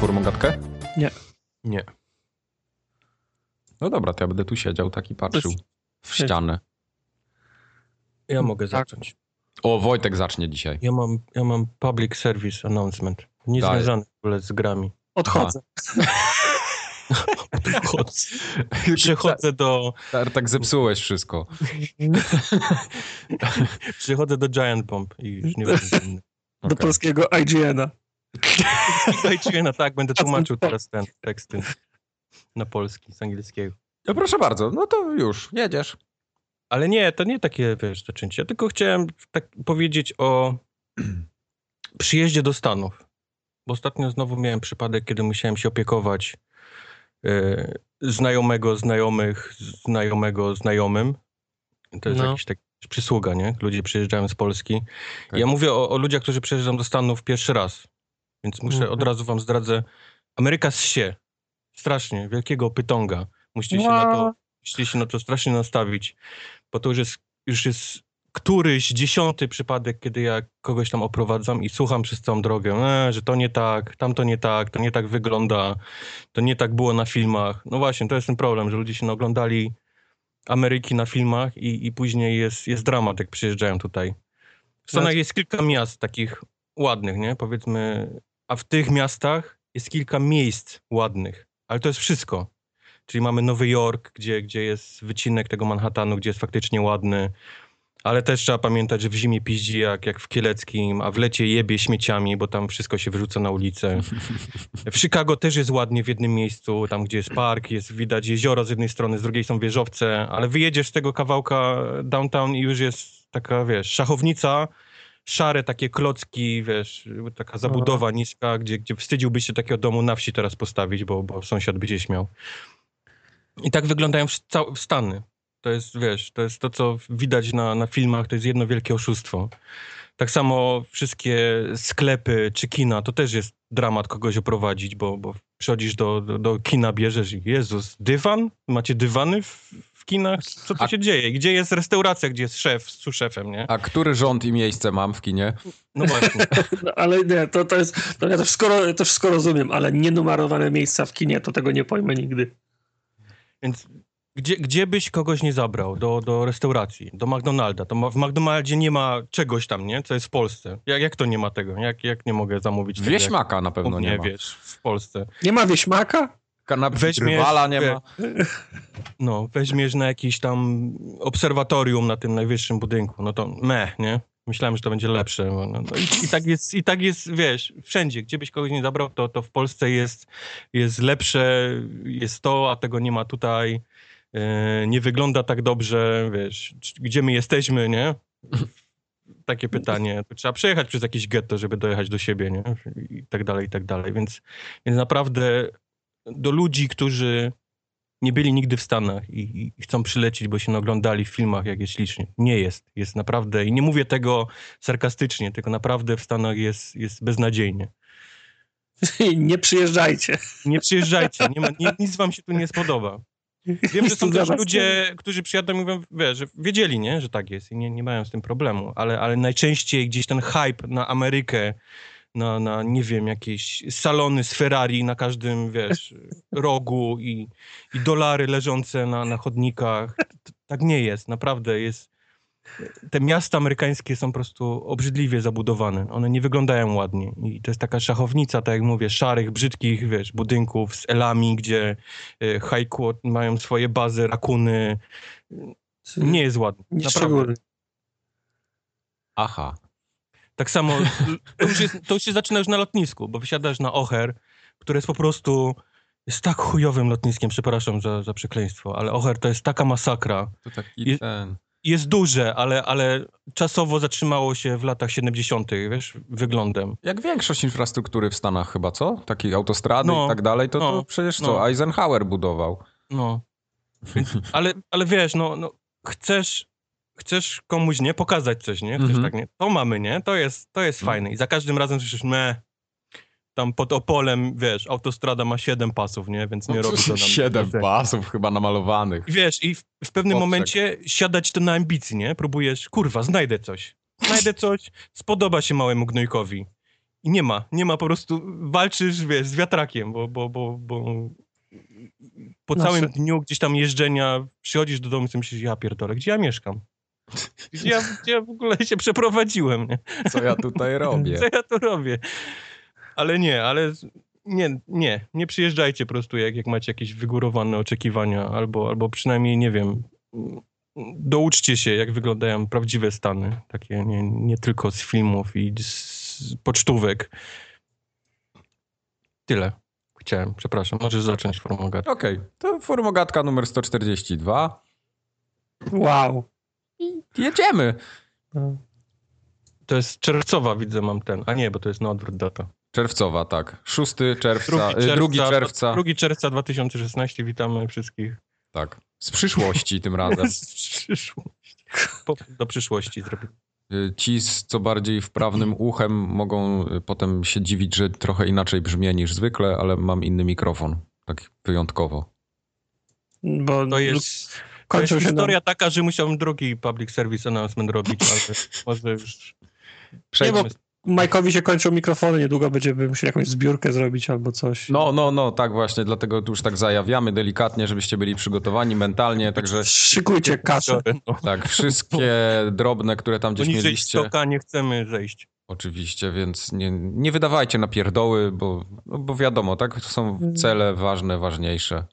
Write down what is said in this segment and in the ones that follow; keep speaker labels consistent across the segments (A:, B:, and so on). A: formogatkę?
B: Nie.
A: Nie. No dobra, to ja będę tu siedział taki patrzył w
B: jest-
A: ścianę.
C: Ja mogę
B: Tak.
C: zacząć.
A: O, Wojtek zacznie dzisiaj.
C: Ja mam, ja mam public service announcement. Nie
A: Daj.
C: związany w ogóle z grami.
B: Odchodzę.
C: Odchodzę. Przechodzę do,
A: Tak zepsułeś wszystko.
C: przechodzę do Giant Bomb i już nie będę inny.
B: Do
A: Okej.
B: polskiego IGN-a.
C: Dajcie na tak, będę tłumaczył teraz ten tekst ten, na polski, z angielskiego.
A: No proszę bardzo, no to już, jedziesz.
C: Ale nie, to nie takie, wiesz, zaczęcie. Ja tylko chciałem tak powiedzieć o przyjeździe do Stanów. Bo ostatnio znowu miałem przypadek, kiedy musiałem się opiekować e, znajomego, znajomych, znajomego, znajomym. To jest
B: No.
C: jakiś tak przysługa, nie? Ludzie przyjeżdżają z Polski.
A: Tak.
C: Ja mówię o, o ludziach, którzy przyjeżdżają do Stanów pierwszy raz. Więc muszę
B: Mhm.
C: od razu wam zdradzę. Ameryka zsie. Strasznie. Wielkiego pytonga. Musicie się na to,
B: Wow.
C: musicie się na to strasznie nastawić. Bo to już jest, już jest któryś dziesiąty przypadek, kiedy ja kogoś tam oprowadzam i słucham przez całą drogę, e, że to nie tak, tamto nie tak, to nie tak wygląda, to nie tak było na filmach. No właśnie, to jest ten problem, że ludzie się naoglądali Ameryki na filmach i, i później jest, jest dramat, jak przyjeżdżają tutaj. W Stanach jest kilka miast takich ładnych, nie? Powiedzmy, a w tych miastach jest kilka miejsc ładnych, ale to jest wszystko. Czyli mamy Nowy Jork, gdzie, gdzie jest wycinek tego Manhattanu, gdzie jest faktycznie ładny, ale też trzeba pamiętać, że w zimie piździ jak, jak w Kieleckim, a w lecie jebie śmieciami, bo tam wszystko się wyrzuca na ulicę. W Chicago też jest ładnie w jednym miejscu, tam gdzie jest park, jest widać jezioro z jednej strony, z drugiej są wieżowce, ale wyjedziesz z tego kawałka downtown i już jest taka, wiesz, szachownica, szare takie klocki, wiesz, taka zabudowa niska, gdzie, gdzie wstydziłbyś się takiego domu na wsi teraz postawić, bo, bo sąsiad by się śmiał. I tak wyglądają w cał- w Stany. To jest, wiesz, to jest to, co widać na, na filmach, to jest jedno wielkie oszustwo. Tak samo wszystkie sklepy czy kina, to też jest dramat kogoś oprowadzić, bo, bo przychodzisz do, do, do kina, bierzesz i Jezus, dywan? Macie dywany w, w kinach? Co tu
A: A-
C: się dzieje? Gdzie jest restauracja, gdzie jest szef z szefem, nie?
A: A który rząd i miejsce mam w kinie?
C: No właśnie.
B: No, ale nie, to, to jest. No, ja to wszystko, ro- to wszystko rozumiem, ale nienumerowane miejsca w kinie, to tego nie pojmę nigdy.
C: Więc gdzie, gdzie byś kogoś nie zabrał? Do, do restauracji, do McDonalda. To ma, w McDonaldzie nie ma czegoś tam, nie? Co jest w Polsce. Jak, jak to nie ma tego? Jak, jak nie mogę zamówić tego? jak
A: Wieśmaka na pewno
C: u
A: nie
C: mnie,
A: ma.
C: wiesz, w Polsce.
B: Nie ma wieśmaka?
A: Kanapki
C: Weźmiesz-
A: Rywala nie ma.
C: No, weźmiesz na jakiś tam obserwatorium na tym najwyższym budynku. No to meh, nie? Myślałem, że to będzie lepsze. bo No, no i, I tak jest, i tak jest, wiesz, wszędzie, gdzie byś kogoś nie zabrał, to, to w Polsce jest, jest lepsze, jest to, a tego nie ma tutaj. E, nie wygląda tak dobrze, wiesz, czy- gdzie my jesteśmy, nie? Takie pytanie. To trzeba przejechać przez jakieś getto, żeby dojechać do siebie, nie? I tak dalej, i tak dalej. Więc, więc naprawdę do ludzi, którzy nie byli nigdy w Stanach i, i chcą przylecieć, bo się naoglądali w filmach, jak jest ślicznie. Nie jest. Jest naprawdę, i nie mówię tego sarkastycznie, tylko naprawdę w Stanach jest, jest beznadziejnie.
B: nie przyjeżdżajcie.
C: Nie przyjeżdżajcie, nie ma, nie, nic wam się tu nie spodoba. Wiem, że są
B: Dla
C: też
B: was
C: ludzie, którzy przyjadą i mówią, wiesz, że wiedzieli, nie, że tak jest i nie, nie mają z tym problemu, ale, ale najczęściej gdzieś ten hype na Amerykę, na, na, nie wiem, jakieś salony z Ferrari na każdym, wiesz, rogu i, i dolary leżące na, na chodnikach. T- Tak nie jest, naprawdę jest. Te miasta amerykańskie są po prostu obrzydliwie zabudowane. One nie wyglądają ładnie. I to jest taka szachownica, tak jak mówię, szarych, brzydkich, wiesz, budynków z elami, gdzie y, haiku mają swoje bazy, rakuny. Nie jest ładnie.
B: nie
C: Naprawdę.
B: szczególnie.
A: Aha.
C: Tak samo to już, jest, to już się zaczyna już na lotnisku, bo wysiadasz na Oher, które jest po prostu jest tak chujowym lotniskiem, przepraszam za, za przekleństwo, ale Oher to jest taka masakra.
A: To taki
C: Je-
A: ten...
C: Jest duże, ale, ale czasowo zatrzymało się w latach 70., wiesz, wyglądem.
A: Jak większość infrastruktury w Stanach chyba, co? Takiej autostrady
C: No,
A: i tak dalej, to, to
C: no,
A: przecież
C: no.
A: co? Eisenhower budował.
C: No. Więc- Ale, ale wiesz, no, no chcesz, chcesz komuś, nie, pokazać coś, nie? Chcesz
A: Mhm.
C: tak, nie? To mamy, nie? To jest, to jest
A: Mhm.
C: fajne. I za każdym razem słyszysz, me. Tam pod Opolem, wiesz, autostrada ma 7 pasów, nie? Więc nie robi to nam.
A: No, Siedem pasów chyba namalowanych.
C: I Wiesz, i w, w pewnym
A: Odsek.
C: momencie siadać to na ambicji, nie? Próbujesz, kurwa, znajdę coś. Znajdę coś, spodoba się małemu gnojkowi. I nie ma, nie ma, po prostu walczysz, wiesz, z wiatrakiem, bo, bo, bo, bo po
B: Znaczy-
C: całym dniu gdzieś tam jeżdżenia przychodzisz do domu i sobie myślisz, ja pierdolę, gdzie ja mieszkam? Gdzie ja, gdzie ja w ogóle się przeprowadziłem, nie?
A: Co ja tutaj robię?
C: Co ja tu robię? Ale nie, ale z- nie, nie, nie przyjeżdżajcie po prostu, jak, jak macie jakieś wygórowane oczekiwania, albo, albo przynajmniej, nie wiem, m, douczcie się, jak wyglądają prawdziwe stany, takie nie, nie tylko z filmów i z pocztówek. Tyle. Chciałem, przepraszam, możesz zacząć formogat.
A: Okej, to formogatka numer 142.
B: Wow.
A: Jedziemy!
C: To jest czerwcowa, widzę, mam ten, a nie, bo to jest na odwrót data.
A: Czerwcowa, tak. 6 czerwca,
C: Drugi
A: 2 drugi czerwca.
C: 2 czerwca 2016, witamy wszystkich.
A: Tak. Z przyszłości tym razem.
C: Z przyszłości. Po, do przyszłości zrobię.
A: Y, Ci z co bardziej wprawnym uchem mogą y, potem się dziwić, że trochę inaczej brzmię niż zwykle, ale mam inny mikrofon. Tak wyjątkowo.
B: Bo
C: To jest, to jest
B: kończył się
C: historia taka, że musiałem drugi public service announcement robić, ale może już...
A: Przejdźmy.
B: bo- nam, Majkowi się kończą mikrofony, niedługo będziemy musieli jakąś zbiórkę zrobić albo coś.
A: No, no, no, tak właśnie, dlatego tu już tak zajawiamy delikatnie, żebyście byli przygotowani mentalnie, także
B: Szykujcie kasę.
C: No,
A: tak, wszystkie drobne, które tam gdzieś
C: poniżej
A: mieliście,
C: stoka nie chcemy zejść.
A: oczywiście, więc nie, nie wydawajcie na pierdoły, bo, no, bo wiadomo, tak, to są cele ważne, ważniejsze.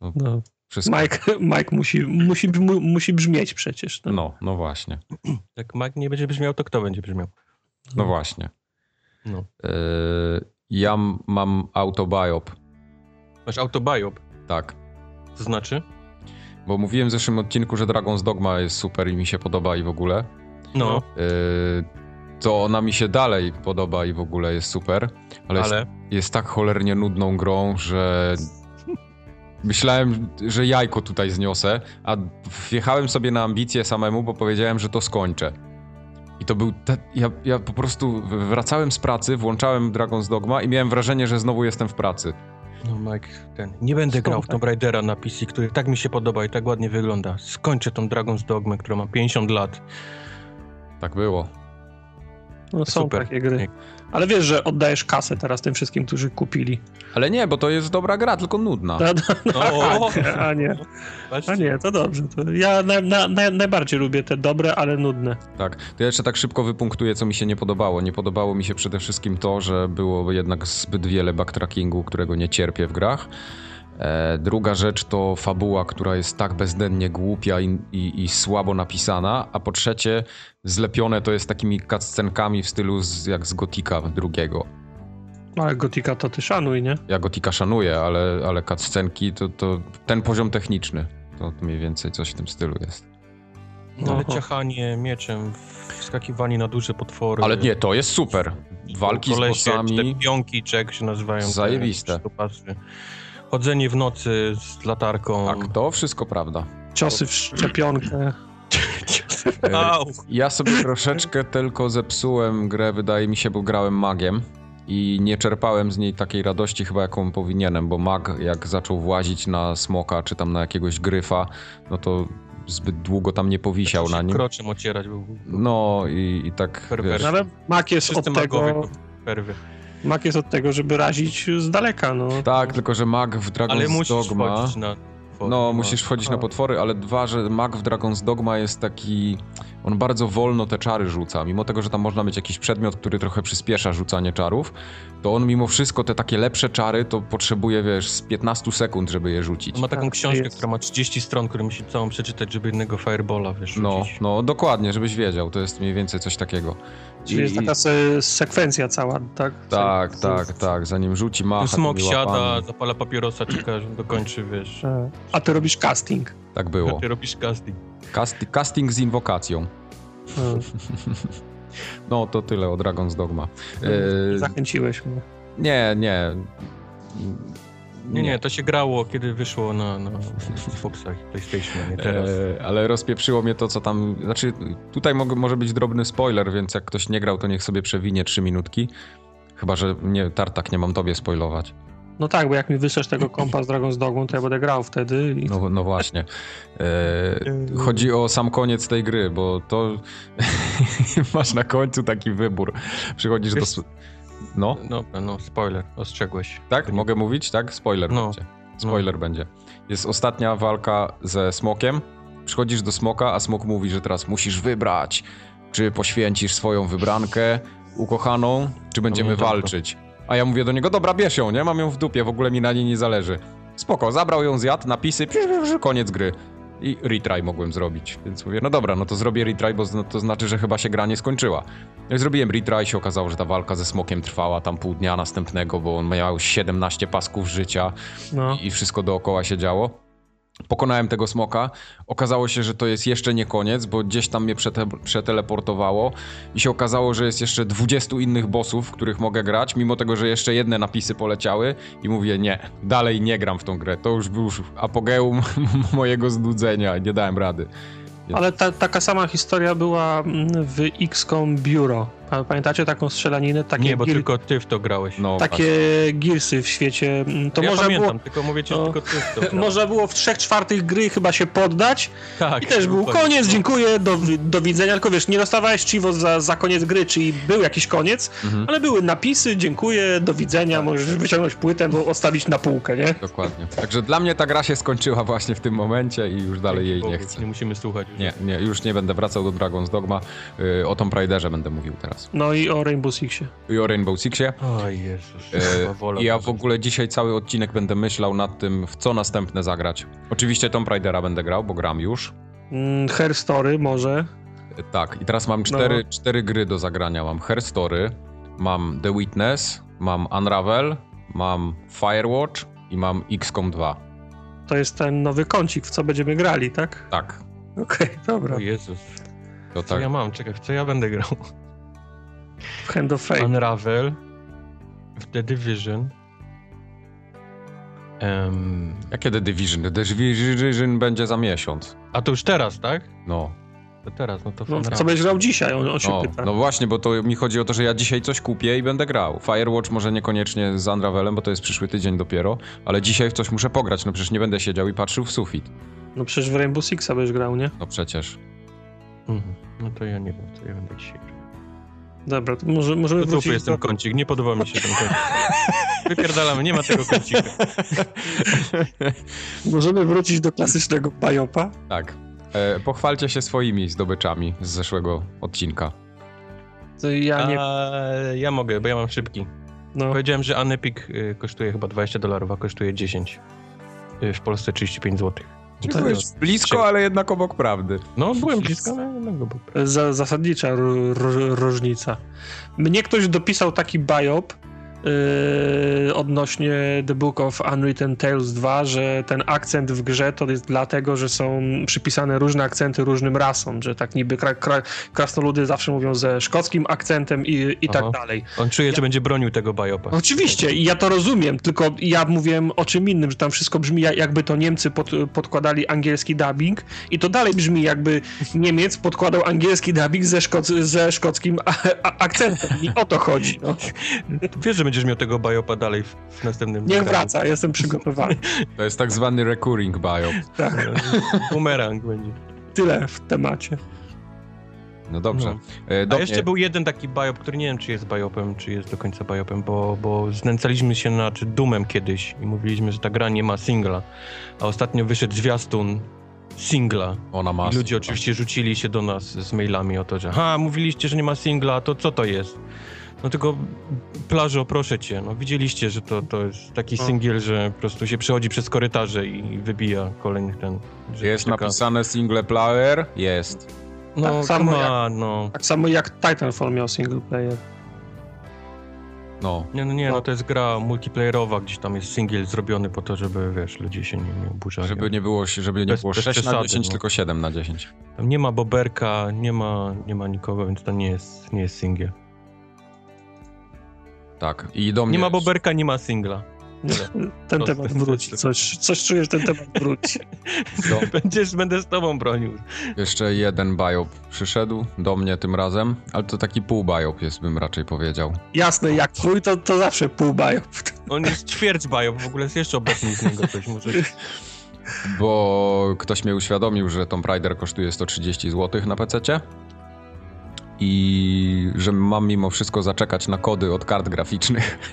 B: No.
A: Wszystko.
B: Mike, Mike musi, musi, mu, musi brzmieć przecież. No.
A: No, no właśnie,
C: Jak Tak, Mac nie będzie brzmiał, to kto będzie brzmiał?
A: no właśnie.
C: No.
A: Yy, ja m- mam autobiop,
C: Masz autobiop,
A: tak.
C: to znaczy?
A: Bo mówiłem w zeszłym odcinku, że Dragon's Dogma jest super i mi się podoba i w ogóle.
C: No,
A: Yy, to ona mi się dalej podoba i w ogóle jest super, ale, Jest,
C: ale...
A: jest tak cholernie nudną grą, że myślałem, że jajko tutaj zniosę, a wjechałem sobie na ambicje samemu, bo powiedziałem, że to skończę. I to był. Te... Ja, ja po prostu wracałem z pracy, włączałem Dragon's Dogma i miałem wrażenie, że znowu jestem w pracy.
C: No Mike, ten... Nie będę grał w Tomb Raidera na PC, który tak mi się podoba i tak ładnie wygląda. Skończę tą Dragon's Dogmę, która ma 50 lat.
A: Tak było.
B: No, są
C: Super.
B: takie gry.
C: Nie.
B: Ale wiesz, że oddajesz kasę teraz tym wszystkim, którzy kupili.
A: Ale nie, bo to jest dobra gra, tylko nudna.
B: No, no,
C: O!
B: a, nie, a nie, a
C: Patrzcie.
B: nie, to dobrze. To ja na, na, na, najbardziej lubię te dobre, ale nudne.
A: Tak. To ja jeszcze tak szybko wypunktuję, co mi się nie podobało. Nie podobało mi się przede wszystkim to, że było jednak zbyt wiele backtrackingu, którego nie cierpię w grach. E, druga rzecz to fabuła, która jest tak bezdennie głupia i, i, i słabo napisana. A po trzecie, zlepione to jest takimi cutscenkami w stylu z, jak z Gotika drugiego.
B: No, Ale Gotika to ty szanuj, nie?
A: Ja Gotika szanuję, ale, ale cutscenki to, to ten poziom techniczny. To mniej więcej coś w tym stylu jest.
C: No, ale
B: Oho.
C: ciachanie mieczem, wskakiwanie na duże potwory.
A: Ale nie, to jest super. Walki z
C: Kolesie,
A: bossami.
C: Te pionki, czy jak się nazywają. te
A: Zajebiste.
C: szczupasy. Chodzenie w nocy z latarką.
A: Tak, to wszystko prawda.
B: Ciosy w szczepionkę.
A: E,
C: Au!
A: Ja sobie troszeczkę tylko zepsułem grę, wydaje mi się, bo grałem magiem i nie czerpałem z niej takiej radości chyba jaką powinienem, bo mag jak zaczął włazić na smoka czy tam na jakiegoś gryfa, no to zbyt długo tam nie powisiał na
C: Zaczął Znaczy się
A: nim.
C: Kroczem ocierać był.
A: No i, i tak wiesz,
C: Perwersja.
B: No, ale Mac jest,
C: Wszyscy
B: od
C: magowie
B: tego,
C: to perwy.
B: Mac jest od tego, żeby razić z daleka, no.
A: tak, tylko że mag w Dragon's
C: Ale musisz
A: Dogma...
C: wchodzić na...
A: No, musisz wchodzić na potwory, ale dwa, że mag w Dragon's Dogma jest taki. On bardzo wolno te czary rzuca. Mimo tego, że tam można mieć jakiś przedmiot, który trochę przyspiesza rzucanie czarów, to on mimo wszystko te takie lepsze czary to potrzebuje, wiesz, z 15 sekund, żeby je rzucić.
C: On ma taką
B: Tak,
C: książkę,
B: jest.
C: która ma 30 stron, którą musi całą przeczytać, żeby jednego firebola wiesz,
A: No,
C: rzucić.
A: no, dokładnie, żebyś wiedział. To jest mniej więcej coś takiego.
B: Czyli jest
A: I-
B: taka se, sekwencja cała, tak?
A: Tak,
B: Se-
A: tak, tak. Zanim rzuci macha.
C: Ten smok
A: tymi
C: siada,
A: łapami.
C: zapala papierosa, czeka, aż dokończy, wiesz.
B: E, A ty robisz casting.
A: Tak było.
C: Ty robisz casting.
A: Cast- casting z inwokacją.
B: E,
A: No, to tyle o Dragon's Dogma. E,
B: Zachęciłeś mnie.
A: nie, nie.
C: Nie, nie, to się grało, kiedy wyszło na, na Xboxach i PlayStation, nie teraz.
A: E, ale rozpieprzyło mnie to, co tam. Znaczy, tutaj mog- może być drobny spoiler, więc jak ktoś nie grał, to niech sobie przewinie trzy minutki. Chyba, że nie, tartak, nie mam tobie spoilować.
B: No tak, bo jak mi wyszesz tego kompa z Dragon's Dogą, to ja będę grał wtedy i
A: No, no właśnie. E, chodzi o sam koniec tej gry, bo to masz na końcu taki wybór. Przychodzisz do.
C: Wiesz-
A: sw- No,
C: Dobra, no, spoiler, ostrzegłeś.
A: tak? Mogę mówić, tak? Spoiler
C: No.
A: będzie. Spoiler będzie. Jest ostatnia walka ze smokiem. Przychodzisz do smoka, a smok mówi, że teraz musisz wybrać, czy poświęcisz swoją wybrankę ukochaną, czy będziemy
C: Pamiętam to.
A: walczyć. A ja mówię do niego, dobra, bierz ją, nie? Mam ją w dupie, w ogóle mi na niej nie zależy. Spoko, zabrał ją, zjadł, napisy, piu, piu, piu, koniec gry. I retry mogłem zrobić, więc mówię, no dobra, no to zrobię retry, bo zna- to znaczy, że chyba się gra nie skończyła. Jak zrobiłem retry, się okazało, że ta walka ze smokiem trwała tam pół dnia następnego, bo on miał 17 pasków życia
B: No.
A: i, i wszystko dookoła się działo. Pokonałem tego smoka. Okazało się, że to jest jeszcze nie koniec, bo gdzieś tam mnie przete- przeteleportowało i się okazało, że jest jeszcze 20 innych bossów, w których mogę grać, mimo tego, że jeszcze jedne napisy poleciały i mówię nie, dalej nie gram w tą grę. To już był już apogeum mojego znudzenia, nie dałem rady.
B: Ale ta, taka sama historia była mm, w XCOM Bureau. Pa- Pamiętacie taką strzelaninę? Takie,
C: Nie, bo
B: gir-
C: tylko ty w to grałeś.
A: No,
B: takie
A: właśnie.
B: girsy w świecie. mm, To
C: ja
B: może,
C: pamiętam,
B: było,
C: tylko mówię ci, że
B: No.
C: tylko ty w to grałeś.
B: może było w 3 czwartych gry chyba się poddać
C: tak,
B: i też był
C: dokładnie.
B: koniec, dziękuję, do, do widzenia. Tylko wiesz, nie dostawałeś chivo za, za koniec gry, czyli był jakiś koniec,
A: Mhm.
B: ale były napisy, dziękuję, do
C: Tak.
B: widzenia, możesz wyciągnąć płytę, bo odstawić na półkę, nie?
A: Dokładnie. Także dla mnie ta gra się skończyła właśnie w tym momencie i już dalej jej nie
C: Dzięki Bogu,
A: chcę.
C: Nie musimy słuchać. już.
A: Nie, nie, już nie będę wracał do Dragon's Dogma. Yy, o Tomb Raiderze będę mówił teraz.
B: No i o Rainbow Sixie.
A: I o Rainbow Sixie.
C: O Jezus,
A: E,
C: chyba wolę.
A: I ja
C: Boże.
A: w ogóle dzisiaj cały odcinek będę myślał nad tym, w co następne zagrać. Oczywiście Tomb Raidera będę grał, bo gram już.
B: Mm, Hair Story może.
A: E, Tak, i teraz
C: No.
A: mam cztery, cztery gry do zagrania. Mam Her Story, mam The Witness, mam Unravel, mam Firewatch i mam XCOM 2.
B: To jest ten nowy kącik, w co będziemy grali, tak?
A: Tak,
B: Okej, dobra.
C: O Jezus,
A: to
C: co
A: tak.
C: ja mam? Czekaj, w co ja będę grał?
B: W Hand of Fate.
C: Unravel, w The Division. Em,
A: A kiedy Division? The Division będzie za miesiąc.
C: a to już teraz, tak?
A: No,
C: To teraz, no to w
B: No,
C: Unravel.
B: co będziesz grał dzisiaj? On, on się
A: no,
B: pyta.
A: no właśnie, bo to mi chodzi o to, że ja dzisiaj coś kupię i będę grał. Firewatch może niekoniecznie z Unravelem, bo to jest przyszły tydzień dopiero, ale dzisiaj w coś muszę pograć, no przecież nie będę siedział i patrzył w sufit.
B: No przecież w Rainbow Sixa będziesz grał, nie?
A: No przecież.
C: Mhm. No to ja nie wiem, co ja będę dzisiaj grał.
B: Dobra, to może, możemy
C: To
B: wrócić
C: dupy jest ten
B: do...
C: kącik, nie podoba mi się ten kącik. Wypierdalamy, nie ma tego kącika.
B: Możemy wrócić do klasycznego bajopa.
A: Tak. E, pochwalcie się swoimi zdobyczami z zeszłego odcinka.
B: To ja nie...
C: A, ja mogę, bo ja mam szybki.
B: No,
C: Powiedziałem, że Anepik y, kosztuje chyba 20 dolarów, a kosztuje 10. Y, W Polsce 35 zł.
B: To
A: Byłeś
B: jest-
A: blisko, ale jednak obok prawdy.
C: No, byłem blisko, ale no, bo...
B: za, zasadnicza ró- ró- różnica. Mnie ktoś dopisał taki bajop yy, odnośnie The Book of Unwritten Tales 2, że ten akcent w grze to jest dlatego, że są przypisane różne akcenty różnym rasom, że tak niby kra, kra, krasnoludy zawsze mówią ze szkockim akcentem i, i tak
C: Aha.
B: dalej.
C: On czuje, że będzie bronił tego bajopa.
B: Oczywiście, i ja to rozumiem, tylko ja mówiłem o czym innym, że tam wszystko brzmi jak- jakby to Niemcy pod, podkładali angielski dubbing i to dalej brzmi jakby Niemiec podkładał angielski dubbing ze, szkoc, ze szkockim a, a, akcentem i o to chodzi. No.
C: Wiesz, że będziesz miał tego bajopa dalej w, w następnym
B: Niech
C: nagraniu.
B: wraca, jestem przygotowany.
A: To jest tak zwany recurring bio.
B: Tak,
C: No, Bumerang będzie.
B: tyle w temacie.
A: No dobrze.
C: No.
A: E,
C: A
A: do
C: jeszcze
A: mnie-
C: był jeden taki bajop, który nie wiem, czy jest bajopem, czy jest do końca bajopem, bo, bo znęcaliśmy się nad Doomem kiedyś i mówiliśmy, że ta gra nie ma singla. A ostatnio wyszedł zwiastun singla.
A: Ona ma.
C: I ludzie oczywiście rzucili się do nas z mailami o to, że ha, mówiliście, że nie ma singla, to co to jest? No tylko plażo, proszę cię, no widzieliście, że to, to jest taki
B: No.
C: singiel, że po prostu się przechodzi przez korytarze i wybija kolejnych ten... że
A: Jest
C: taka-
A: napisane single player? Jest.
C: No,
B: Tak samo
C: come on, no.
B: Tak samo jak Titanfall miał single player.
A: No.
C: Nie, no nie,
B: No.
C: no to jest gra multiplayerowa, gdzieś tam jest singiel zrobiony po to, żeby, wiesz, ludzie się nie, nie oburzali.
A: Żeby nie było, żeby nie
C: Tak, Bez-
A: było
C: bez
A: 6 na
C: przesady,
A: 10,
C: no.
A: tylko 7 na 10.
C: Tam nie ma boberka, nie ma, nie ma nikogo, więc to nie jest, nie jest singiel.
A: Tak. I do mnie.
C: Nie ma boberka, nie ma singla.
B: Ten
C: To-
B: temat
C: to- to-
B: wróci,
C: to-
B: coś, coś czujesz, ten temat wróci.
A: Do,
C: Będziesz, będę z tobą bronił.
A: jeszcze jeden biop przyszedł do mnie tym razem, ale to taki pół biop jest, bym raczej powiedział.
B: Jasne, jak twój, to, to zawsze pół bajop.
C: On jest ćwierć bajo, w ogóle jest jeszcze obecny z niego coś może.
A: Bo ktoś mnie uświadomił, że Tomb Raider kosztuje 130 zł na PC. i że mam mimo wszystko zaczekać na kody od kart graficznych.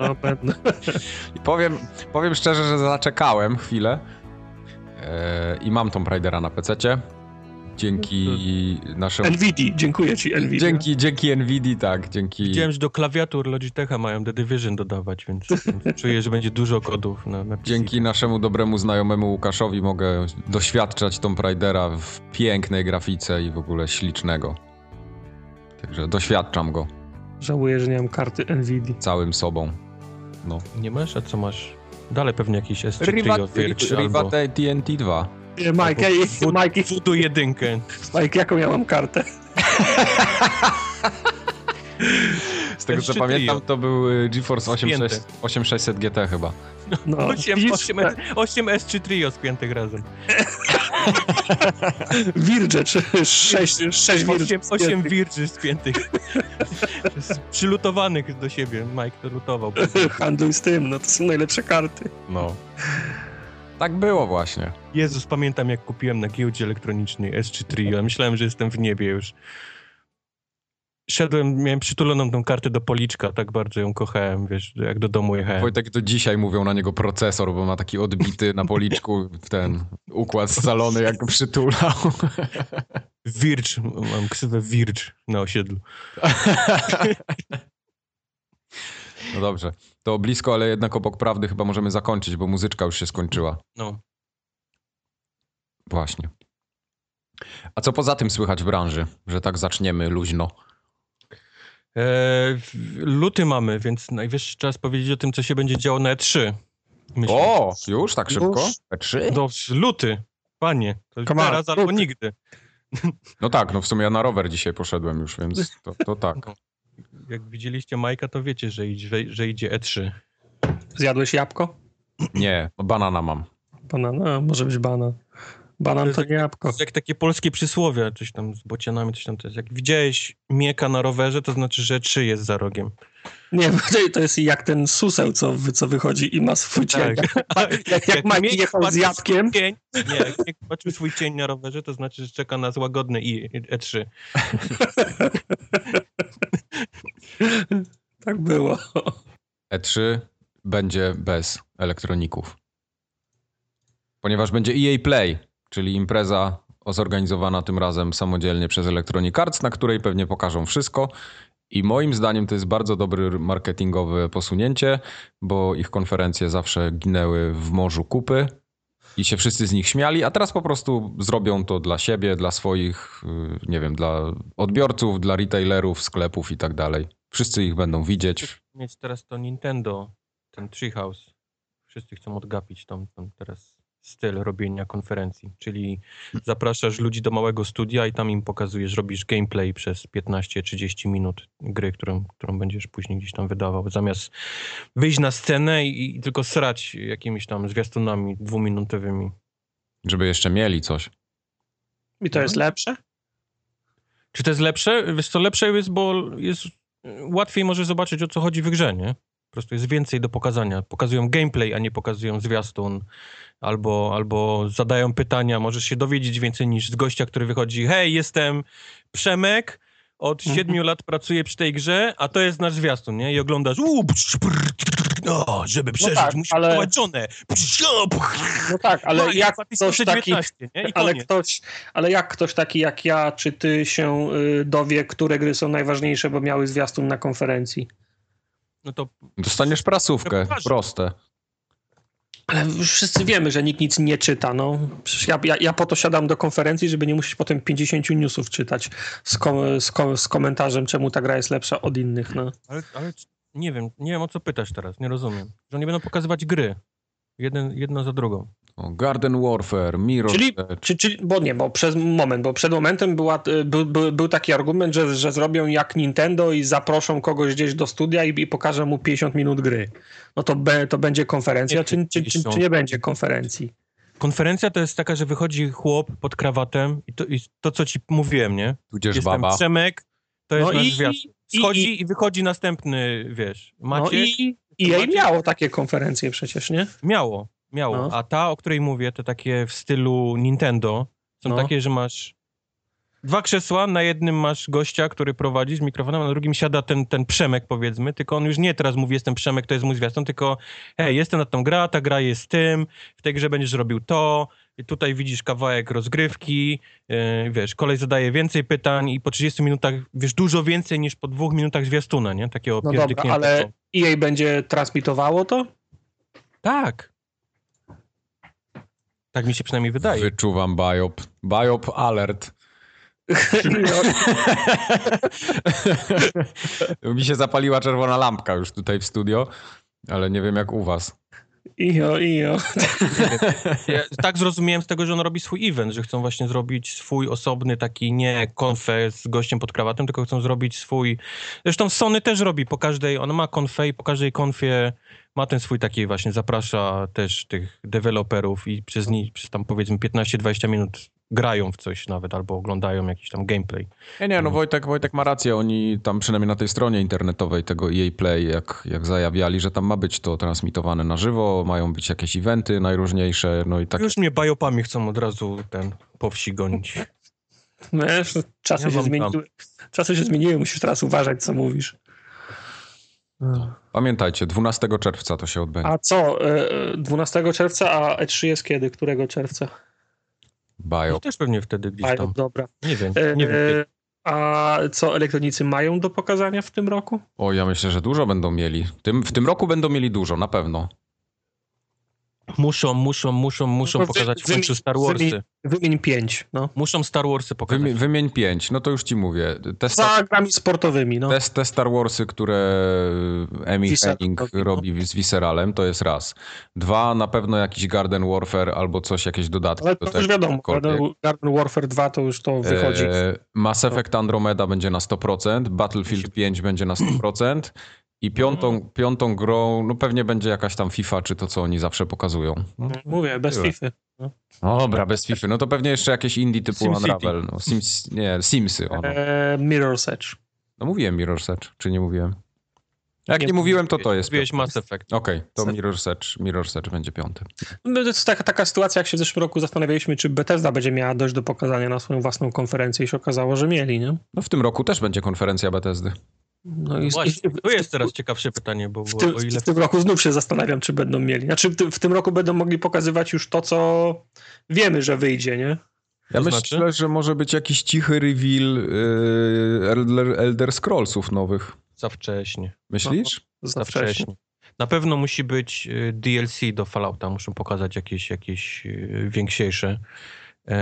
B: No, będę.
A: I powiem, powiem szczerze, że zaczekałem chwilę e, i mam Tomb Raidera na PC-cie. Dzięki naszemu.
B: NVIDII, dziękuję ci, NVIDII.
A: Dzięki, dzięki NVIDII, tak. Dzięki.
C: Widziałem, że do klawiatur Logitecha mają The Division dodawać, więc więc czuję, że będzie dużo kodów na, na PC.
A: Dzięki naszemu dobremu znajomemu Łukaszowi mogę doświadczać Tomb Raidera w pięknej grafice i w ogóle ślicznego. Także doświadczam go
B: Żałuję, że nie mam karty NVIDII.
A: całym sobą.
C: Nie masz? A co masz? Dalej pewnie jakiś S3
A: Riva,
C: otwierć
A: Riva
C: albo
A: TNT 2.
B: Nie, Mike, ej,
C: Fu-
B: Mike,
C: Fudu jedynkę.
B: Mike, jaką ja mam kartę?
A: Z tego co
C: Jeszcze
A: pamiętam,
C: trio.
A: to był y, GeForce 86,
C: Spięte.
A: 8600 GT chyba.
B: No,
C: 8,
B: widzisz?
C: 8, 8 S3 trio spiętych razem.
B: Wirże, czy 6, 6 wirże.
C: 8, 8 wirży spiętych. Z- Przylutowanych do siebie. Mike to lutował.
B: Handluj z tym, no to są najlepsze karty.
A: No. Tak było właśnie.
C: Jezus, pamiętam jak kupiłem na giełdzie elektronicznej S3 Trio. Myślałem, że jestem w niebie już. Szedłem, miałem przytuloną tą kartę do policzka, tak bardzo ją kochałem, wiesz, jak do domu jechałem.
A: Wojtek do dzisiaj mówią na niego procesor, bo ma taki odbity na policzku ten układ scalony, jak przytulał.
C: Wircz, mam ksywę Wircz na osiedlu.
A: No dobrze. To blisko, ale jednak obok prawdy chyba możemy zakończyć, bo muzyczka już się skończyła.
C: No.
A: Właśnie. A co poza tym słychać w branży, że tak zaczniemy luźno?
C: E, w- luty mamy, więc najwyższy czas powiedzieć o tym, co się będzie działo na E3. Myślę.
A: O, już tak szybko?
B: Już?
A: Trzy?
C: No, luty, panie, to już
B: Come on,
C: teraz albo
B: luty.
C: nigdy.
A: No tak, no w sumie ja na rower dzisiaj poszedłem już, więc to, to tak.
C: Jak widzieliście Majka, to wiecie, że idzie, że idzie E E3.
B: Zjadłeś jabłko?
A: Nie, banana mam.
B: Banana, może być banan.
C: To
B: Banan
C: jest
B: to nie jabłko.
C: To jest jak takie polskie przysłowie, coś tam z bocianami, coś tam to jest. Jak widziałeś mieka na rowerze, to znaczy, że trzy jest za rogiem.
B: Nie, to- to jest jak ten suseł, co, wy- co wychodzi i ma swój
C: Tak.
B: cień. Jak, jak, jak Mike
C: miek
B: jechał z
C: patrzy
B: jabłkiem,
C: swój Cień, nie, jak miek patrzył swój cień na rowerze, to znaczy, że czeka nas łagodny i E E3.
B: tak było.
A: E3 E będzie bez elektroników. Ponieważ będzie EA Play, czyli impreza zorganizowana tym razem samodzielnie przez Electronic Arts, na której pewnie pokażą wszystko. I moim zdaniem to jest bardzo dobry marketingowe posunięcie, bo ich konferencje zawsze ginęły w morzu kupy i się wszyscy z nich śmiali, a teraz po prostu zrobią to dla siebie, dla swoich, yy, nie wiem, dla odbiorców, dla retailerów, sklepów i tak dalej. Wszyscy ich będą widzieć,
C: Mieć teraz to Nintendo, ten Treehouse. Wszyscy chcą odgapić tą, tą teraz styl robienia konferencji, czyli zapraszasz ludzi do małego studia i tam im pokazujesz, robisz gameplay przez 15-30 minut gry, którą, którą będziesz później gdzieś tam wydawał, zamiast wyjść na scenę i, i tylko srać jakimiś tam zwiastunami dwuminutowymi.
A: Żeby jeszcze mieli coś.
B: I to jest lepsze?
C: Czy to jest lepsze? Wiesz co, lepsze jest, bo jest łatwiej może zobaczyć, o co chodzi w grze, nie? Po prostu jest więcej do pokazania. Pokazują gameplay, a nie pokazują zwiastun. Albo, albo zadają pytania. Możesz się dowiedzieć więcej niż z gościa, który wychodzi hej, jestem Przemek, od
B: Mhm.
C: siedmiu lat pracuję przy tej grze, a to jest nasz zwiastun, nie? I oglądasz uuu, psz, prr, trr, no, żeby przeżyć,
B: tak,
C: musimy
B: ale-
C: ale... żonę. Psz, o, pch,
B: No tak, ale
C: no i
B: jak ktoś taki
C: 2019, nie? I
B: ale
C: koniec.
B: ktoś, ale jak ktoś taki jak ja, czy ty się y, dowie, które gry są najważniejsze, bo miały zwiastun na konferencji?
C: No to
A: Dostaniesz prasówkę,
C: Przepraszam.
A: proste.
B: Ale już wszyscy wiemy, że nikt nic nie czyta. No. Przecież ja, ja, ja po to siadam do konferencji, żeby nie musieć potem 50 newsów czytać z, kom, z, kom, z komentarzem, czemu ta gra jest lepsza od innych. No.
C: Ale, ale c- nie wiem, nie wiem o co pytasz teraz, nie rozumiem. Że oni będą pokazywać gry. Jeden, jedna za drugą.
A: O, Garden Warfare, Mirror
B: Czyli-
A: Edge.
B: Czy, czy, bo nie, bo przez moment, bo przed momentem była, y, był- był- był taki argument, że, że zrobią jak Nintendo i zaproszą kogoś gdzieś do studia i, i pokażą mu 50 minut gry. No to, be, to będzie konferencja,
C: Nie,
B: czy, czy, czy, czy nie będzie konferencji?
C: Konferencja to jest taka, że wychodzi chłop pod krawatem i to, i to co ci mówiłem, nie?
A: tudzież
C: Jestem
A: baba.
C: Przemek, to jest
B: No
C: nasz
B: i,
C: gwiazd.
B: i-
C: Schodzi i, wychodzi następny, wiesz,
B: no
C: Maciek.
B: i, i jej miało takie konferencje przecież, nie?
C: Miało, miało.
B: No.
C: A ta, o której mówię, to takie w stylu Nintendo. Są
B: No.
C: takie, że masz Dwa krzesła, na jednym masz gościa, który prowadzi z mikrofonem, a na drugim siada ten, ten Przemek, powiedzmy, tylko on już nie teraz mówi, jestem Przemek, to jest mój zwiastun, tylko hej, jestem na tą gra, ta gra jest tym, w tej grze będziesz robił to, i tutaj widzisz kawałek rozgrywki, yy, wiesz, kolej zadaje więcej pytań i po 30 minutach wiesz dużo więcej niż po dwóch minutach zwiastuna, nie? Takiego
B: No dobra,
C: pierdykniętego.
B: ale EA będzie transmitowało to?
C: Tak. Tak mi się przynajmniej wydaje.
A: Wyczuwam biop. Biop alert. Mi się zapaliła czerwona lampka już tutaj w studio, ale nie wiem jak u was.
B: Ijo, ijo.
C: Ja tak zrozumiałem z tego, że on robi swój event, że chcą właśnie zrobić swój osobny taki nie konfe z gościem pod krawatem, tylko chcą zrobić swój. Zresztą Sony też robi po każdej, on ma konfę i po każdej konfie ma ten swój taki właśnie, zaprasza też tych deweloperów i przez nich, przez tam powiedzmy 15-20 minut grają w coś nawet albo oglądają jakiś tam gameplay.
A: Nie, nie, no Wojtek, Wojtek ma rację, oni tam przynajmniej na tej stronie internetowej tego EA Play, jak, jak zajawiali, że tam ma być to transmitowane na żywo, mają być jakieś eventy najróżniejsze, no i tak.
C: Już mnie bajopami chcą od razu ten po wsi gonić.
B: Wiesz, czasy,
C: Ja
B: się
C: wam
B: zmieniły, czasy się zmieniły, musisz teraz uważać, co mówisz.
A: Pamiętajcie, 12 czerwca to się odbędzie.
B: A co, e, e, 12 czerwca, a E3 jest kiedy? Którego czerwca?
C: No
A: Biop.
C: też pewnie wtedy gdzieś
B: Mają,
C: tam.
B: dobra.
C: Nie wiem,
B: E,
C: nie wiem.
B: e, a co elektronicy mają do pokazania w tym roku?
A: O, ja myślę, że dużo będą mieli. Tym, w tym roku będą mieli dużo, na pewno.
C: Muszą, muszą, muszą,
B: No
C: muszą
B: to
C: pokazać w
B: wymi-
C: końcu Star Warsy.
B: wymi- Wymień pięć, no.
C: Muszą Star Warsy pokazać.
A: Wymi wymień pięć, no to już ci mówię. Te, sta
B: Za grami sportowymi, Tak, no.
A: te, te Star Warsy, które Emmy
B: Visceral
A: Henning
B: robi, no.
A: robi z Visceralem, to jest raz. Dwa, na pewno jakiś Garden Warfare albo coś, jakieś dodatki.
B: Ale
A: do
B: to już
A: tego,
B: wiadomo,
A: cokolwiek.
B: Garden- Garden Warfare 2 to już to wychodzi.
A: tak, E, Mass Effect Andromeda będzie na 100%, Battlefield 5 będzie na 100%. I piątą, piątą grą, no pewnie będzie jakaś tam FIFA, czy to, co oni zawsze pokazują.
B: No, Mówię, bez
A: no, Tyle.
B: FIFA.
A: Dobra, bez FIFA. No to pewnie jeszcze jakieś indie typu
C: SimCity.
A: Unravel. No, Sims, nie, Simsy. O, no.
B: E, Mirror's Edge.
A: no mówiłem Mirror's Edge, czy nie mówiłem? Jak
B: Nie
A: nie, mówiłem, to to jest.
C: Mówiłeś
A: piąty.
C: Mass Effect.
A: Okej, to Mirror's Edge, Mirror's Edge będzie piąty.
B: No, To jest taka, taka sytuacja, jak się w zeszłym roku zastanawialiśmy, czy Bethesda będzie miała dość do pokazania na swoją własną konferencję i się okazało, że mieli, nie?
A: No w tym roku też będzie konferencja Bethesdy.
B: No i,
C: No Właśnie,
B: i-
C: to jest teraz ciekawsze pytanie, bo
B: W
C: było
B: tym,
C: o ile...
B: w tym roku znów się zastanawiam, czy będą mieli. Znaczy w tym, w tym roku będą mogli pokazywać już to, co wiemy, że wyjdzie, nie?
A: Ja
C: To
A: myślę,
C: znaczy?
A: że może być jakiś cichy reveal yy, Elder, Elder Scrollsów nowych.
C: Za wcześnie.
A: Myślisz?
B: Za
C: Za
B: wcześnie.
C: wcześnie. Na pewno musi być y, DLC do Fallouta. Muszą pokazać jakieś, jakieś y, większejsze.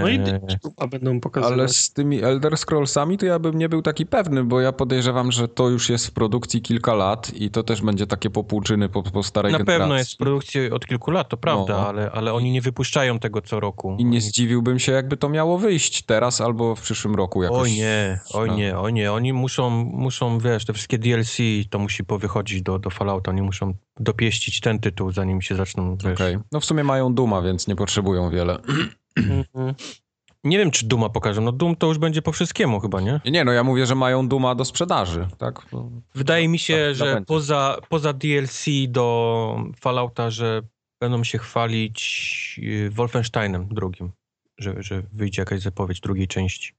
B: No i
C: E,
B: a będą pokazywać.
A: Ale z tymi Elder Scrollsami to ja bym nie był taki pewny, bo ja podejrzewam, że to już jest w produkcji kilka lat i to też będzie takie popłuczyny po, po starej
C: na
A: generacji.
C: pewno jest w produkcji od kilku lat, to prawda,
A: No.
C: ale, ale oni nie wypuszczają tego co roku.
A: I nie
C: Oni-
A: zdziwiłbym się, jakby to miało wyjść teraz albo w przyszłym roku jakoś.
C: Oj nie, oj
A: No.
C: nie, oj nie. Oni muszą, muszą, wiesz, te wszystkie DLC to musi powychodzić do, do Fallouta. Oni muszą dopieścić ten tytuł, zanim się zaczną, wiesz.
A: Okej. No w sumie mają Duma, więc nie potrzebują wiele.
B: Mhm.
C: Nie wiem, czy Duma pokażę. No Doom to już będzie po wszystkiemu chyba, nie?
A: Nie, Nie, no ja mówię, że mają Duma do sprzedaży, tak? No,
C: Wydaje mi się,
A: Tak,
C: że
A: zapędzę.
C: poza, poza DLC do Fallouta, że będą się chwalić y, Wolfensteinem drugim, że, że wyjdzie jakaś zapowiedź drugiej części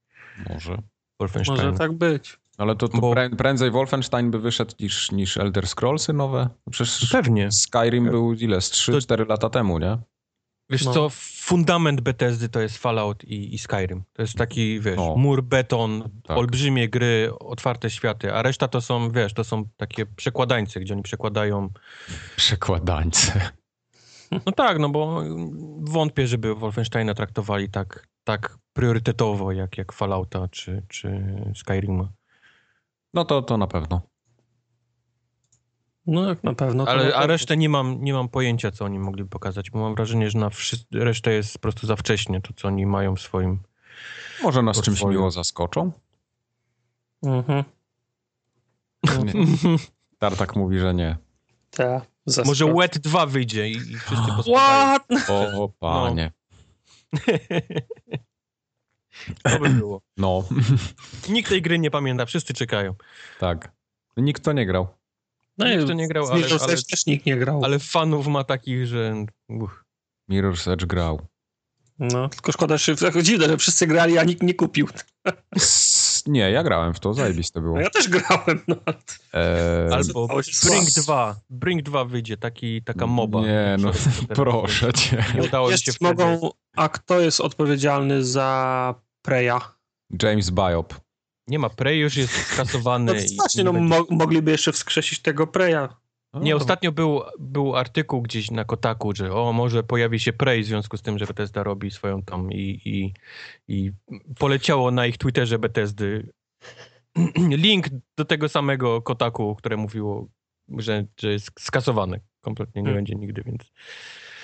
A: Może.
C: Wolfensteina.
B: Może tak być.
A: Ale to, to
C: Bo-
A: prę- prędzej Wolfenstein by wyszedł niż, niż Elder Scrollsy nowe? No Przecież
C: Pewnie.
A: Skyrim był ile? Z
C: Tak. To-
A: 3-4 lata temu, nie?
C: Wiesz
B: No.
C: co, fundament Bethesdy to jest Fallout i, i Skyrim. To jest taki, wiesz,
A: No.
C: mur, beton,
A: Tak.
C: olbrzymie gry, otwarte światy, a reszta to są, wiesz, to są takie przekładańce, gdzie oni przekładają
A: Przekładańce.
B: Hmm.
C: No tak, no bo wątpię, żeby Wolfensteina traktowali tak, tak priorytetowo jak, jak Fallouta czy, czy Skyrima.
A: No to, to na pewno.
B: No jak na pewno. to na
C: Ale,
B: pewno.
C: a resztę nie mam, nie mam pojęcia, co oni mogli pokazać, bo mam wrażenie, że na wszy- resztę jest po prostu za wcześnie, to co oni mają w swoim...
A: Może nas czymś
C: Portfolio.
A: miło zaskoczą.
B: Mhm.
C: No.
A: Nie. Tartak mówi, że nie.
B: Ta, zaskoczy.
C: Może Wet 2 wyjdzie i, i wszyscy posłuchają.
B: What?
A: O, panie.
C: To by było.
A: No,
C: Nikt tej gry nie pamięta, wszyscy czekają.
A: tak. Nikt to nie grał.
B: No
C: Nikt
B: i
C: to nie grał,
B: z
C: ale-
B: Mirror's
C: ale-
B: Edge też nikt nie grał.
C: Ale fanów ma takich, że... Uch.
A: Mirror's Edge grał.
B: No, tylko szkoda, że tak dziwne, że wszyscy grali, a nikt nie kupił.
A: S- Nie, ja grałem w to, zajebiste było.
B: No ja też grałem, no. ale to-
A: Eee,
C: Albo
B: Oj,
C: Brink
B: słabo.
C: 2. Brink 2 wyjdzie, taki, taka moba.
A: Nie, no
C: Teraz-
A: proszę cię.
C: Nie udało mi
B: Jeszcze
C: się wtedy.
B: mogą, A kto jest odpowiedzialny za Preya?
A: James Biop.
C: Nie ma, Prey już jest skasowany.
B: No to
C: i
B: właśnie,
C: nie
B: no
C: będzie
B: mo- mogliby jeszcze wskrzesić tego Preya.
A: No,
C: Nie, ostatnio był, był artykuł gdzieś na Kotaku, że o, może pojawi się Prey w związku z tym, że Bethesda robi swoją tam i, i, i poleciało na ich Twitterze Bethesdy link do tego samego Kotaku, które mówiło, że, że jest skasowany. Kompletnie nie
B: Hmm.
C: będzie nigdy, więc...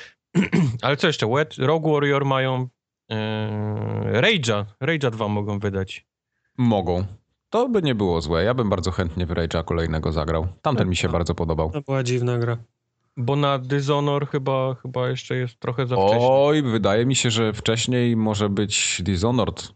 C: Ale co jeszcze? Wet, Rogue Warrior mają yy, Rage'a. Rage'a 2 mogą wydać.
A: Mogą. To by nie było złe. Ja bym bardzo chętnie w Rage'a kolejnego zagrał. Tamten mi się
B: Tak.
A: bardzo podobał.
B: To była dziwna gra.
C: Bo na Dishonor chyba, chyba jeszcze jest trochę No, za wcześnie.
A: Oj, wydaje mi się, że wcześniej może być Dishonored.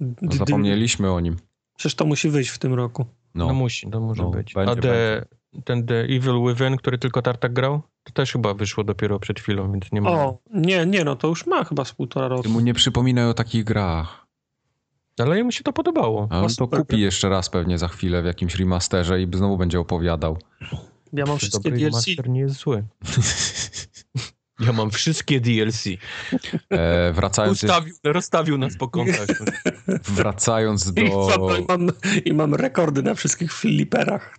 C: No,
A: No,
B: D-
A: Zapomnieliśmy o nim.
B: Przecież to musi wyjść w tym roku.
A: No.
C: No musi, to może
A: No,
C: być.
A: będzie,
C: A the, ten The Evil Within, który tylko Tartak grał, to też chyba wyszło dopiero przed chwilą, więc nie ma.
B: O, nie, nie, no to już ma chyba z półtora
A: Ty
B: roku.
A: mu nie przypominaj o takich grach.
C: Ale mu się to podobało.
A: A on to
B: super
A: kupi
B: gra.
A: jeszcze raz pewnie za chwilę w jakimś remasterze i znowu będzie opowiadał.
B: Ja mam wszystkie
C: Dobry
B: DLC.
C: Master nie jest zły. Ja mam wszystkie DLC.
A: E, wracając,
C: Ustawił, rozstawił nas po kątach.
A: wracając
B: I
A: do,
B: mam, i, mam, I mam rekordy na wszystkich fliperach.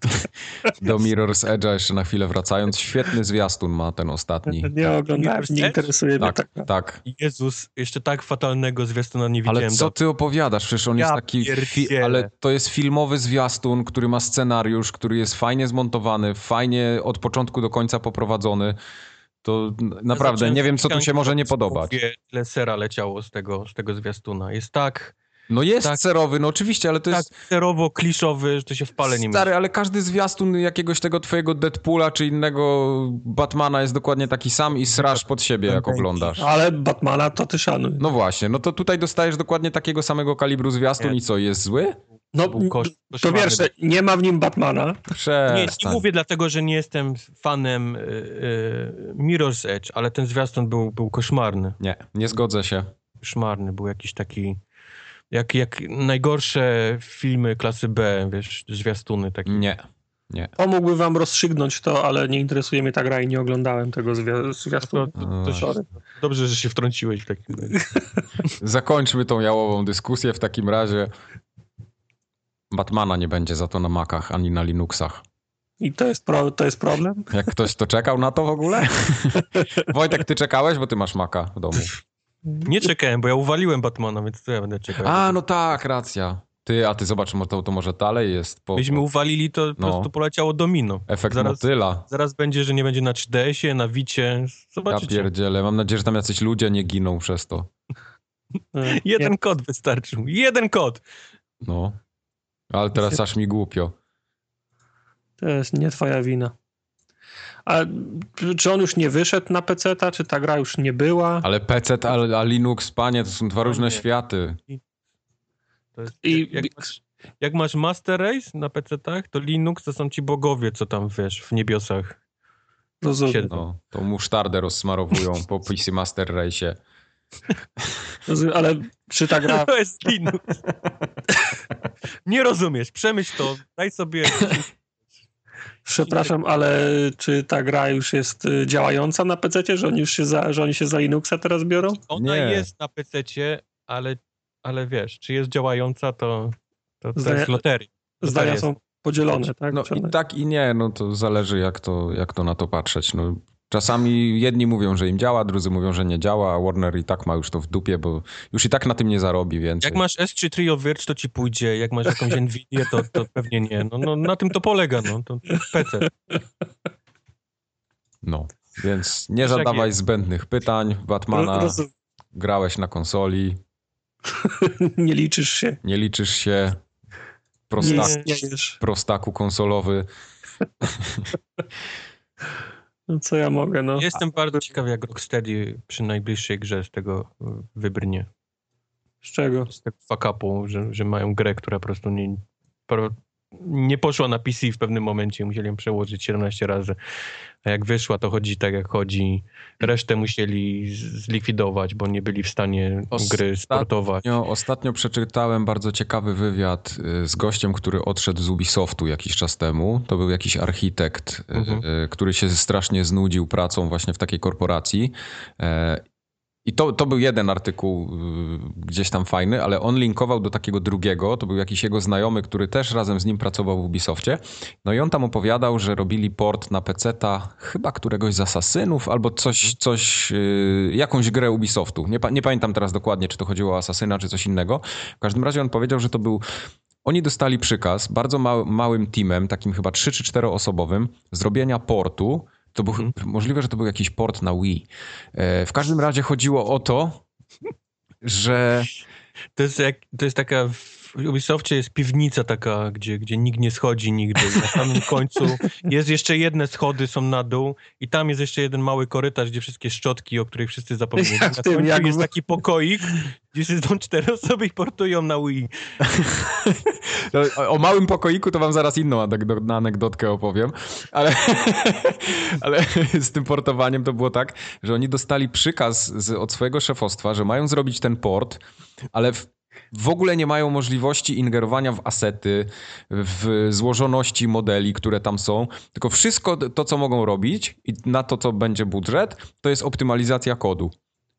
A: do Mirror's Edge'a jeszcze na chwilę wracając, świetny zwiastun ma ten ostatni.
B: Nie oglądałem,
C: Mirror's
B: nie
C: Edge?
B: interesuje mnie
A: Tak,
B: tak.
A: tak.
C: Jezus, jeszcze tak fatalnego zwiastuna nie
A: Ale
C: widziałem.
A: co ty opowiadasz? Przecież on
C: Ja
A: jest taki.
C: pierdzielę.
A: ale to jest filmowy zwiastun, który ma scenariusz, który jest fajnie zmontowany, fajnie od początku do końca poprowadzony. To n- naprawdę
C: zacząłem
A: nie wiem, co tu się
C: ścianki,
A: może nie podobać.
C: Mówię, Tyle sera leciało z tego, z tego zwiastuna. Jest tak,
A: No jest
C: Tak.
A: serowy, no oczywiście, ale to
C: tak
A: jest
C: serowo kliszowy, że to się w pale nie
A: Stary, ale każdy zwiastun jakiegoś tego twojego Deadpoola czy innego Batmana jest dokładnie taki sam
C: No
A: i
C: tak.
A: srasz pod siebie, jak
C: Ten
A: oglądasz.
B: Ale Batmana to ty szanuj.
A: No właśnie, no to tutaj dostajesz dokładnie takiego samego kalibru zwiastun
C: Nie.
A: i co, jest zły?
B: No,
C: był kosz-
B: to
C: koszmarny
B: pierwsze, nie ma w nim Batmana.
C: Nie,
A: Przestań.
C: nie mówię dlatego, że nie jestem fanem y, y, Mirror's Edge, ale ten zwiastun był, był koszmarny.
A: Nie, nie zgodzę się.
C: Koszmarny, był jakiś taki... Jak, jak najgorsze filmy klasy B, wiesz, zwiastuny takie.
A: Nie.
B: Pomógłby wam rozstrzygnąć to, ale nie interesuje mnie ta gra i nie oglądałem tego zwia-
C: To,
B: zwiastunu.
C: to,
A: no
C: to się,
B: Sorry.
C: dobrze, że się wtrąciłeś w takim razie.
A: Eee, Zakończmy tą jałową dyskusję w takim razie. Batmana nie będzie za to na Macach ani na Linuxach.
B: I to jest, pro, to jest problem?
A: Jak ktoś to czekał na to w ogóle? Wojtek, ty czekałeś, bo ty masz Maca w domu.
C: Nie czekałem, bo ja uwaliłem Batmana, więc co ja będę czekał.
A: A, no tak, racja. Ty, a ty zobacz, mo- to, to może dalej jest. Po,
C: Byśmy uwalili, to po
A: No.
C: prostu poleciało domino.
A: Efekt
C: zaraz-
A: motyla.
C: Zaraz będzie, że nie będzie na 3DS-ie, na Wicie.
A: Ja
C: Zobaczycie.
A: pierdzielę. Mam nadzieję, że tam jacyś ludzie nie giną przez to.
C: Jeden kod wystarczył. Jeden kod.
A: No. Ale teraz aż mi głupio.
B: To jest nie twoja wina. A czy- czy on już nie wyszedł na PC-ta, czy ta gra już nie była?
A: Ale PC, a, a Linux, panie, to są dwa różne
C: nie.
A: światy.
C: To jest,
B: I
C: jak, masz, jak masz Master Race na PC-tach, to Linux to są ci bogowie, co tam wiesz, w niebiosach.
B: rozumiem,
C: siedzą.
A: No, tą musztardę rozsmarowują po PC Master Race.
B: rozumiem, ale czy ta gra...
C: To jest Linux. Nie rozumiesz, przemyśl to, daj sobie...
B: Przepraszam, ale czy ta gra już jest y, działająca na PC-cie, że oni już się za, że oni się za Linuxa teraz biorą?
A: No
C: Ona
A: Nie.
C: jest na PC-cie, ale, ale wiesz, czy jest działająca, to, to, to
B: Zdania-
C: jest loteria.
B: Zdania
C: jest.
B: są podzielone, tak?
A: No
B: Czy
A: i
B: one-
A: tak i nie, no to zależy jak to, jak to na to patrzeć. No, czasami jedni mówią, że im działa, drudzy mówią, że nie działa, a Warner i tak ma już to w dupie, bo już i tak na tym nie zarobi więcej.
C: Jak masz S3 Trio Virch, to ci pójdzie, jak masz jakąś Nvidia, to, to pewnie nie. No, no na tym to polega, no, to, to jest PC.
A: No, więc nie
C: Wiesz, jak
A: zadawaj zbędnych pytań. Batmana
B: Ro- rozum-
A: grałeś na konsoli,
B: nie liczysz się,
A: nie liczysz się.
B: nie
A: Prostak,
B: istniejesz.
A: prostaku konsolowy.
B: No co ja mogę, no.
C: Jestem bardzo ciekawy, jak Rocksteady przy najbliższej grze z tego y, wybrnie.
B: Z czego?
C: tak Z tego fuck upu, że, że mają grę, która po prostu nie, pro, nie poszła na PC w pewnym momencie, musieli ją przełożyć 17 razy. A jak wyszła, to chodzi tak jak chodzi. Resztę musieli z- zlikwidować, bo nie byli w stanie gry
A: Ostatnio-
C: sportować.
A: Ostatnio, ostatnio przeczytałem bardzo ciekawy wywiad y, z gościem, który odszedł z Ubisoftu jakiś czas temu. To był jakiś architekt, y,
C: Mhm.
A: y, który się strasznie znudził pracą właśnie w takiej korporacji. E, I to, to był jeden artykuł y, gdzieś tam fajny, ale on linkował do takiego drugiego. To był jakiś jego znajomy, który też razem z nim pracował w Ubisoftie. No i on tam opowiadał, że robili port na PC-ta chyba któregoś z asasynów albo coś, coś y, jakąś grę Ubisoftu. Nie, pa- nie pamiętam teraz dokładnie, czy to chodziło o asasyna, czy coś innego. W każdym razie on powiedział, że to był. Oni dostali przykaz bardzo mał, małym teamem, takim chyba 3 czy 4 osobowym, zrobienia portu. To był
C: Mhm.
A: możliwe, że to był jakiś port na Wii. E, w każdym razie chodziło o to, że.
C: To jest, jak, to jest taka, w Ubisoftie jest piwnica taka, gdzie, gdzie nikt nie schodzi nigdy. Na samym końcu jest jeszcze jedne schody, są na dół i tam jest jeszcze jeden mały korytarz, gdzie wszystkie szczotki, o których wszyscy zapomnieli.
B: Ja w
C: na
B: tym,
C: końcu
B: jak
C: jest
B: w-
C: taki pokoik, gdzie siedzą cztery osoby i portują na Wii.
A: No, O, o małym pokoiku to wam zaraz inną anegdo- anegdotkę opowiem, ale, ale z tym portowaniem to było tak, że oni dostali przykaz z, od swojego szefostwa, że mają zrobić ten port, ale w, w ogóle nie mają możliwości ingerowania w asety, w złożoności modeli, które tam są, tylko wszystko to, co mogą robić i na to, co będzie budżet, to jest optymalizacja kodu.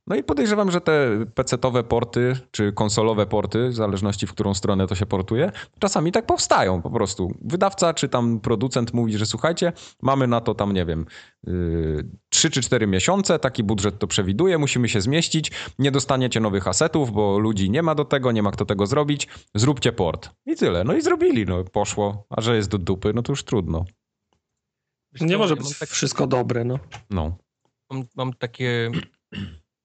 A: No i podejrzewam, że te PC-towe porty, czy konsolowe porty, w zależności w którą stronę to się portuje, czasami tak powstają po prostu. Wydawca czy tam producent mówi, że słuchajcie, mamy na to tam, nie wiem, yy, 3 czy 4 miesiące, taki budżet to przewiduje, musimy się zmieścić, nie dostaniecie nowych asetów, bo ludzi nie ma do tego, nie ma kto tego zrobić, zróbcie port. I tyle. No i zrobili, no poszło. A że jest do dupy, no to już trudno.
B: Nie może
C: Mam
B: być
C: tak-
B: wszystko dobre, no.
A: No.
C: mam, mam takie.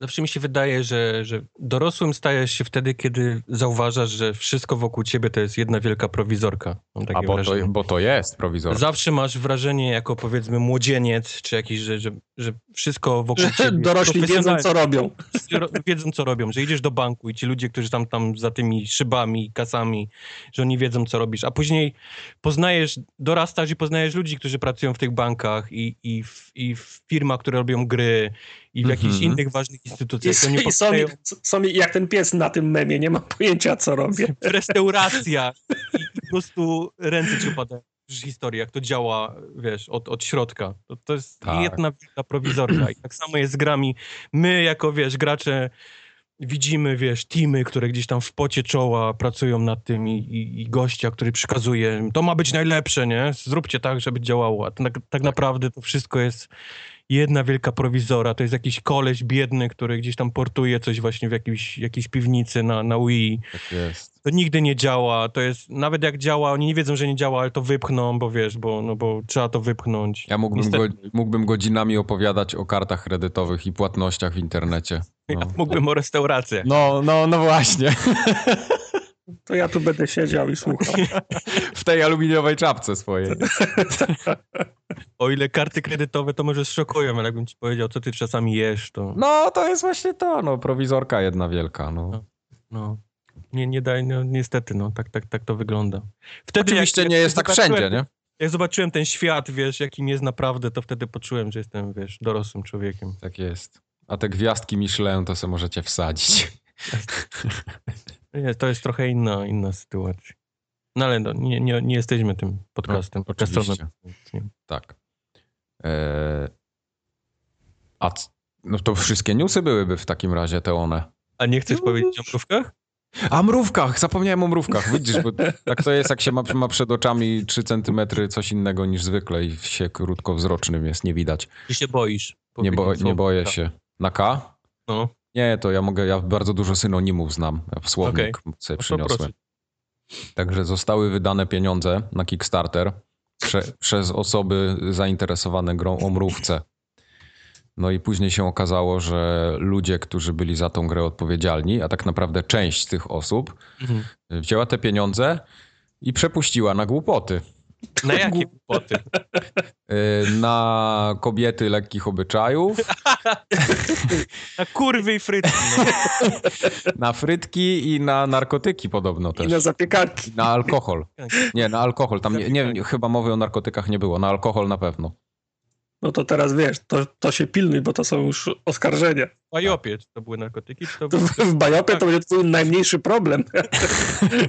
C: Zawsze mi się wydaje, że, że dorosłym stajesz się wtedy, kiedy zauważasz, że wszystko wokół ciebie to jest jedna wielka prowizorka. Mam takie
A: A bo to,
C: wrażenie.
A: bo to jest prowizor.
C: Zawsze masz wrażenie, jako powiedzmy młodzieniec, czy jakiś, że, że, że wszystko wokół
B: Że
C: ciebie.
B: dorośli wiedzą, co robią.
C: profesjonalnie wiedzą, co robią, że idziesz do banku i ci ludzie, którzy tam, tam za tymi szybami, kasami, że oni wiedzą, co robisz. A później poznajesz, dorastasz i poznajesz ludzi, którzy pracują w tych bankach i, i, w, i w firmach, które robią gry i w jakichś
A: Mhm.
C: innych ważnych instytucjach.
B: I,
C: I oni
B: i są,
C: powstają
B: są jak ten pies na tym memie, nie ma pojęcia, co robię.
C: w restauracjach i i po prostu ręce ci upadają. Już historia, jak to działa, wiesz, od, od środka. To, to jest
A: Tak.
C: jedna wielka prowizorka. I tak samo jest z grami. My, jako, wiesz, gracze, widzimy, wiesz, teamy, które gdzieś tam w pocie czoła pracują nad tym i, i, i gościa, który przykazuje, to ma być najlepsze, nie? Zróbcie tak, żeby działało. A tak, tak naprawdę to wszystko jest jedna wielka prowizora. To jest jakiś koleś biedny, który gdzieś tam portuje coś właśnie w jakiejś, jakiejś piwnicy na, na Wii.
A: Tak jest.
C: To nigdy nie działa, to jest, nawet jak działa, oni nie wiedzą, że nie działa, ale to wypchną, bo wiesz, bo, no, bo trzeba to wypchnąć.
A: Ja mógłbym, go,
C: Niestety.
A: mógłbym godzinami opowiadać o kartach kredytowych i płatnościach w internecie.
C: Ja
A: No,
C: mógłbym o restaurację.
A: no, no, no właśnie.
B: To ja tu będę siedział i słuchał.
A: W tej aluminiowej czapce swojej.
C: O ile karty kredytowe to może szokują, ale jakbym ci powiedział, co ty czasami jesz, to
A: No, to jest właśnie to, no, prowizorka jedna wielka, no.
C: no, nie, nie daj, no, niestety, no, tak, tak, tak to wygląda. Wtedy
A: Oczywiście nie jest tak
C: zobaczyłem-
A: wszędzie, nie?
C: Jak zobaczyłem ten świat, wiesz, jakim jest naprawdę, to wtedy poczułem, że jestem, wiesz, dorosłym człowiekiem.
A: Tak jest. A te gwiazdki Michelin to se możecie wsadzić.
C: Nie, to jest trochę inna, inna sytuacja. No ale no, nie, nie, nie jesteśmy tym podcastem.
A: No, oczywiście.
C: podcastem.
A: Tak. Eee... A c- no to wszystkie newsy byłyby w takim razie, te one.
C: A nie
B: No,
C: chcesz powiedzieć o mrówkach?
A: A mrówkach! Zapomniałem o mrówkach. Widzisz, bo tak to jest, jak się ma, ma przed oczami 3 centymetry coś innego niż zwykle i się krótkowzrocznym jest, nie widać.
C: Czy się boisz?
A: Nie, bo,
C: Powiedzieć
A: nie
C: słowo.
A: boję
C: Tak.
A: się. Na K?
C: No,
A: Nie, to ja mogę, ja bardzo dużo synonimów znam. Ja w słownik sobie
C: no to proszę.
A: przyniosłem. Także zostały wydane pieniądze na Kickstarter prze, przez osoby zainteresowane grą o mrówce. No i później się okazało, że ludzie, którzy byli za tą grę odpowiedzialni, a tak naprawdę część tych osób,
C: Mhm.
A: wzięła te pieniądze i przepuściła na głupoty.
C: Na jakie głupoty?
A: y, na kobiety lekkich obyczajów,
C: Na kurwy i frytki.
B: no.
A: na frytki i na narkotyki podobno
B: I
A: też.
B: na zapiekanki.
A: Na alkohol.
C: No.
A: Nie, na alkohol. Tam nie, nie, chyba mowy o narkotykach nie było. Na alkohol na pewno.
B: No to teraz wiesz, to, to się pilnuj, bo to są już oskarżenia.
C: Bajopie, czy to były narkotyki, czy to
B: To
C: były...
B: w, w Bajopie to będzie twój najmniejszy problem.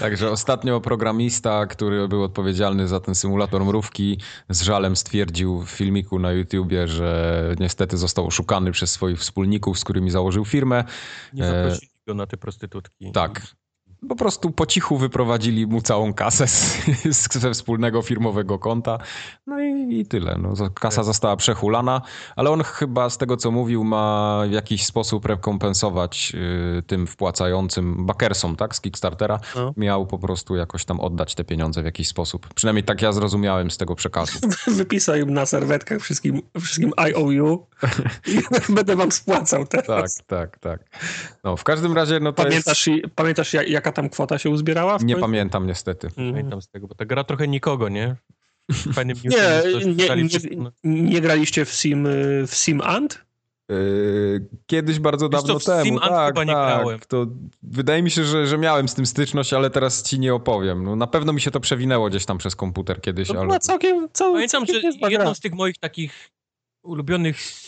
A: Także ostatnio programista, który był odpowiedzialny za ten symulator mrówki, z żalem stwierdził w filmiku na YouTubie, że niestety został oszukany przez swoich wspólników, z którymi założył firmę.
C: Nie
A: e,
C: zaprosili go na te prostytutki.
A: Tak. Po prostu po cichu wyprowadzili mu całą kasę z, z, ze wspólnego firmowego konta. No i, i tyle. No, za- kasa została przehulana, ale on chyba z tego co mówił ma w jakiś sposób rekompensować y, tym wpłacającym bakersom, tak, z Kickstartera.
B: No.
A: Miał po prostu jakoś tam oddać te pieniądze w jakiś sposób. Przynajmniej tak ja zrozumiałem z tego przekazu.
B: Wypisał im na serwetkach wszystkim, wszystkim IOU. I będę wam spłacał
A: Tak,
B: teraz.
A: tak, tak. No w każdym razie no to jest...
B: Pamiętasz, i- pamiętasz ja- jaka tam kwota się uzbierała? w
A: Nie
B: końcu?
A: pamiętam niestety.
B: Mhm.
C: Pamiętam z tego, bo ta gra trochę nikogo, nie? Fajnym newsem
B: Nie,
C: jest to, że
B: nie,
C: dali
B: nie,
C: wszystko no. na-
B: nie graliście w Sim, y, w Sim Ant?
A: Yy, Kiedyś bardzo
C: Wiesz co,
A: dawno
C: w
A: temu.
C: Steam Ant
A: tak,
C: chyba nie
A: tak.
C: grałem.
A: To wydaje mi się, że, że miałem z tym styczność, ale teraz ci nie opowiem. No, na pewno mi się to przewinęło gdzieś tam przez komputer kiedyś,
B: To
C: No,
A: ale.
B: była całkiem, cał,
C: Pamiętam, że
B: całkiem niezła gra.
C: jedną z tych moich takich ulubionych s-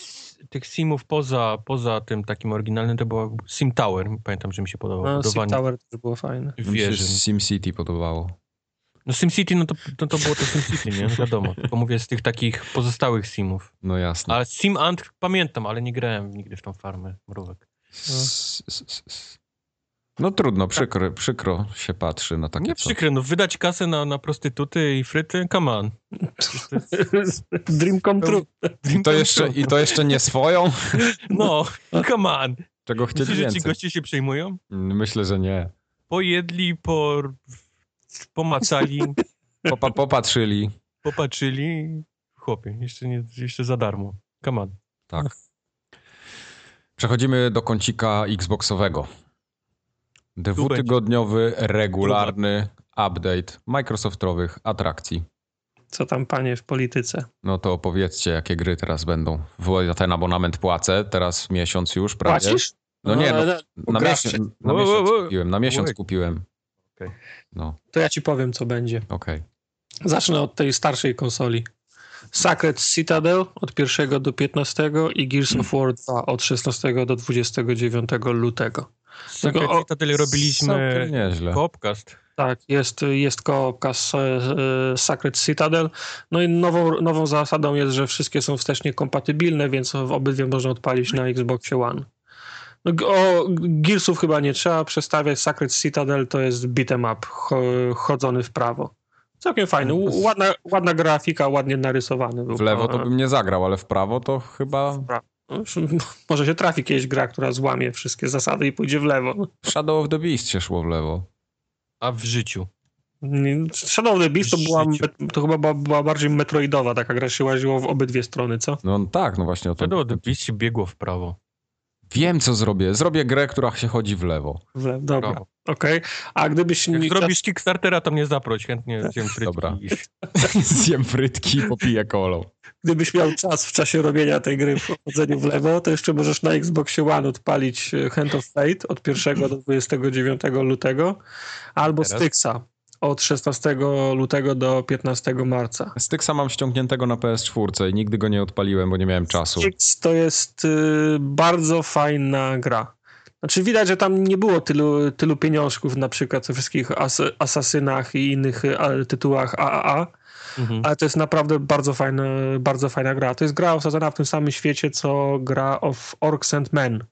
C: tych simów poza, poza tym takim oryginalnym to była Sim Tower. Pamiętam, że mi się podobało
B: No, Sim
C: budowanie
B: Tower też było fajne.
A: Mi się
C: wieży.
A: SimCity podobało.
C: No Sim City, no to, to, to było to Sim City, nie? No Wiadomo. Tylko mówię z tych takich pozostałych simów.
A: No jasne.
C: A Sim Ant pamiętam, ale nie grałem nigdy w tą farmę mrówek.
A: S- s- s- s- No trudno, przykro, przykro się patrzy na takie
C: Nie
A: coś.
C: przykre, no wydać kasę na, na prostytuty i fryty, come on.
B: Dream come true.
A: I to, jeszcze, I to jeszcze nie swoją?
C: No, come on.
A: Czego chcieli
C: Myślisz, że ci
A: więcej?
C: goście się przejmują?
A: Myślę, że nie.
C: Pojedli, po, pomacali,
A: Popa- popatrzyli.
C: popatrzyli. Chłopie, jeszcze, nie, jeszcze za darmo. Come on.
A: Tak. Przechodzimy do kącika Xboxowego. Dwutygodniowy, regularny update Microsoftowych atrakcji.
B: Co tam panie w polityce?
A: No to opowiedzcie, jakie gry teraz będą. Wo- Ja ten abonament płacę, teraz miesiąc już prawie.
B: Płacisz?
A: No nie, no,
B: ale-
A: na,
B: grasz
A: miesiąc,
B: się.
A: na
C: Wo- wo-
A: miesiąc
C: wo.
A: kupiłem. Na miesiąc
C: Wo-
A: kupiłem.
C: Okej.
A: No,
B: To ja ci powiem, co będzie.
A: okej.
B: Zacznę od tej starszej konsoli. Sacred Citadel od 1 do 15 i Gears of War 2 od 16 do 29 lutego.
C: Z
B: Tylko
C: Secret
B: o-
C: Citadel robiliśmy
A: Całkiem nieźle.
C: podcast.
B: Tak, jest, jest koopka z e, Sacred Citadel. No i nową, nową zasadą jest, że wszystkie są wstecznie kompatybilne, więc w obydwie można odpalić na Xboxie One. No, g- o Gearsów chyba nie trzeba przestawiać. Sacred Citadel to jest beat'em up, cho- chodzony w prawo. Całkiem fajny. Ł- Ładna, ładna grafika, ładnie narysowany. Był.
A: No, W lewo to bym nie zagrał, ale w prawo to chyba
B: No, Może się trafi kiedyś gra, która złamie wszystkie zasady i pójdzie w lewo.
A: w Shadow of the Beast się szło w lewo.
C: A w życiu.
B: Nie, Shadow of the Beast to,
C: W
B: była,
C: życiu.
B: met- to chyba była, była bardziej metroidowa, taka gra się łaziło w obydwie strony, co?
A: No tak, no właśnie o to.
C: Shadow of the Beast się biegło w prawo.
A: Wiem, co zrobię. Zrobię grę, która się chodzi w lewo.
B: W le- Dobra,
C: Brawo.
B: okej. A gdybyś...
C: No. Jak
B: nie-
C: zrobisz Kickstartera, to mnie zaproś, chętnie zjem frytki.
A: Dobra.
C: i-
A: Zjem frytki i popiję kolą.
B: Gdybyś miał czas w czasie robienia tej gry w chodzeniu w lewo, to jeszcze możesz na Xboxie One odpalić e, Hand of Fate od 1 do 29 lutego albo
C: Teraz?
B: Styxa od 16 lutego do 15 marca.
A: Styksa mam ściągniętego na PS4 i nigdy go nie odpaliłem, bo nie miałem czasu.
B: Styx to jest y, bardzo fajna gra. Znaczy widać, że tam nie było tylu, tylu pieniążków na przykład we wszystkich as, Asasynach i innych y, a, tytułach AAA,
C: Mhm.
B: ale to jest naprawdę bardzo, fajne, bardzo fajna gra. To jest gra osadzona w tym samym świecie, co gra of Orcs and Men.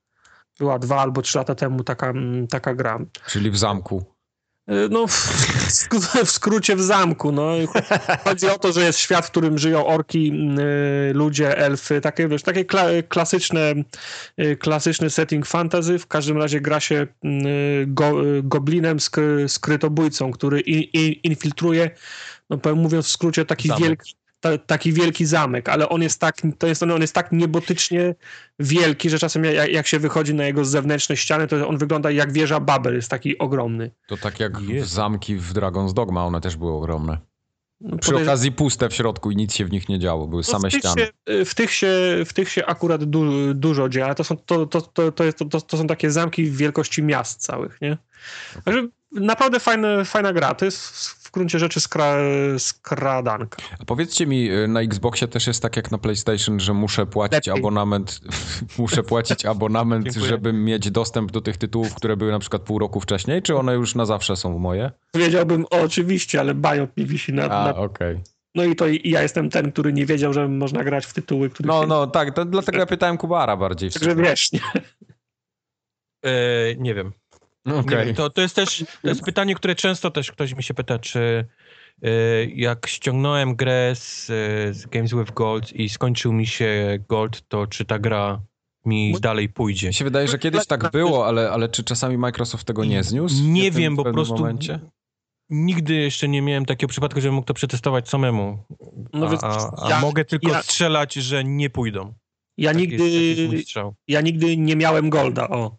B: Była dwa albo trzy lata temu taka, mm, taka gra.
A: Czyli w zamku.
B: Y, No, w, w skró- w skrócie w zamku. No. Chodzi o to, że jest świat, w którym żyją orki, y, ludzie, elfy, takie, wiesz, takie kla- klasyczne, y, klasyczny setting fantasy. W każdym razie gra się y, go, y, goblinem skry- skrytobójcą, który i- i- infiltruje, no, powiem, mówiąc w skrócie, taki
C: Zamek.
B: wielki ta, taki wielki zamek, ale on jest tak, to jest, on jest tak niebotycznie wielki, że czasem jak, jak się wychodzi na jego zewnętrzne ściany, to on wygląda jak wieża Babel, jest taki ogromny.
A: To tak jak w
C: Jest.
A: zamki w Dragon's Dogma, one też były ogromne.
B: No,
A: Przy
B: podejrzewam-
A: okazji puste w środku i nic się w nich nie działo, były
B: No,
A: same
B: w tych
A: ściany.
B: Się, w, tych się, w tych się akurat du, dużo dzieje, ale to są, to, to, to, to, jest, to, to są takie zamki w wielkości miast całych, nie? Także naprawdę fajne, fajna gra. To jest w gruncie rzeczy skra, skradanka.
A: A powiedzcie mi, y, na Xboxie też jest tak jak na PlayStation, że muszę płacić
B: Lepiej.
A: abonament, muszę płacić abonament,
C: Dziękuję.
A: żeby mieć dostęp do tych tytułów, które były na przykład pół roku wcześniej, czy one już na zawsze są moje?
B: Wiedziałbym o, oczywiście, ale Biop mi wisi na,
A: A,
B: na...
A: okej.
B: No i to i ja jestem ten, który nie wiedział, że można grać w tytuły, które
A: No,
B: się...
A: no, tak, to, dlatego ja pytałem Kubara bardziej. w
B: Także
A: sumie.
B: wiesz, nie?
C: E, nie wiem. Nie
A: Okej.
C: wiem, to, to jest też to jest pytanie, które często też ktoś mi się pyta, czy e, jak ściągnąłem grę z, e, z Games with Gold i skończył mi się Gold, to czy ta gra mi
B: Mój-
C: dalej pójdzie?
A: Mi się wydaje, że kiedyś tak
C: Znaczy,
A: było, ale, ale czy czasami Microsoft tego nie zniósł? w
C: Nie
A: tym-
C: wiem,
A: w
C: bo po
A: pewnym
C: prostu
A: Momencie?
C: nigdy jeszcze nie miałem takiego przypadku, żebym mógł to przetestować samemu.
B: No więc
C: a a, a
B: ja-
C: mogę tylko
B: ja-
C: strzelać, że nie pójdą.
B: ja
C: Taki
B: nigdy...
C: Jest, taki jest mój strzał.
B: ja nigdy nie miałem Golda, o.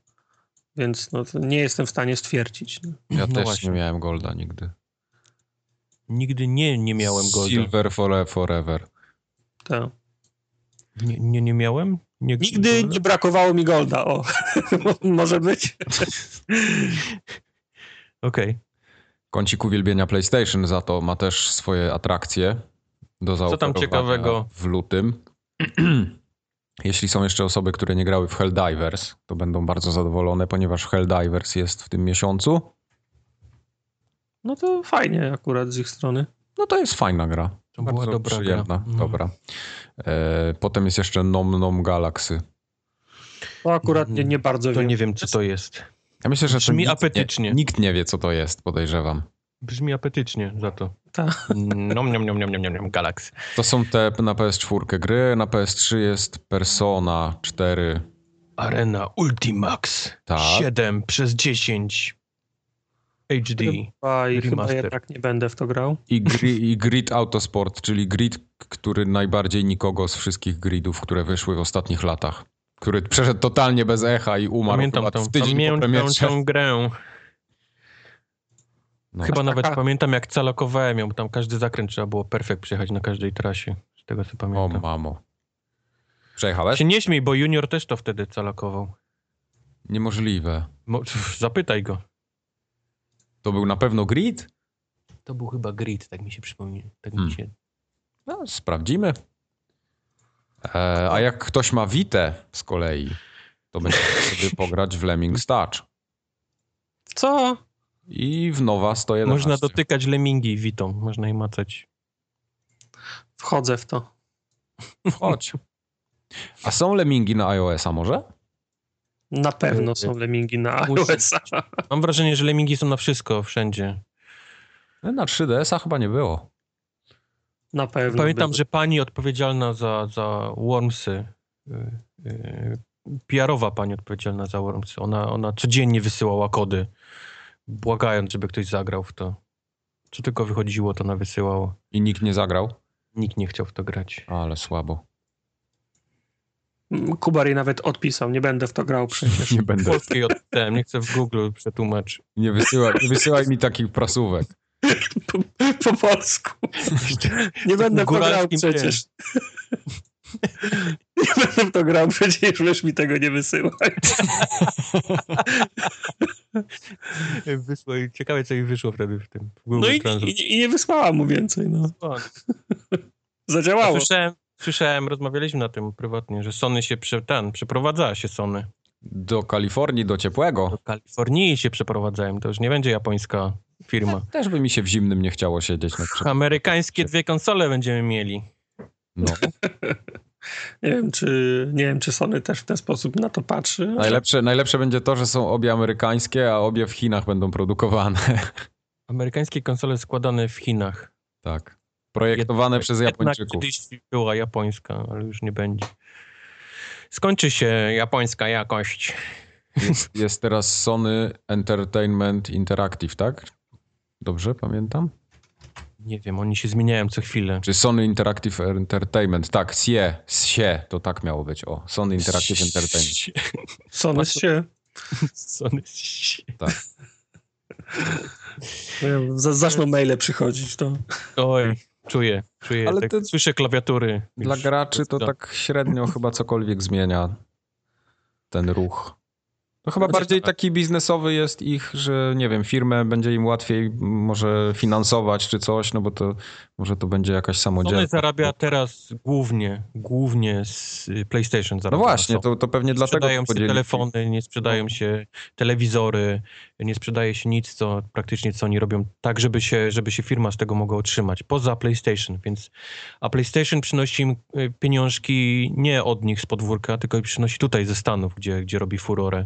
B: Więc no, to nie jestem w stanie stwierdzić. no.
A: Ja
C: No
A: też
C: właśnie.
A: nie miałem Golda nigdy.
C: Nigdy nie, nie miałem Golda.
A: Silver fore- forever.
B: To.
C: Nie, nie, nie miałem? Nie,
B: Nigdy nie brakowało mi Golda, o. Mo- Może być.
C: Okej.
A: Kącik uwielbienia PlayStation za to ma też swoje atrakcje do
C: Co tam
A: zaoferowania
C: ciekawego?
A: w lutym. Jeśli są jeszcze osoby, które nie grały w Helldivers, to będą bardzo zadowolone, ponieważ Helldivers jest w tym miesiącu.
B: No to fajnie akurat z ich strony.
A: No to jest fajna gra.
C: To była
A: Bardzo
C: dobra gra.
A: przyjemna,
C: Mhm.
A: dobra. E, potem jest jeszcze Nom Nom Galaxy.
B: To akurat nie, nie bardzo
C: Mhm. To
B: wiem.
C: nie wiem, co to jest.
A: Ja myślę, że to
C: Brzmi
A: nikt
C: apetycznie.
A: Nie, nikt nie wie, co to jest, podejrzewam.
C: Brzmi apetycznie za to.
B: Tak.
C: Nom, nom, nom, nom, nom, nom, nom, Galaxy.
A: To są te na PS4 gry, na PS3 jest Persona 4.
C: Arena Ultimax.
A: Tak.
C: 7 przez 10 HD.
B: Chyba, i chyba
C: Remaster.
B: jednak nie będę w to grał.
A: I, gri, I Grid Autosport, czyli grid, który najbardziej nikogo z wszystkich gridów, które wyszły w ostatnich latach. Który przeszedł totalnie bez echa i umarł
C: Pamiętam
A: chyba
C: tą,
A: w tydzień po
C: pamiętam
A: premierze.
C: tą grę.
A: No.
C: Chyba nawet
B: taka-
C: pamiętam, jak calakowałem ją, bo tam każdy zakręt trzeba było perfekt przejechać na każdej trasie. Z tego co
A: O
C: pamiętam.
A: mamo. Przejechałeś?
C: Się nie śmiej, bo Junior też to wtedy calakował.
A: Niemożliwe.
C: Mo- pff, Zapytaj go.
A: To był na pewno grid?
C: To był chyba grid, tak mi się przypomina. Tak
A: Hmm.
C: mi się...
A: No, sprawdzimy. E, a jak ktoś ma Witę z kolei, to będzie mógł sobie pograć w Lemmings Touch
B: Co?
A: i w Nowa 111.
C: Można dotykać lemingi witą, można je macać.
B: Wchodzę w to.
A: Chodź. A są Lemmingi na iOS-a może?
B: Na
C: E,
B: pewno są lemingi na
C: Musi-
B: iOS-a.
C: Mam wrażenie, że lemingi są na wszystko, wszędzie.
A: No, Na 3DS-a chyba nie było.
B: Na pewno.
C: Pamiętam,
B: były.
C: że pani odpowiedzialna za, za Wormsy, y, y, PR-owa pani odpowiedzialna za Wormsy, ona, ona codziennie wysyłała kody, błagając, żeby ktoś zagrał w to. Co tylko wychodziło, to ona wysyłała.
A: I nikt nie zagrał?
C: Nikt nie chciał w to grać.
A: Ale słabo.
B: Mm, Kubar jej nawet odpisał. Nie będę w to grał przecież.
A: Nie będę.
C: Polskiej od tem, nie chcę w Google przetłumaczyć.
A: Nie wysyłaj, nie wysyłaj mi takich prasówek.
B: Po, po polsku. Nie będę w to grał
C: góralskim
B: przecież. Nie będę w to grał przecież, wiesz mi tego nie wysyłaj.
C: Wysło, i ciekawe, co jej wyszło wtedy w tym. W Google
B: No i,
C: Translate.
B: i, i nie wysłała mu więcej, no.
C: O, Ja
B: Zadziałało.
C: Słyszałem, słyszałem, rozmawialiśmy na tym prywatnie, że Sony się prze, ten, przeprowadzała się Sony.
A: Do Kalifornii, do ciepłego.
C: Do Kalifornii się przeprowadzają, to już nie będzie japońska firma.
A: Też by mi się w zimnym nie chciało siedzieć na przykład.
C: Amerykańskie dwie konsole będziemy mieli.
A: No.
B: Nie wiem, czy, nie wiem, czy Sony też w ten sposób na to patrzy.
A: Najlepsze, najlepsze będzie to, że są obie amerykańskie, a obie w Chinach będą produkowane.
C: Amerykańskie konsole składane w Chinach.
A: Tak. Projektowane
C: Jednak-
A: przez
C: jednak
A: Japończyków.
C: Kiedyś była japońska, ale już nie będzie. Skończy się japońska jakość.
A: Jest, jest teraz Sony Entertainment Interactive, tak? Dobrze pamiętam?
C: Nie wiem, oni się zmieniają co chwilę.
A: Czy Sony Interactive Entertainment? Tak, SIE, SIE, to tak miało być. O, Sony Interactive Entertainment.
C: Znaczy-
B: Sony się...
C: Sony się.
A: Tak.
B: Nie, za- Zaczną maile przychodzić, to...
C: Oj, czuję, czuję.
A: Ale
C: tak,
A: to-
C: Słyszę klawiatury.
A: Dla
C: Już
A: graczy to
C: jest-
A: tak średnio chyba cokolwiek zmienia ten ruch. To chyba
C: Znaczy,
A: bardziej
C: tak.
A: taki biznesowy jest ich, że nie wiem, firmę będzie im łatwiej m, może finansować czy coś, no bo to może to będzie jakaś samodzielna.
C: Sony zarabia teraz głównie, głównie z y, PlayStation
A: No
C: zarabia.
A: właśnie,
C: Sony.
A: to, to No. pewnie
C: nie
A: dlatego
C: sprzedają się
A: podzielili.
C: telefony, nie sprzedają się telewizory, nie sprzedaje się nic, co praktycznie co oni robią tak, żeby się, żeby się firma z tego mogła otrzymać, poza PlayStation, więc a PlayStation przynosi im y, pieniążki nie od nich z podwórka, tylko przynosi tutaj ze Stanów, gdzie, gdzie robi furorę,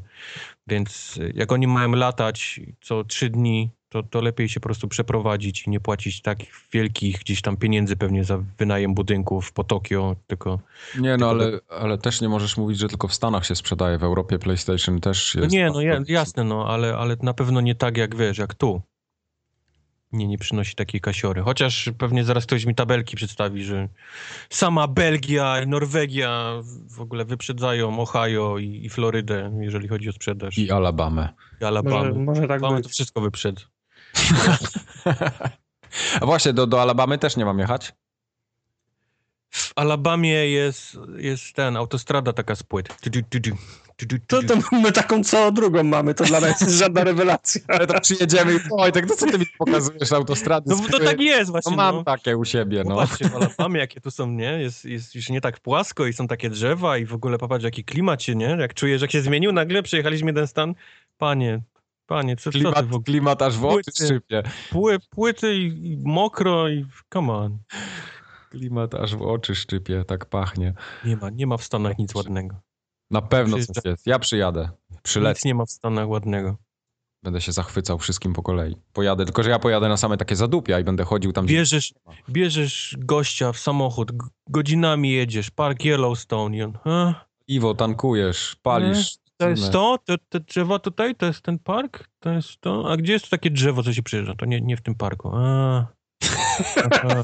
C: więc y, jak oni mają latać co trzy dni, to, to lepiej się po prostu przeprowadzić i nie płacić takich wielkich gdzieś tam pieniędzy pewnie za wynajem budynków po Tokio, tylko
A: Nie, no
C: Tylko
A: ale, ale też nie możesz mówić, że tylko w Stanach się sprzedaje, w Europie PlayStation też
C: No
A: jest.
C: nie, no ja, jasne, no, ale, ale na pewno nie tak jak wiesz, jak tu. Nie, nie przynosi takiej kasiory. Chociaż pewnie zaraz ktoś mi tabelki przedstawi, że sama Belgia i Norwegia w ogóle wyprzedzają Ohio i, i Florydę, jeżeli chodzi o sprzedaż. I,
A: I Alabamę.
C: Alabama.
B: Może, może tak
C: Alabama
B: być.
C: to wszystko wyprzedza.
A: A właśnie, do, do Alabamy też nie mam jechać?
C: W Alabamie jest, jest ten, autostrada taka z płyt. Tu, tu, tu, tu, tu, tu,
B: To,
C: tu.
B: to my taką co drugą mamy, to dla nas jest żadna rewelacja.
A: Ale tak przyjedziemy i oj, tak to co ty mi pokazujesz autostrady?
C: No, no tak jest
A: No
C: właśnie.
A: mam
C: no.
A: takie u siebie, no.
C: Popatrzcie, w Alabamie, jakie tu są, nie? Jest, jest już nie tak płasko i są takie drzewa i w ogóle popatrz, jaki klimat się, nie? Jak czujesz, jak się zmienił nagle, przejechaliśmy jeden stan. Panie, panie, co, co ty
A: Klimat,
C: w ogóle?
A: klimat aż w oczy
C: Płyty.
A: szczypie.
C: Pły, płyty i, i mokro i come on.
A: Klimat aż w oczy szczypie, tak pachnie.
C: Nie ma, nie ma w Stanach nic ładnego.
A: Na pewno coś
C: Przyjeżdża-
A: jest. Ja przyjadę. Przylecę.
C: Nic nie ma w Stanach ładnego.
A: Będę się zachwycał wszystkim po kolei. Pojadę, tylko że ja pojadę na same takie zadupia i będę chodził tam. Gdzie...
C: Bierzesz, bierzesz gościa w samochód, g- godzinami jedziesz, park Yellowstone i on, a,
A: Iwo, tankujesz, palisz.
C: No, to jest
A: cynę.
C: to? Te, te drzewa tutaj? To jest ten park? To jest to? A gdzie jest takie drzewo, co się przyjeżdża? To nie, nie w tym parku. A. Aha.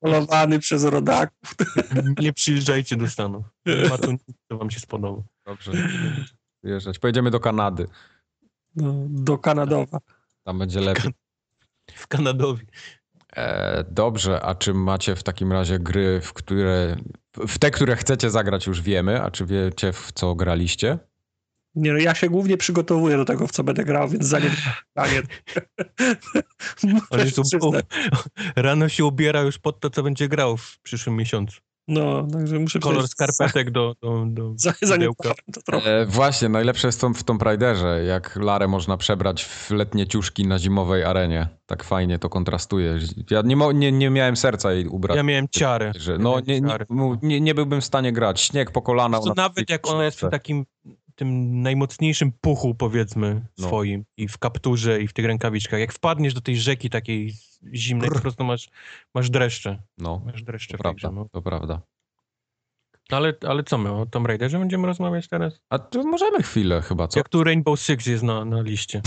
B: Polowany przez rodaków.
C: nie przyjeżdżajcie do Stanów. Nie ma tu nic, co wam się spodoba.
A: Dobrze. Jeżdżać. Pojedziemy do Kanady.
B: No, do Kanadowa.
A: Tam będzie lepiej.
C: W Kanadowie.
A: E, dobrze, a czy macie w takim razie gry, w które. W te, które chcecie zagrać, już wiemy, a czy wiecie, w co graliście?
B: Nie no, ja się głównie przygotowuję do tego, w co będę grał, więc za nie... za nie- Muszę
C: Ale
B: się
C: tu
B: przyznać.
C: Rano się ubiera już pod to, co będzie grał w przyszłym miesiącu.
B: No, także muszę
C: Kolor
B: przyznać,
C: skarpetek do, do, do
B: Za, za, za nie
C: pudełka.
B: to trochę.
A: E, właśnie, najlepsze jest tą, w Tomb Raiderze, jak Larę można przebrać w letnie ciuszki na zimowej arenie. Tak fajnie to kontrastuje. Ja nie, mo- nie, nie miałem serca jej ubrać.
C: Ja miałem ciarę.
A: że, no, nie, nie,
C: ciary.
A: mu- nie, nie byłbym w stanie grać. Śnieg po kolana.
C: Wiesz co,
A: ona-
C: nawet jak ona jest w takim tym najmocniejszym puchu, powiedzmy,
A: No.
C: swoim i w kapturze i w tych rękawiczkach. Jak wpadniesz do tej rzeki takiej zimnej, po prostu masz, masz dreszcze.
A: No,
C: Masz dreszcze
A: to
C: w tej grze,
A: prawda,
C: no.
A: to prawda.
C: No Ale, ale co my, o Tomb Raiderze będziemy rozmawiać teraz?
A: A tu możemy chwilę chyba, co?
C: Jak tu Rainbow Six jest na, na liście?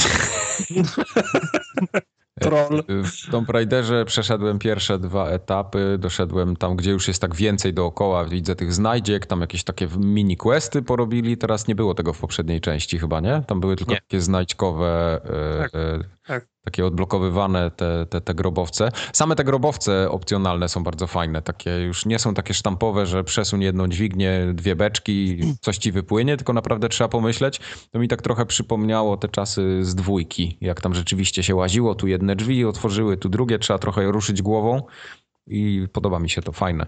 B: Troll.
A: W Tomb Raiderze przeszedłem pierwsze dwa etapy, doszedłem tam, gdzie już jest tak więcej dookoła, widzę tych znajdziek, tam jakieś takie mini questy porobili, teraz nie było tego w poprzedniej części chyba, nie? Tam były tylko
C: Nie.
A: takie znajdźkowe, e,
B: Tak,
A: e,
B: tak.
A: takie odblokowywane te, te, te grobowce. Same te grobowce opcjonalne są bardzo fajne, takie już nie są takie sztampowe, że przesuń jedną dźwignię, dwie beczki, coś ci wypłynie, tylko naprawdę trzeba pomyśleć, to mi tak trochę przypomniało te czasy z dwójki, jak tam rzeczywiście się łaziło, tu jedne drzwi otworzyły, tu drugie, trzeba trochę ruszyć głową i podoba mi się to, fajne.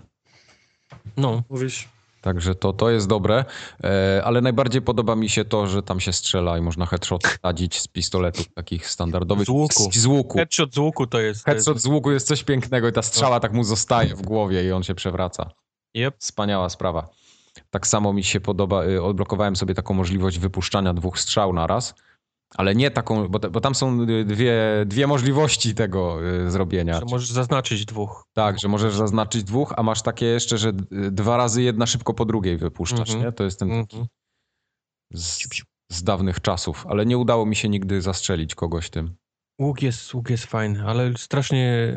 C: No,
B: Mówisz,
A: Także to, to jest dobre, e, ale najbardziej podoba mi się to, że tam się strzela i można headshot sadzić z pistoletów takich standardowych.
C: Z łuku.
A: Z, z łuku.
C: headshot z łuku to jest. to jest-
A: Headshot z łuku jest coś pięknego i ta strzała tak mu zostaje w głowie i on się przewraca.
C: Yep.
A: Wspaniała sprawa. Tak samo mi się podoba, y, odblokowałem sobie taką możliwość wypuszczania dwóch strzał na raz, ale nie taką, bo, te- bo tam są y, dwie, dwie możliwości tego y, zrobienia.
C: Że możesz zaznaczyć dwóch.
A: Tak, że możesz zaznaczyć dwóch, a masz takie jeszcze, że y, dwa razy jedna szybko po drugiej wypuszczasz,
C: Mhm.
A: nie? To jest ten
C: Mhm.
A: z, z dawnych czasów, ale nie udało mi się nigdy zastrzelić kogoś tym.
C: Łuk jest, łuk jest fajny, ale strasznie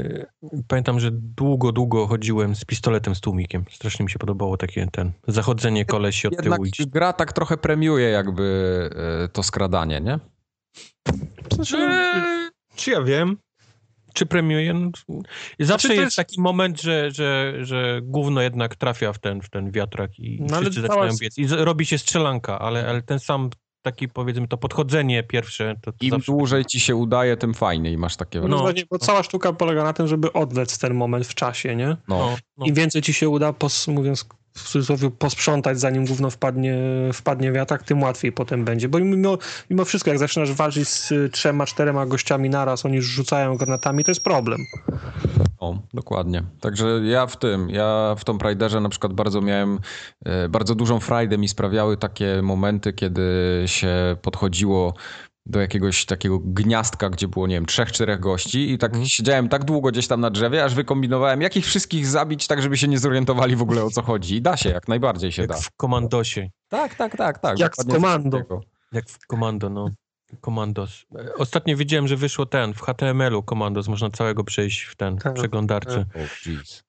C: pamiętam, że długo, długo chodziłem z pistoletem, z tłumikiem. Strasznie mi się podobało takie ten zachodzenie kolesi od
A: Jednak
C: tyłu. iść.
A: gra tak trochę premiuje jakby e, to skradanie, nie?
C: Czy-
D: Czy ja wiem?
C: Czy premiuje? No, zawsze
B: to
C: jest,
B: jest-
C: taki moment, że, że, że gówno jednak trafia w ten, w ten wiatrak i
B: No,
C: no,
B: ale
C: wszyscy
B: cała
C: zaczynają
B: s-
C: biec. I z- robi się strzelanka, ale, ale ten sam taki powiedzmy to podchodzenie pierwsze, to, to
A: Im
C: zawsze...
A: dłużej ci się udaje, tym fajniej masz takie
B: No,
A: wrażenie.
B: bo cała sztuka polega na tym, żeby odlec ten moment w czasie, nie?
A: No.
C: no, no.
B: Im więcej ci się uda, pos, mówiąc w cudzysłowie, posprzątać, zanim gówno wpadnie, wpadnie wiatrak, tym łatwiej potem będzie. Bo mimo, mimo wszystko, jak zaczynasz walczyć z y, trzema, czterema gościami naraz, oni rzucają granatami, to jest problem.
A: O, no, dokładnie. Także ja w tym, ja w Tomb Raiderze na przykład bardzo miałem, e, bardzo dużą frajdę mi sprawiały takie momenty, kiedy się podchodziło do jakiegoś takiego gniazdka, gdzie było, nie wiem, trzech, czterech gości i tak siedziałem tak długo gdzieś tam na drzewie, aż wykombinowałem, jak ich wszystkich zabić, tak żeby się nie zorientowali w ogóle o co chodzi. I da się, jak najbardziej się
C: jak
A: da.
C: w komandosie.
A: Tak, tak, tak, tak.
B: Jak w
A: dokładnie coś
B: komando.
A: takiego.
C: Jak w Komando, no. Komandos. E, Ostatnio widziałem, że wyszło ten, w HTML-u Komandos, można całego przejść w ten
B: Tak.
C: przeglądarczy.
A: O, jeez.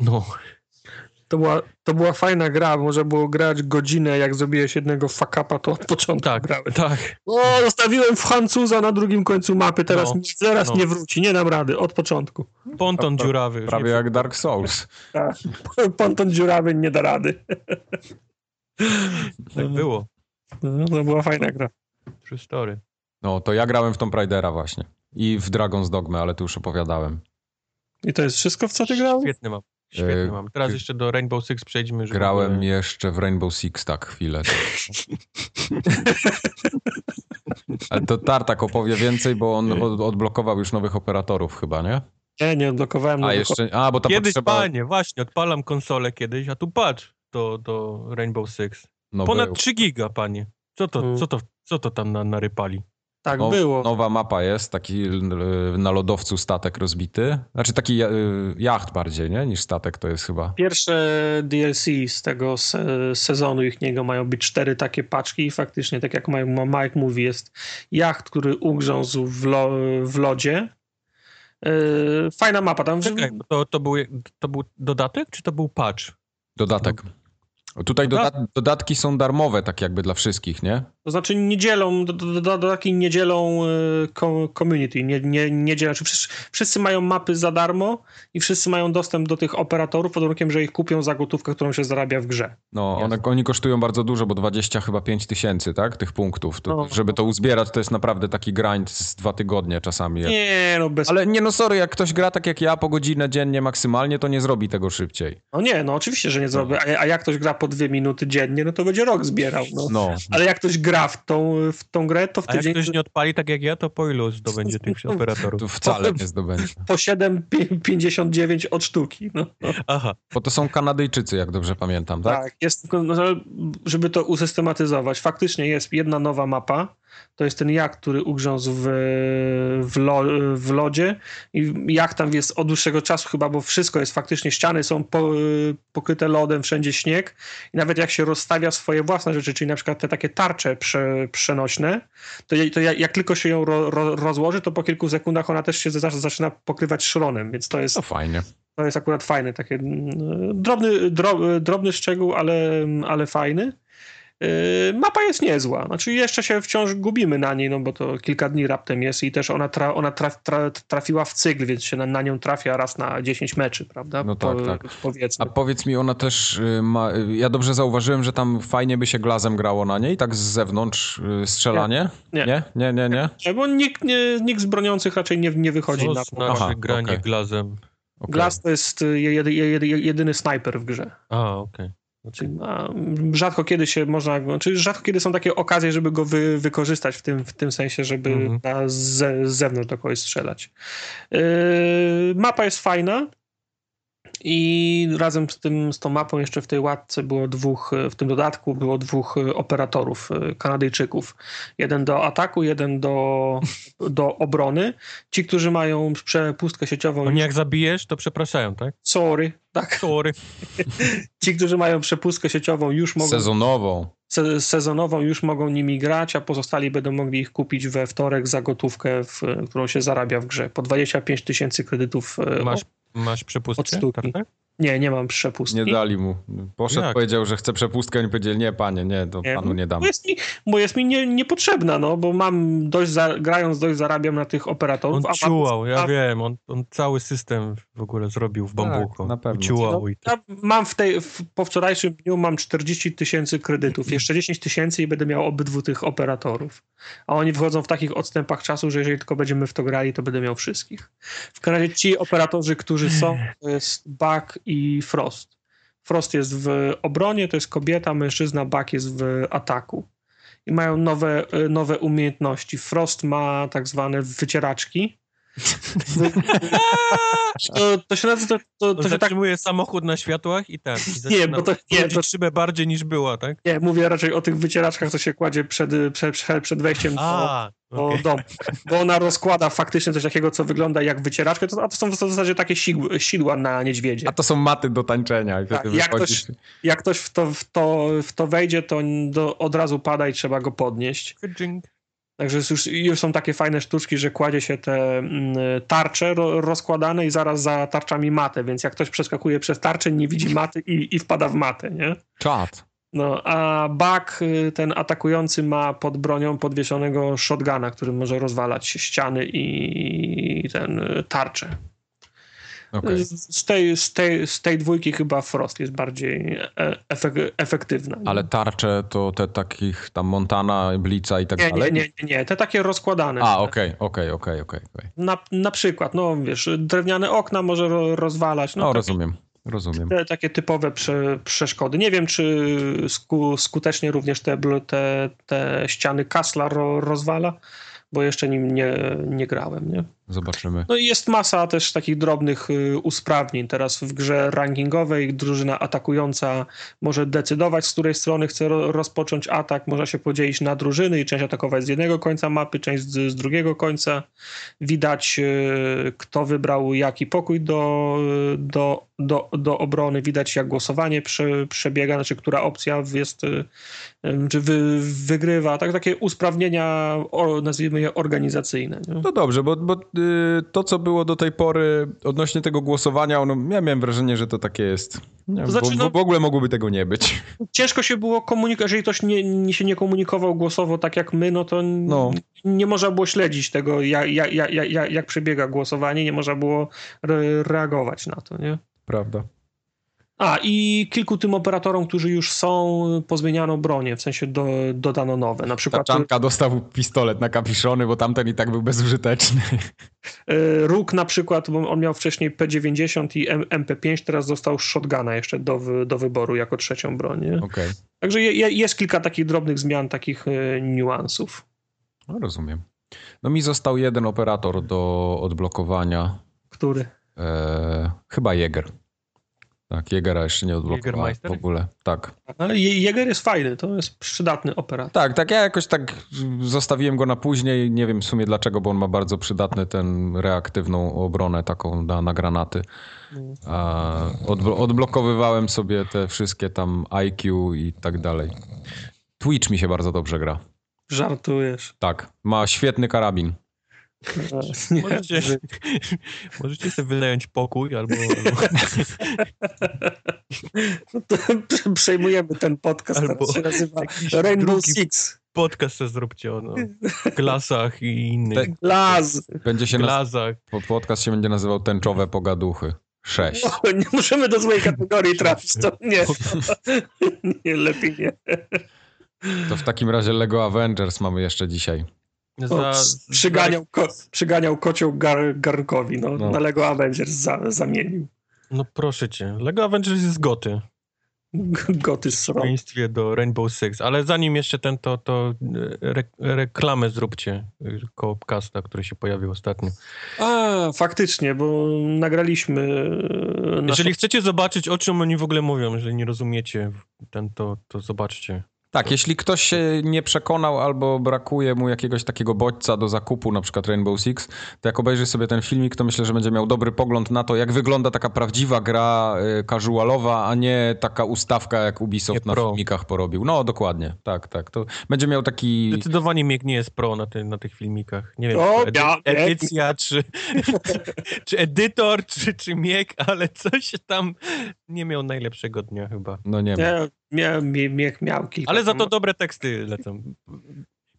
C: No,
B: To była, to była fajna gra, może było grać godzinę, jak zrobiłeś jednego fakapa, to od początku
C: tak,
B: grałeś.
C: tak.
B: O, zostawiłem Francuza na drugim końcu mapy, teraz,
C: No,
B: teraz
C: no.
B: nie wróci, nie dam rady, od początku.
C: Ponton
A: Pra-
C: dziurawy. już
A: Prawie
C: nie-
A: jak Dark Souls.
B: Ponton dziurawy nie da rady.
C: Tak było.
B: No, to była fajna gra.
C: True story.
A: No, to ja grałem w Tomb Raidera właśnie. I w Dragon's Dogma, ale tu już opowiadałem.
B: I to jest wszystko, w co ty grałeś?
C: Świetny mam. Świetny
A: E,
C: mam. Teraz
A: ty-
C: jeszcze do Rainbow Six przejdźmy. żeby-
A: Grałem jeszcze w Rainbow Six tak chwilę. Ale to Tartak opowie więcej, bo on od, odblokował już nowych operatorów chyba, nie?
B: Nie, nie odblokowałem.
A: A
B: nowego-
A: jeszcze, a bo ta
C: Kiedyś,
A: potrzeba...
C: panie, właśnie, odpalam konsolę kiedyś, a tu patrz do, do Rainbow Six.
A: No,
C: Ponad
A: był.
C: 3 giga, panie. Co to,
B: Mm.
C: co to, co to tam na, narypali?
B: Tak
A: Now-
B: było.
A: no, Nowa mapa jest, taki y, na lodowcu statek rozbity. Znaczy taki y, jacht bardziej, nie? Niż statek to jest chyba.
B: Pierwsze DLC z tego se- sezonu ich niego mają być cztery takie paczki i faktycznie, tak jak Mike, Mike mówi, jest jacht, który ugrzązł w, lo, w lodzie. Yy, fajna mapa tam.
C: Czekaj, to, to, był, to był dodatek, czy to był patch?
A: Dodatek.
C: No.
A: Tutaj doda dodatki są darmowe tak jakby dla wszystkich, nie?
B: To znaczy nie dzielą, do, do, do, do takiej nie dzielą y, ko- community, nie, nie, nie dzielą, czy wszyscy, wszyscy mają mapy za darmo i wszyscy mają dostęp do tych operatorów pod warunkiem, że ich kupią za gotówkę, którą się zarabia w grze.
A: No,
C: Jasne.
A: one, oni kosztują bardzo dużo, bo 20 chyba 5 tysięcy, tak? Tych punktów. To,
B: No.
A: Żeby to uzbierać, to jest naprawdę taki grind z dwa tygodnie czasami. Jak...
B: Nie, no bez
A: Ale nie no, sorry, jak ktoś gra tak jak ja po godzinę dziennie maksymalnie, to nie zrobi tego szybciej.
B: No nie, no oczywiście, że nie zrobię. A, a jak ktoś gra po dwie minuty dziennie, no to będzie rok zbierał. No.
A: No,
B: Ale jak ktoś gra w tą, w tą grę, to w
C: A jak
B: tydzień
C: ktoś nie odpali tak jak ja, to po ilu zdobędzie tych operatorów?
A: to wcale nie zdobędzie.
B: po 7,59 od sztuki. No.
C: Aha,
A: Bo to są Kanadyjczycy, jak dobrze pamiętam, tak?
B: Tak, jest tylko, no, ale żeby to usystematyzować, faktycznie jest jedna nowa mapa, to jest ten jacht, który ugrzązł w, w, lo, w lodzie i jacht tam jest od dłuższego czasu chyba, bo wszystko jest faktycznie, ściany są po, pokryte lodem, wszędzie śnieg i nawet jak się rozstawia swoje własne rzeczy, czyli na przykład te takie tarcze prze, przenośne, to, je- to ja- jak tylko się ją ro, ro, rozłoży, to po kilku sekundach ona też się za- zaczyna pokrywać szronem, więc to jest
A: To No, fajnie.
B: to jest akurat fajne, takie mm, drobny, dro, drobny szczegół, ale, mm, ale fajny. Yy, Mapa jest niezła, znaczy jeszcze się wciąż gubimy na niej, no bo to kilka dni raptem jest i też ona, tra, ona traf, tra, trafiła w cykl, więc się na, na nią trafia raz na 10 meczy, prawda? Yy,
A: No tak, tak.
B: Powiedzmy.
A: A powiedz mi, ona też y, ma... y, Ja dobrze zauważyłem, że tam fajnie by się glazem grało na niej, tak z zewnątrz y, strzelanie?
B: Nie.
A: Nie? Nie, nie, nie?
B: Bo nikt, nie, nikt z broniących raczej nie, nie wychodzi
C: co
B: na
C: znaczy
A: Aha,
C: granie
A: okej.
C: glazem?
A: Okej.
B: Glass to jest y, jedy, jedy, jedyny snajper w grze.
C: A, okej. Znaczy,
B: Czyli, a, rzadko kiedy się można, czyli rzadko kiedy są takie okazje, żeby go wy, wykorzystać w tym, w tym sensie, żeby
C: Mhm.
B: na z, z zewnątrz do kogoś strzelać. Yy, mapa jest fajna i razem z, tym, z tą mapą jeszcze w tej łatce było dwóch, y, w tym dodatku było dwóch y, operatorów y, Kanadyjczyków. Jeden do ataku, jeden do, do obrony. Ci, którzy mają przepustkę sieciową,
C: Oni jak zabijesz, to przepraszają, tak?
B: sorry, Tak.
C: Sorry.
B: Ci, którzy mają przepustkę sieciową, już mogą
A: Sezonową.
B: se- sezonową już mogą nimi grać, a pozostali będą mogli ich kupić we wtorek za gotówkę, w, którą się zarabia w grze. Po 25 tysięcy kredytów. e,
C: Masz,
B: o-
C: masz
B: Od
C: przepustkę?
B: sztuki.
C: Tak,
B: nie, nie mam przepustki.
A: Nie dali mu. Poszedł,
C: Jak?
A: powiedział, że chce przepustkę, oni powiedzieli, nie panie, nie, to
B: Nie. No
A: panu nie dam.
B: Bo jest mi, bo jest mi nie, niepotrzebna, no, bo mam dość, za, grając dość zarabiam na tych operatorów.
C: On
B: a mam-
C: ciułał, ja
B: a- Tak,
C: wiem, on, on cały system w ogóle zrobił w bambuku.
A: na pewno.
C: Ciułał
B: No,
C: i tak.
B: Ja mam w tej, w, po wczorajszym dniu mam 40 tysięcy kredytów, jeszcze 10 tysięcy i będę miał obydwu tych operatorów. A oni wchodzą w takich odstępach czasu, że jeżeli tylko będziemy w to grali, to będę miał wszystkich. W każdym razie ci operatorzy, którzy są, to jest Bak i Frost. Frost jest w obronie, to jest kobieta, mężczyzna, Bak jest w ataku. I mają nowe, y, nowe umiejętności. Frost ma tak zwane wycieraczki. To, to się nazywa, to, to,
C: On
B: to się tak
C: zatrzymuje samochód na światłach i tak. I
B: nie,
C: zaczyna
B: bo to, nie, to,
C: wchodzić szybę bardziej niż była, tak?
B: nie, mówię raczej o tych wycieraczkach, co się kładzie przed, przed, przed, przed wejściem do,
C: A,
B: do
C: okej.
B: domu. Bo ona rozkłada faktycznie coś takiego, co wygląda jak wycieraczkę, to, a to są w zasadzie takie sidł, sidła na niedźwiedzie.
A: A to są maty do tańczenia. I
B: Tak,
A: wtedy
B: jak
A: wychodzisz.
B: Jak ktoś w to, w to, w to wejdzie, to do, od razu pada i trzeba go podnieść.
C: Dżing.
B: Także już, już są takie fajne sztuczki, że kładzie się te mm, tarcze ro, rozkładane i zaraz za tarczami matę, więc jak ktoś przeskakuje przez tarczę, nie widzi maty i, i wpada w matę, nie?
A: Czad.
B: No, a Bak, y, ten atakujący, ma pod bronią podwieszonego shotguna, który może rozwalać ściany i ten y, tarczę.
A: Okej.
B: Z, z, tej, z, tej, z tej dwójki chyba Frost jest bardziej e, efek, efektywna. nie?
A: Ale tarcze to te takich tam Montana, Blica i tak
B: nie, nie,
A: dalej?
B: nie, nie, nie, te takie rozkładane.
A: A, okej, okej, okej, okej. okej.
B: na, na przykład, no wiesz, drewniane okna może ro, rozwalać.
A: No,
B: No, tak,
A: rozumiem, rozumiem.
B: te, takie typowe prze, przeszkody. Nie wiem, czy sku, skutecznie również te, bl- te, te ściany Kasla ro, rozwala, bo jeszcze nim nie, nie grałem, nie?
A: Zobaczymy.
B: No i jest masa też takich drobnych y, usprawnień. Teraz w grze rankingowej drużyna atakująca może decydować, z której strony chce ro- rozpocząć atak. Można się podzielić na drużyny i część atakować z jednego końca mapy, część z, z drugiego końca. Widać, y, kto wybrał jaki pokój do, y, do, do, do obrony. Widać, jak głosowanie prze, przebiega, znaczy która opcja jest, y, y, czy wy, wygrywa. Tak, takie usprawnienia, o, nazwijmy je organizacyjne. Nie?
A: No dobrze, bo, bo y, to, co było do tej pory odnośnie tego głosowania, ono, ja miałem wrażenie, że to takie jest. Nie,
B: To znaczy,
A: bo,
B: no-
A: bo w ogóle mogłoby tego nie być.
B: ciężko się było komunikować, jeżeli ktoś nie, nie się nie komunikował głosowo tak jak my, no to n-
A: No.
B: nie można było śledzić tego, jak, jak, jak, jak, jak przebiega głosowanie, nie można było re reagować na to, nie?
A: Prawda.
B: A, i kilku tym operatorom, którzy już są, pozmieniano bronie, w sensie do, dodano nowe. Na przykład
A: Taczanka dostał pistolet na kapiszony, bo tamten i tak był bezużyteczny.
B: y, Róg na przykład, bo on miał wcześniej P90 i M- MP5, teraz dostał shotguna jeszcze do, wy- do wyboru jako trzecią broń, nie?
A: Okej,
B: Także je, je, jest kilka takich drobnych zmian, takich y, niuansów.
A: no, rozumiem. No mi został jeden operator do odblokowania.
B: Który?
A: E, chyba Jäger. Tak, Jägera jeszcze nie odblokowałem w
C: Jägermeister?
A: ogóle. Tak.
B: No, Ale Je- Jäger jest fajny, to jest przydatny operator.
A: Tak, tak, ja jakoś tak zostawiłem go na później, nie wiem w sumie dlaczego, bo on ma bardzo przydatny ten reaktywną obronę taką na, na granaty. A odblo- odblokowywałem sobie te wszystkie tam IQ i tak dalej. Twitch mi się bardzo dobrze gra.
B: Żartujesz.
A: Tak, ma świetny karabin.
B: Nie,
C: Możecie,
B: że-
C: możecie sobie wynająć pokój albo, albo,
B: No to prze- Przejmujemy ten podcast,
C: Albo
B: teraz się nazywa
C: jakiś
B: Rainbow
C: drugi-
B: Six.
C: podcast sobie zróbcie o no, klasach i innych.
A: Te-
B: Laz.
A: Będzie się naz-
C: Glazach.
A: po- podcast się będzie nazywał Tęczowe Pogaduchy 6.
B: No, nie musimy do złej kategorii trafić, to nie. nie. Lepiej nie.
A: To w takim razie Lego Avengers mamy jeszcze dzisiaj.
B: O,
C: Za,
B: przy- przyganiał, ko, przyganiał kocioł gar, garnkowi, no,
A: No.
B: na Lego Avengers za, zamienił.
C: No proszę cię, Lego Avengers jest goty.
B: Goty z
C: W przeciwieństwie do Rainbow Six, ale zanim jeszcze ten, to, to e, re, reklamę zróbcie y, koło Casta, który się pojawił ostatnio.
B: A, No, faktycznie, bo nagraliśmy e, naszą
C: Jeżeli chcecie zobaczyć, o czym oni w ogóle mówią, jeżeli nie rozumiecie ten, to, to zobaczcie.
A: Tak, jeśli ktoś się nie przekonał albo brakuje mu jakiegoś takiego bodźca do zakupu, na przykład Rainbow Six, to jak obejrzy sobie ten filmik, to myślę, że będzie miał dobry pogląd na to, jak wygląda taka prawdziwa gra y, casualowa, a nie taka ustawka, jak Ubisoft
C: Nie
A: na
C: pro.
A: filmikach porobił. No, dokładnie, tak, tak. To będzie miał taki...
C: Zdecydowanie Mieg nie jest pro na, ty, na tych filmikach. Nie wiem,
B: O,
C: czy
B: ja-
C: edy- edycja, czy, czy edytor, czy, czy Mieg, ale coś tam nie miał najlepszego dnia chyba.
A: No nie wiem.
B: Ja miałem, mie- mie- miał kilka.
C: Ale za
B: tam-
C: to dobre teksty lecą.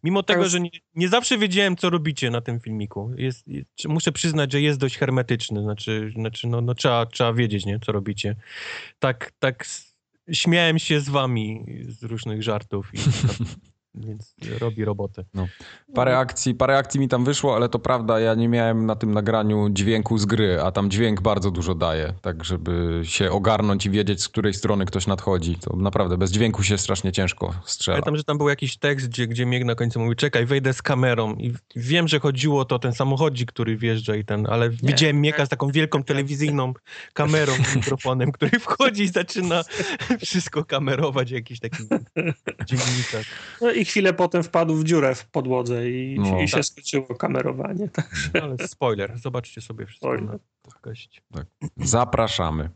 C: Mimo tego, że nie, nie zawsze wiedziałem, co robicie na tym filmiku. Jest, czy- muszę przyznać, że jest dość hermetyczny. Znaczy, znaczy no, no trzeba, trzeba wiedzieć, nie, co robicie. Tak, tak s- śmiałem się z wami z różnych żartów. I, więc robi robotę.
A: Parę
C: Mhm.
A: akcji, parę akcji mi tam wyszło, ale to prawda, ja nie miałem na tym nagraniu dźwięku z gry, a tam dźwięk bardzo dużo daje, tak żeby się ogarnąć i wiedzieć, z której strony ktoś nadchodzi. To naprawdę, bez dźwięku się strasznie ciężko strzela.
C: Pamiętam, że tam był jakiś tekst, gdzie, gdzie Mieg na końcu mówi, czekaj, wejdę z kamerą i wiem, że chodziło o to o ten samochodzik, który wjeżdża i ten, ale widziałem Mieka z taką wielką telewizyjną kamerą, mikrofonem, który wchodzi i zaczyna wszystko kamerować, jakiś taki dziwniczak.
B: No i chwilę potem wpadł w dziurę w podłodze i,
A: No.
B: i się
C: Tak.
B: skończyło kamerowanie. Tak.
C: No, Ale spoiler, zobaczcie sobie wszystko
B: Spoiler.
C: na gości.
A: Zapraszamy.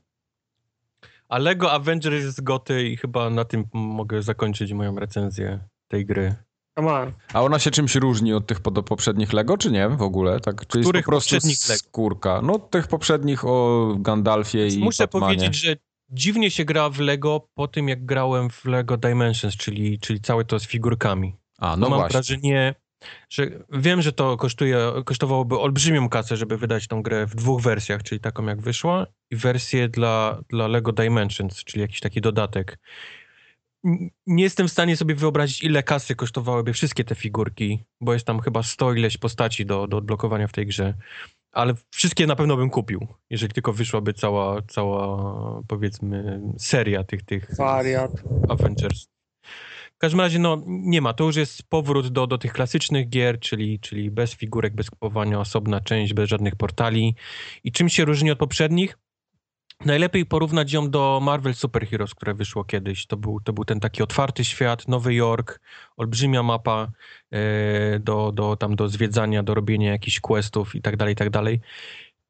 C: A Lego Avengers jest goty i chyba na tym mogę zakończyć moją recenzję tej gry.
B: Come on.
A: A ona się czymś różni od tych pod- poprzednich Lego, czy nie w ogóle? Tak, czy
C: Których
A: jest po prostu
C: poprzednich Lego?
A: skórka? No tych poprzednich o Gandalfie i
C: Muszę
A: Batmanie.
C: powiedzieć, że dziwnie się gra w Lego po tym, jak grałem w Lego Dimensions, czyli, czyli całe to z figurkami.
A: A, no
C: mam
A: właśnie.
C: wrażenie, że wiem, że to kosztuje, kosztowałoby olbrzymią kasę, żeby wydać tą grę w dwóch wersjach, czyli taką jak wyszła i wersję dla, dla Lego Dimensions, czyli jakiś taki dodatek. N- Nie jestem w stanie sobie wyobrazić, ile kasy kosztowałyby wszystkie te figurki, bo jest tam chyba 100 ileś postaci do, do odblokowania w tej grze. Ale wszystkie na pewno bym kupił, jeżeli tylko wyszłaby cała, cała powiedzmy, seria tych, tych
B: Wariat.
C: Avengers. W każdym razie, no nie ma. To już jest powrót do, do tych klasycznych gier, czyli, czyli bez figurek, bez kupowania, osobna część, bez żadnych portali. I czym się różni od poprzednich? Najlepiej porównać ją do Marvel Super Heroes, które wyszło kiedyś. To był, to był ten taki otwarty świat, Nowy Jork, olbrzymia mapa e, do, do, tam do zwiedzania, do robienia jakichś questów i tak dalej, i tak dalej.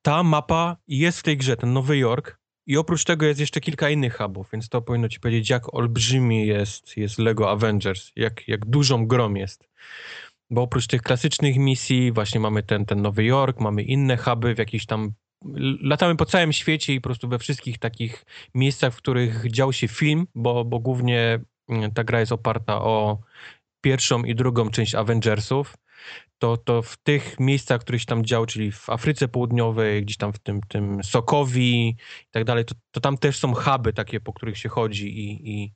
C: Ta mapa jest w tej grze, ten Nowy Jork, i oprócz tego jest jeszcze kilka innych hubów, więc to powinno ci powiedzieć, jak olbrzymi jest, jest LEGO Avengers, jak, jak dużą grom jest. Bo oprócz tych klasycznych misji, właśnie mamy ten, ten Nowy Jork, mamy inne huby w jakichś tam. l- Latamy po całym świecie i po prostu we wszystkich takich miejscach, w których dział się film, bo, bo głównie mm, ta gra jest oparta o pierwszą i drugą część Avengersów. To, to w tych miejscach, które się tam działy, czyli w Afryce Południowej, gdzieś tam w tym, tym Sokowi, i tak dalej, to, to tam też są huby takie, po których się chodzi i, i,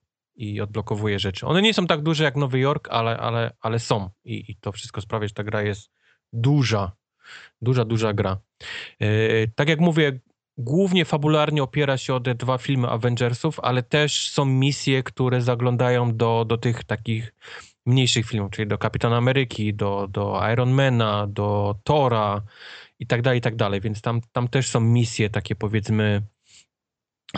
C: i odblokowuje rzeczy. One nie są tak duże jak Nowy Jork, ale, ale, ale są I, i to wszystko sprawia, że ta gra jest duża, duża, duża gra. Yy, tak jak mówię, głównie fabularnie opiera się o te dwa filmy Avengersów, ale też są misje, które zaglądają do, do tych takich mniejszych filmów, czyli do Kapitana Ameryki, do, do Ironmana, do Tora i tak dalej, i tak dalej, więc tam, tam też są misje takie powiedzmy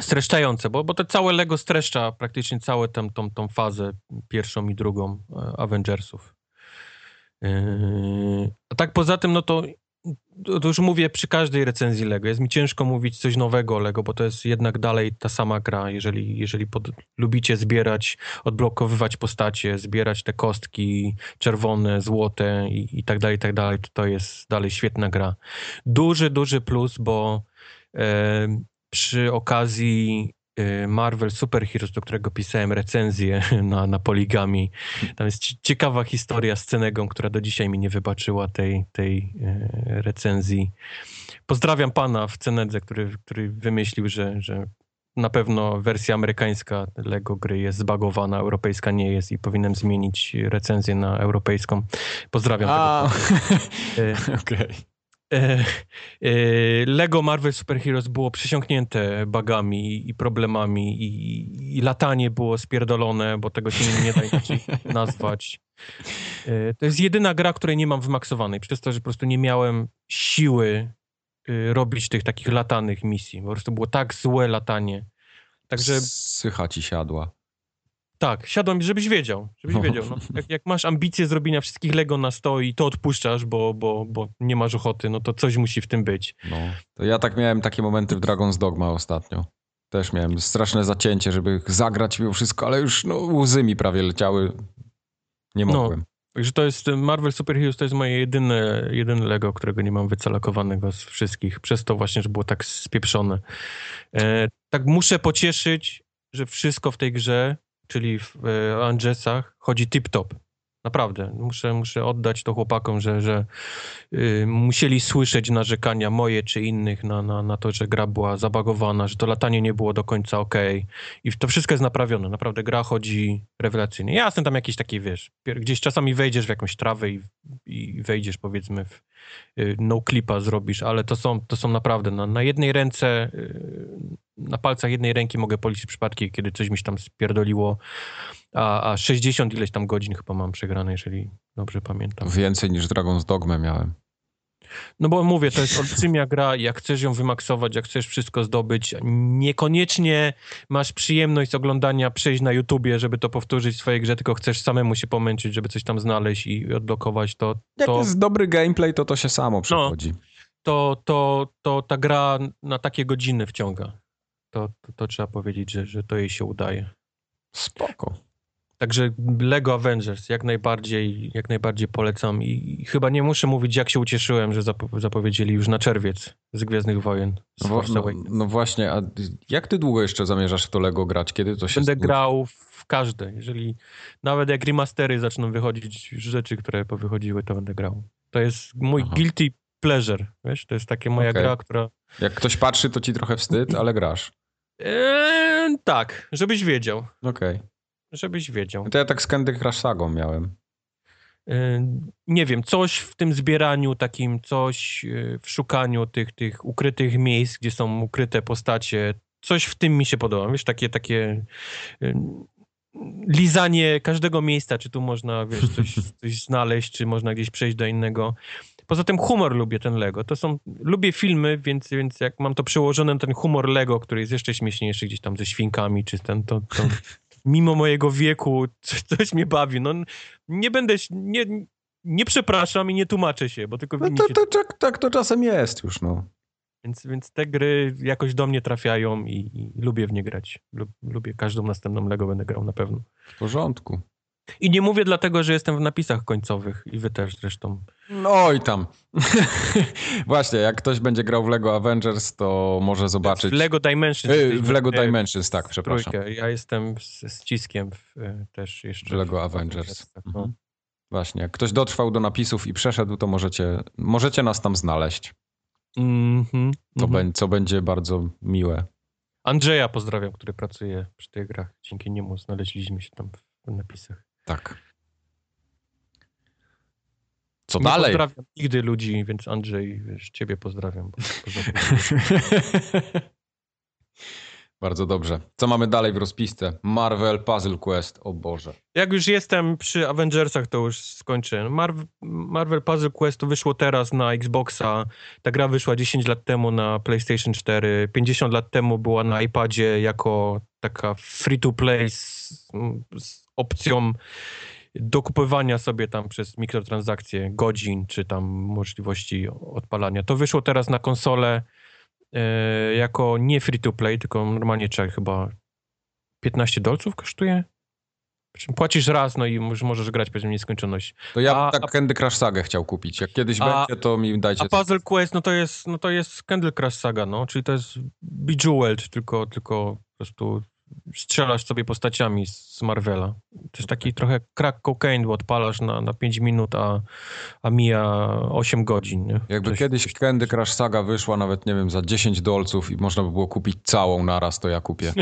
C: streszczające, bo, bo to całe Lego streszcza praktycznie całą tą, tą, tą fazę pierwszą i drugą e, Avengersów. Yy, A tak poza tym, no to, to już mówię przy każdej recenzji Lego. Jest mi ciężko mówić coś nowego o Lego, bo to jest jednak dalej ta sama gra. Jeżeli, jeżeli pod, lubicie zbierać, odblokowywać postacie, zbierać te kostki czerwone, złote i, i tak dalej, i tak dalej, to, to jest dalej świetna gra. Duży, duży plus, bo em, przy okazji y, Marvel Super Heroes, do którego pisałem recenzję na, na Poligami. Tam jest ci- ciekawa historia z Cenegą, która do dzisiaj mi nie wybaczyła tej, tej y, recenzji. Pozdrawiam pana w Cenedze, który, który wymyślił, że, że na pewno wersja amerykańska Lego gry jest zbagowana, europejska nie jest i powinienem zmienić recenzję na europejską. Pozdrawiam
A: A,
C: tego. Y,
A: okej.
C: E, e, Lego Marvel Super Heroes było przesiąknięte bugami i problemami i, i latanie było spierdolone, bo tego się nie, nie da inaczej nazwać. E, To jest jedyna gra, której nie mam wymaksowanej, przez to, że po prostu nie miałem siły e, robić tych takich latanych misji. Po prostu było tak złe latanie. Także
A: Sycha ci siadła.
C: Tak, siadłem, żebyś wiedział, żebyś
A: No.
C: wiedział. No, jak, jak masz ambicje zrobienia wszystkich Lego na 100 i to odpuszczasz, bo, bo, bo nie masz ochoty, no to coś musi w tym być.
A: No. To ja tak miałem takie momenty w Dragon's Dogma ostatnio. Też miałem straszne zacięcie, żeby zagrać mimo wszystko, ale już no, łzy mi prawie leciały. Nie
C: No.
A: mogłem.
C: Także to jest Marvel Super Heroes, to jest moje jedyne, jedyne Lego, którego nie mam wycalakowanego z wszystkich. Przez to właśnie, że było tak spieprzone. E, tak muszę pocieszyć, że wszystko w tej grze, czyli w e, Angesach, chodzi tip-top. Naprawdę. Muszę, muszę oddać to chłopakom, że, że y, musieli słyszeć narzekania moje czy innych na, na, na to, że gra była zabagowana, że to latanie nie było do końca okej. I to wszystko jest naprawione. Naprawdę gra chodzi rewelacyjnie. Jasne, tam jakieś takie, wiesz, pier- gdzieś czasami wejdziesz w jakąś trawę i, i wejdziesz powiedzmy w y, no clipa zrobisz, ale to są, to są naprawdę na, na jednej ręce, y, na palcach jednej ręki mogę policzyć przypadki, kiedy coś mi się tam spierdoliło, a, a 60 ileś tam godzin chyba mam przegrane, jeżeli dobrze pamiętam.
A: No, Więcej niż Dragon's Dogma miałem.
C: No bo mówię, to jest olbrzymia gra, jak chcesz ją wymaksować, jak chcesz wszystko zdobyć, niekoniecznie masz przyjemność z oglądania, przejść na YouTubie, żeby to powtórzyć w swojej grze, tylko chcesz samemu się pomęczyć, żeby coś tam znaleźć i odblokować, to,
A: Jak
C: to, No.
A: jest dobry gameplay, to to się samo przechodzi.
C: to, to, to ta gra na takie godziny wciąga. To, to, to trzeba powiedzieć, że, że to jej się udaje.
A: Spoko.
C: Także Lego Avengers jak najbardziej, jak najbardziej polecam i chyba nie muszę mówić, jak się ucieszyłem, że zapo- zapowiedzieli już na czerwiec z Gwiezdnych Wojen. Z
A: No,
C: Force
A: wa- no,
C: Awakens.
A: no właśnie, a jak ty długo jeszcze zamierzasz w to Lego grać? Kiedy to się
C: Będę
A: znudzi?
C: grał w każde. Jeżeli nawet jak remastery zaczną wychodzić rzeczy, które powychodziły, to będę grał. To jest mój
A: Aha.
C: guilty pleasure. Wiesz, to jest takie moja
A: Okej.
C: gra, która.
A: Jak ktoś patrzy, to ci trochę wstyd, ale grasz.
C: Eee, tak, żebyś wiedział.
A: Okej.
C: Żebyś wiedział.
A: No To ja tak z Candy Crush Sagą miałem.
C: E, nie wiem, coś w tym zbieraniu takim, coś e, w szukaniu tych, tych ukrytych miejsc, gdzie są ukryte postacie, coś w tym mi się podoba. Wiesz, takie, takie e, lizanie każdego miejsca, czy tu można, wiesz, coś, coś znaleźć, czy można gdzieś przejść do innego. Poza tym humor lubię ten Lego. To są, lubię filmy, więc, więc jak mam to przełożone, ten humor Lego, który jest jeszcze śmieszniejszy gdzieś tam ze świnkami, czy ten, to, to mimo mojego wieku coś, coś mnie bawi. No, nie będę, ś- nie, nie przepraszam i nie tłumaczę się, bo tylko
A: No
C: mi
A: to,
C: się...
A: to, tak, tak to czasem jest już, no.
C: Więc, więc te gry jakoś do mnie trafiają i, i lubię w nie grać. Lub, lubię każdą następną Lego będę grał na pewno.
A: W porządku.
C: I nie mówię dlatego, że jestem w napisach końcowych i wy też zresztą.
A: No i tam. Właśnie, jak ktoś będzie grał w Lego Avengers, to może zobaczyć.
C: W Lego Dimensions.
A: y,
C: jesteśmy,
A: w Lego
C: e,
A: Dimensions, tak,
C: w
A: przepraszam.
C: Trójkę. Ja jestem z, z ciskiem w, e, też jeszcze.
A: W Lego
C: w
A: Avengers.
C: Avengersach, No.
A: Mhm. Właśnie, jak ktoś dotrwał do napisów i przeszedł, to możecie, możecie nas tam znaleźć.
C: Mhm,
A: To
C: mhm.
A: bę- co będzie bardzo miłe.
C: Andrzeja pozdrawiam, który pracuje przy tych grach. Dzięki niemu znaleźliśmy się tam w napisach.
A: Tak. Co
C: Nie
A: dalej?
C: pozdrawiam nigdy ludzi, więc Andrzej, wiesz, ciebie pozdrawiam. Bo, bo
A: Bardzo dobrze. Co mamy dalej w rozpisce? Marvel Puzzle Quest. O Boże.
C: Jak już jestem przy Avengersach, to już skończę. Marv- Marvel Puzzle Quest wyszło teraz na Xboxa. Ta gra wyszła 10 lat temu na PlayStation 4. 50 lat temu była na iPadzie jako taka free to play z, z opcją dokupywania sobie tam przez mikrotransakcje godzin czy tam możliwości odpalania. To wyszło teraz na konsolę e, jako nie free to play, tylko normalnie trzeba chyba 15 dolców kosztuje. Przy czym Płacisz raz, no i możesz, możesz grać powiedzmy w nieskończoność.
A: To ja
C: A-
A: bym tak Candy Crush Sagę chciał kupić. Jak kiedyś
C: A-
A: będzie, to mi dajcie.
C: A Puzzle Quest, no to jest, no to jest Candle Crush Saga, no, czyli to jest Bejeweled, tylko, tylko po prostu strzelasz sobie postaciami z z Marvela. To jest taki trochę crack cocaine, bo odpalasz na, na 5 minut, a, a mija 8 godzin. Nie?
A: Jakby
C: Coś-
A: kiedyś Candy Crush Saga wyszła nawet, nie wiem, za 10 dolców i można by było kupić całą naraz, to ja kupię.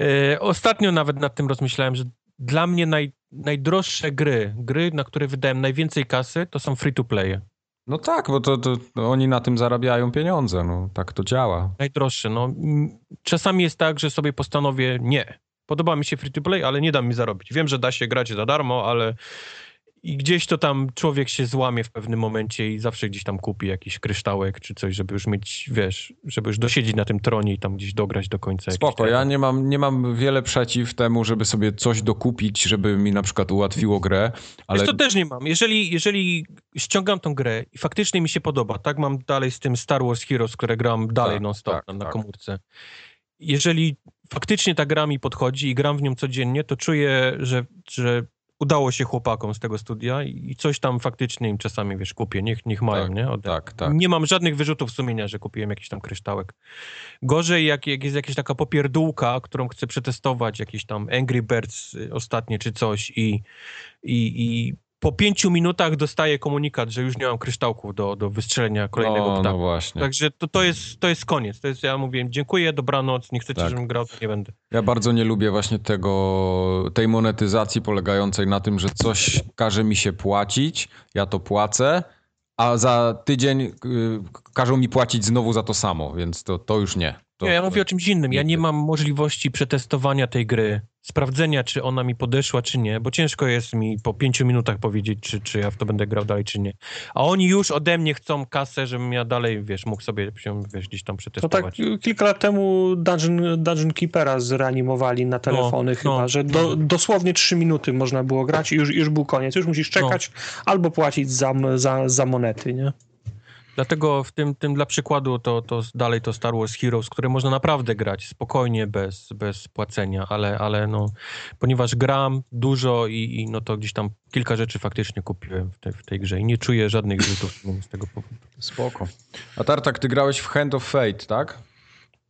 C: E, Ostatnio nawet nad tym rozmyślałem, że dla mnie naj, najdroższe gry, gry, na które wydałem najwięcej kasy, to są free to play.
A: No tak, bo to, to, to oni na tym zarabiają pieniądze. No, tak to działa.
C: Najdroższe. No, Mm, czasami jest tak, że sobie postanowię nie. Podoba mi się free to play, ale nie da mi zarobić. Wiem, że da się grać za darmo, ale I gdzieś to tam człowiek się złamie w pewnym momencie i zawsze gdzieś tam kupi jakiś kryształek czy coś, żeby już mieć, wiesz, żeby już dosiedzieć na tym tronie i tam gdzieś dograć do końca. jakiś
A: Spoko,
C: ten-
A: ja nie mam, nie mam wiele przeciw temu, żeby sobie coś dokupić, żeby mi na przykład ułatwiło grę, ale
C: Wiesz, to też nie mam. Jeżeli, jeżeli ściągam tą grę i faktycznie mi się podoba, tak mam dalej z tym Star Wars Heroes, które gram dalej
A: Tak,
C: non-stop
A: tak,
C: tam na
A: tak.
C: komórce. Jeżeli faktycznie ta gra mi podchodzi i gram w nią codziennie, to czuję, że, że udało się chłopakom z tego studia i coś tam faktycznie im czasami, wiesz, kupię. Niech, niech mają, nie? Ode-
A: tak, tak.
C: Nie mam żadnych wyrzutów sumienia, że kupiłem jakiś tam kryształek. Gorzej, jak, jak jest jakaś taka popierdółka, którą chcę przetestować, jakiś tam Angry Birds y, ostatnie czy coś i, i, i po pięciu minutach dostaję komunikat, że już nie mam kryształków do, do wystrzelenia kolejnego
A: No, no
C: ptaka.
A: właśnie.
C: Także to, to, jest, to jest koniec. To jest, ja mówię, dziękuję, dobranoc, nie chcecie,
A: Tak.
C: żebym grał, to nie będę.
A: Ja bardzo nie lubię właśnie tego, tej monetyzacji polegającej na tym, że coś każe mi się płacić, ja to płacę, a za tydzień y, każą mi płacić znowu za to samo, więc to, to już nie. To,
C: Nie, ja mówię o czymś innym. Ja nie
A: nigdy.
C: mam możliwości przetestowania tej gry, sprawdzenia, czy ona mi podeszła, czy nie, bo ciężko jest mi po pięciu minutach powiedzieć, czy, czy ja w to będę grał dalej, czy nie. A oni już ode mnie chcą kasę, żebym ja dalej, wiesz, mógł sobie się, wiesz, gdzieś tam
B: To tak
C: przetestować.
B: y, kilka lat temu Dungeon, Dungeon Keepera zreanimowali na telefony
C: No,
B: chyba,
C: no,
B: że
C: no.
B: do, dosłownie 3 minuty można było grać i już, już był koniec. Już
A: No.
B: musisz czekać albo płacić za, m- za, za monety, nie?
C: Dlatego w tym, tym dla przykładu to, to s- dalej to Star Wars Heroes, które można naprawdę grać spokojnie, bez, bez płacenia, ale, ale no, ponieważ gram dużo i, i no to gdzieś tam kilka rzeczy faktycznie kupiłem w, tej w tej grze i nie czuję żadnych rzutów z tego powodu.
A: Spoko. A Tartak, ty grałeś w Hand of Fate, tak?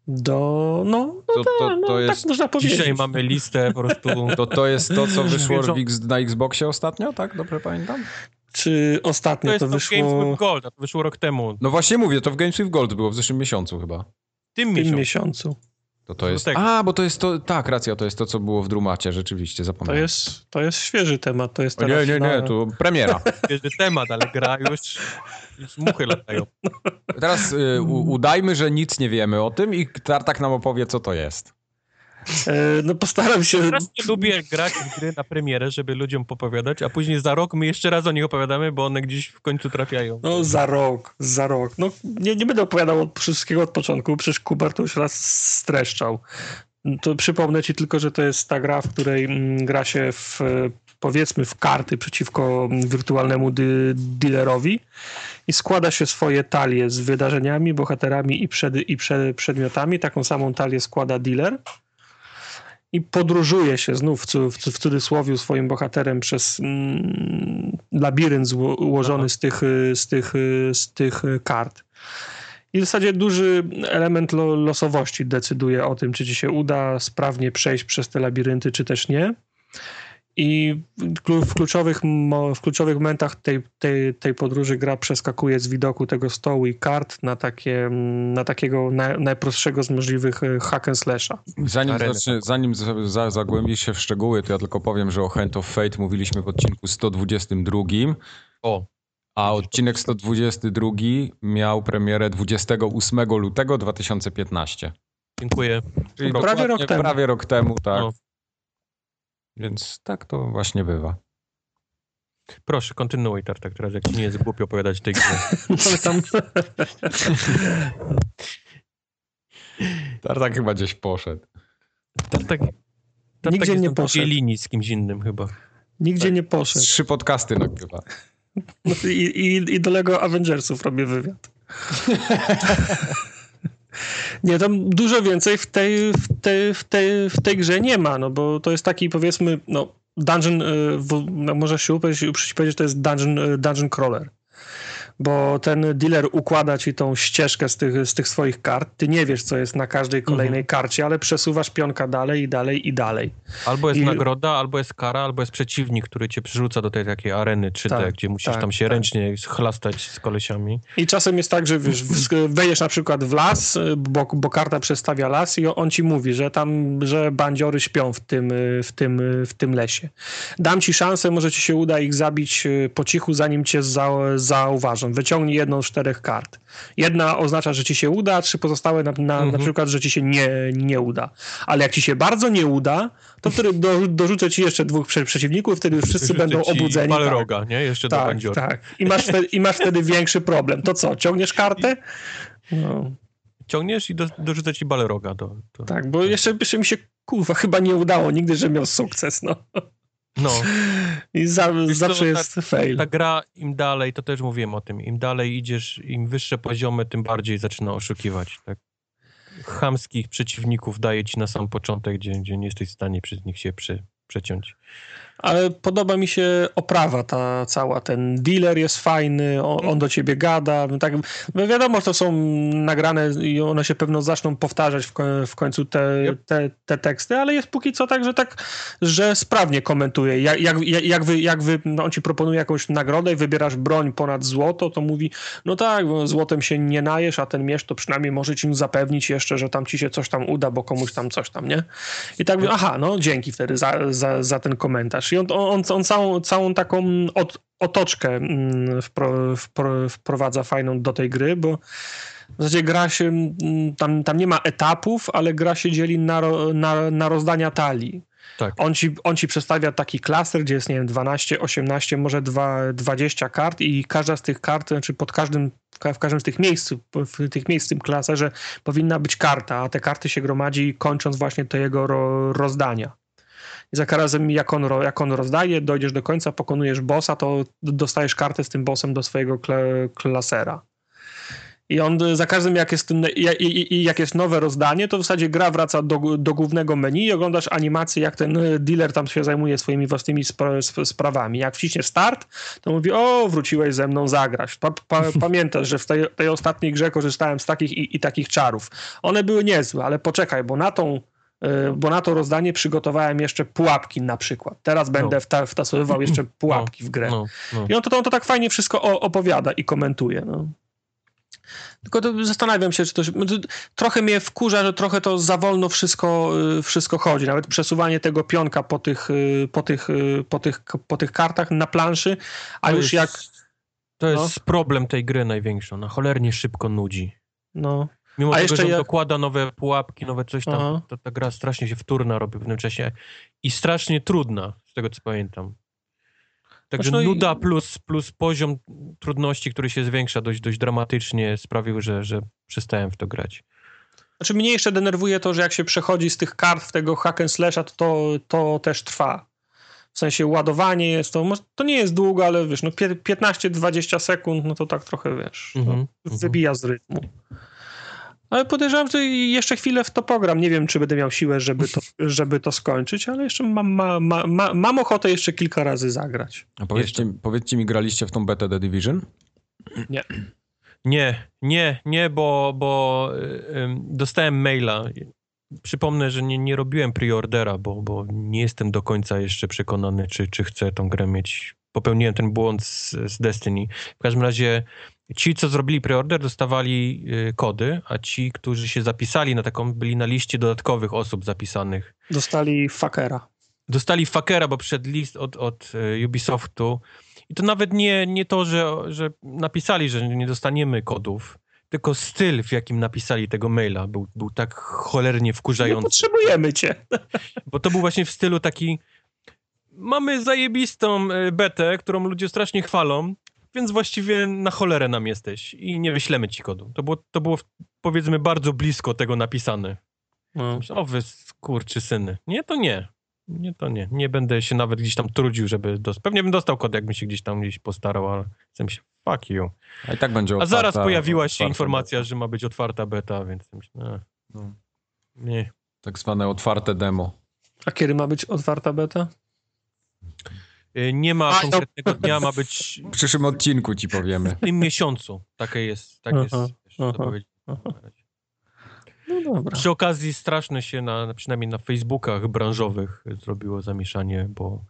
B: Do, no, no,
A: To- to-
B: ta, no
A: to jest-
B: tak można powiedzieć.
C: Dzisiaj mamy listę po prostu.
A: To to jest to, co wyszło
C: Wiedzą-
A: w X, na Xboxie ostatnio, tak? Dobrze pamiętam?
B: Czy
C: To
B: ostatnio
C: jest
B: to,
C: to Games
B: wyszło
C: with Gold, a to wyszło rok temu.
A: No właśnie mówię, to w Games with Gold było w zeszłym miesiącu chyba.
C: W tym
B: w tym
C: miesiącu.
B: miesiącu?
A: To to jest...
C: tego.
A: A, bo to jest to... Tak, racja, to jest to, co było w Drumacie, rzeczywiście,
B: To
A: zapomniałem.
B: jest, to jest świeży temat. To jest
A: No. O,
B: teraz
A: nie, nie,
B: na-
A: nie, to premiera.
C: Wiesz, temat, ale gra już, już muchy latają.
A: Teraz y, u, udajmy, że nic nie wiemy o tym i Tartak nam opowie, co to jest.
B: E, No postaram się.
C: Strasznie lubię grać w gry na premierę, żeby ludziom popowiadać, a później za rok my jeszcze raz o nich opowiadamy, bo one gdzieś w końcu trafiają.
B: No za rok, za rok. No nie, nie będę opowiadał od wszystkiego od początku, przecież Kubar to już raz streszczał. To przypomnę ci tylko, że to jest ta gra, w której mm, gra się w, e, powiedzmy w karty przeciwko mm, wirtualnemu dy, dealerowi i składa się swoje talie z wydarzeniami, bohaterami i, przed, i prze, przedmiotami. Taką samą talię składa dealer. i podróżuje się znów w, cu- w, cu- w cudzysłowie swoim bohaterem przez mm, labirynt zło, ułożony z tych, y, z, tych, y, z tych y, kart. I w zasadzie duży element lo, losowości decyduje o tym, czy ci się uda sprawnie przejść przez te labirynty, czy też nie. I w klu- w kluczowych, mo- w kluczowych momentach tej, tej, tej podróży gra przeskakuje z widoku tego stołu i kart na, takie, mm, na takiego naj, najprostszego z możliwych y, hack and slasha.
A: Zanim,
C: Arenę.
A: zacznie, zanim za, za, zagłębisz się w szczegóły, to ja tylko powiem, że o Hand of Fate mówiliśmy w odcinku 122,
C: O,
A: a odcinek 122 miał premierę 28 lutego 2015.
C: dziękuję.
A: Czyli
B: Prawie
A: dokładnie
B: rok temu.
A: Prawie rok temu, tak.
C: No.
A: Więc tak to właśnie bywa.
C: Proszę, kontynuuj, Tartak, teraz jak ci nie jest głupio opowiadać tej gry.
B: Mamy tam
A: Tartak chyba gdzieś poszedł.
C: Tartak, Tartak
B: Nigdzie Tak,
C: jest
B: nie
C: na drugiej
B: poszedł.
C: linii z kimś innym chyba.
B: Nigdzie
A: Tak.
B: nie poszedł.
A: Trzy podcasty nagrywa.
B: No I, i, I do Lego Avengersów robię wywiad. Nie, tam dużo więcej w tej, w, tej, w, tej, w tej grze nie ma, no bo to jest taki powiedzmy, no dungeon, y, w, no, może się upewnić, uprzeć powiedzieć, że to jest dungeon, y, dungeon crawler. Bo ten dealer układa ci tą ścieżkę z tych, z tych swoich kart. Ty nie wiesz, co jest na każdej kolejnej karcie, ale przesuwasz pionka dalej i dalej i dalej.
C: Albo jest
B: I-
C: nagroda, albo jest kara, albo jest przeciwnik, który cię przerzuca do tej takiej areny 3D,
B: Tak,
C: gdzie musisz
B: tak,
C: tam się
B: tak.
C: ręcznie schlastać z kolesiami.
B: I czasem jest tak, że wiesz, w- wejdziesz na przykład w las, y, bo, bo karta przestawia las i o- on ci mówi, że tam, że bandziory śpią w tym, y, w tym, y, w tym lesie. Dam ci szansę, może ci się uda ich zabić y, po cichu, zanim cię za, zauważą. tam wyciągnij jedną z czterech kart. Jedna oznacza, że ci się uda, trzy pozostałe na, na, na
C: Mhm.
B: przykład, że ci się nie, nie uda. Ale jak ci się bardzo nie uda, to wtedy do, dorzucę ci jeszcze dwóch prze, przeciwników, wtedy już wszyscy
C: Rzucę
B: będą
C: ci
B: obudzeni.
C: Parę
B: tak.
C: roga, nie? Jeszcze do
B: Tak,
C: bandziora.
B: tak. I masz, wtedy, I masz wtedy większy problem. To co, ciągniesz kartę? No,
C: Ciągniesz i do, dorzucę ci baleroga. Do, do...
B: tak, bo jeszcze, jeszcze mi się kurwa chyba nie udało nigdy, że miał sukces, no.
C: No,
B: I za,
C: Wiesz co, no tak,
B: zawsze jest fail.
C: ta gra im dalej, to też mówiłem o tym, im dalej idziesz, im wyższe poziomy, tym bardziej zaczyna oszukiwać. Tak? Chamskich przeciwników daje ci na sam początek, gdzie, gdzie nie jesteś w stanie przez nich się przy, przeciąć.
B: Ale podoba mi się oprawa ta cała. Ten dealer jest fajny, on, on do ciebie gada. Tak, wi- wiadomo, że to są nagrane i one się pewno zaczną powtarzać w, ko- w końcu te,
C: Yep.
B: te, te teksty, ale jest póki co tak, że tak, że sprawnie komentuje. Jak, jak, jak, jak wy, jak wy, no on ci proponuje jakąś nagrodę i wybierasz broń ponad złoto, to mówi, no tak, bo złotem się nie najesz, a ten miecz to przynajmniej może ci zapewnić jeszcze, że tam ci się coś tam uda, bo komuś tam coś tam, nie? I tak, aha, no dzięki wtedy za, za, za ten komentarz. I on, on, on całą, całą taką ot, otoczkę mm, wpro, wpro, wprowadza fajną do tej gry, bo w zasadzie gra się, mm, tam, tam nie ma etapów, ale gra się dzieli na, ro- na, na rozdania talii.
C: Tak.
B: On ci, on ci przedstawia taki klaster, gdzie jest, nie wiem, 12, 18, może dwa- 20 kart i każda z tych kart, znaczy pod każdym, w każdym z tych miejsc, w tych miejsc w tym klaserze powinna być karta, a te karty się gromadzi kończąc właśnie to jego ro, rozdania. I za razem jak on, ro, jak on rozdaje, dojdziesz do końca, pokonujesz bossa, to d- dostajesz kartę z tym bossem do swojego kla, klasera. I on y, za każdym, jak jest, n- i- i- i- jak jest nowe rozdanie, to w zasadzie gra wraca do, g- do głównego menu i oglądasz animację, jak ten y, dealer tam się zajmuje swoimi własnymi spra- sp- sprawami. Jak wciśniesz start, to mówi, o, wróciłeś ze mną zagrać. Pa, pa, pamiętasz, że w tej, tej ostatniej grze korzystałem z takich i, i takich czarów. One były niezłe, ale poczekaj, bo na tą y, bo na to rozdanie przygotowałem jeszcze pułapki na przykład. Teraz będę wta, wtasowywał jeszcze pułapki w grę.
C: No, no.
B: I on to, on to tak fajnie wszystko o, opowiada i komentuje. No. Tylko to zastanawiam się, czy to, się- no to trochę mnie wkurza, że trochę to za wolno wszystko, y, wszystko chodzi. Nawet przesuwanie tego pionka po tych, y, po tych, y, po tych, po tych kartach na planszy, a
C: To
B: już
C: jest-
B: jak.
C: To
B: no.
C: jest problem tej gry największy. Ona cholernie szybko nudzi.
B: No,
C: Mimo
B: A
C: tego,
B: jeszcze
C: że on
B: ja-
C: dokłada nowe pułapki, nowe coś
B: Aha.
C: tam, to ta gra strasznie się wtórna robi w pewnym czasie i strasznie trudna, z tego co pamiętam. Także
B: Zresztą Znaczy, no i-
C: nuda plus, plus poziom trudności, który się zwiększa dość, dość dramatycznie, sprawił, że, że przestałem w to grać.
B: Znaczy mnie jeszcze denerwuje to, że jak się przechodzi z tych kart w tego hack and slasha, to, to, to też trwa. W sensie ładowanie jest to, może- to nie jest długo, ale wiesz, no pie- 15-20 sekund, no to tak trochę wiesz,
C: Mhm,
B: no,
C: mhm.
B: wybija z rytmu. Ale podejrzewam, że jeszcze chwilę w to pogram. Nie wiem, czy będę miał siłę, żeby to, żeby to skończyć, ale jeszcze mam, ma, ma, ma, mam ochotę jeszcze kilka razy zagrać.
A: A powiedzcie, powiedzcie mi, graliście w tą betę The Division?
C: Nie, nie, nie, bo, bo y, ym, dostałem maila. Przypomnę, że nie, nie robiłem preordera, bo, bo nie jestem do końca jeszcze przekonany, czy, czy chcę tą grę mieć. Popełniłem ten błąd z, z Destiny. W każdym razie ci, co zrobili preorder, dostawali y, kody, a ci, którzy się zapisali na taką, byli na liście dodatkowych osób zapisanych
B: Dostali fuckera.
C: dostali fakera, bo przyszedł list od, od e, Ubisoftu. I to nawet nie, nie to, że, że napisali, że nie dostaniemy kodów, tylko styl, w jakim napisali tego maila, był, był tak cholernie
B: Nie
C: wkurzający.
B: No potrzebujemy cię.
C: Bo to był właśnie w stylu taki. Mamy zajebistą e, betę, którą ludzie strasznie chwalą, więc właściwie na cholerę nam jesteś i nie wyślemy ci kodu. To było, to było powiedzmy bardzo blisko tego napisane. Myślę, O wy kurczy syny. Nie, to nie. Nie, to nie. Nie będę się nawet gdzieś tam trudził, żeby... Dos- Pewnie bym dostał kod, jakbym się gdzieś tam gdzieś postarał, ale chcę się... Fuck you.
A: A i tak będzie
C: A
A: otwarta,
C: zaraz pojawiła się
A: otwarta
C: informacja,
A: beta.
C: że ma być otwarta beta, więc myślę... A,
A: No.
C: Nie.
A: Tak zwane otwarte demo.
B: A kiedy ma być otwarta beta?
C: Y, Nie ma
B: A, no.
C: konkretnego dnia, ma być
A: W przyszłym odcinku ci powiemy.
C: w tym miesiącu. Takie jest, tak jest
B: Aha,
C: wiesz,
B: aha,
C: zapowiedź.
B: aha. No dobra.
C: Przy okazji straszne się na, na- przynajmniej na Facebookach branżowych zrobiło zamieszanie, bo,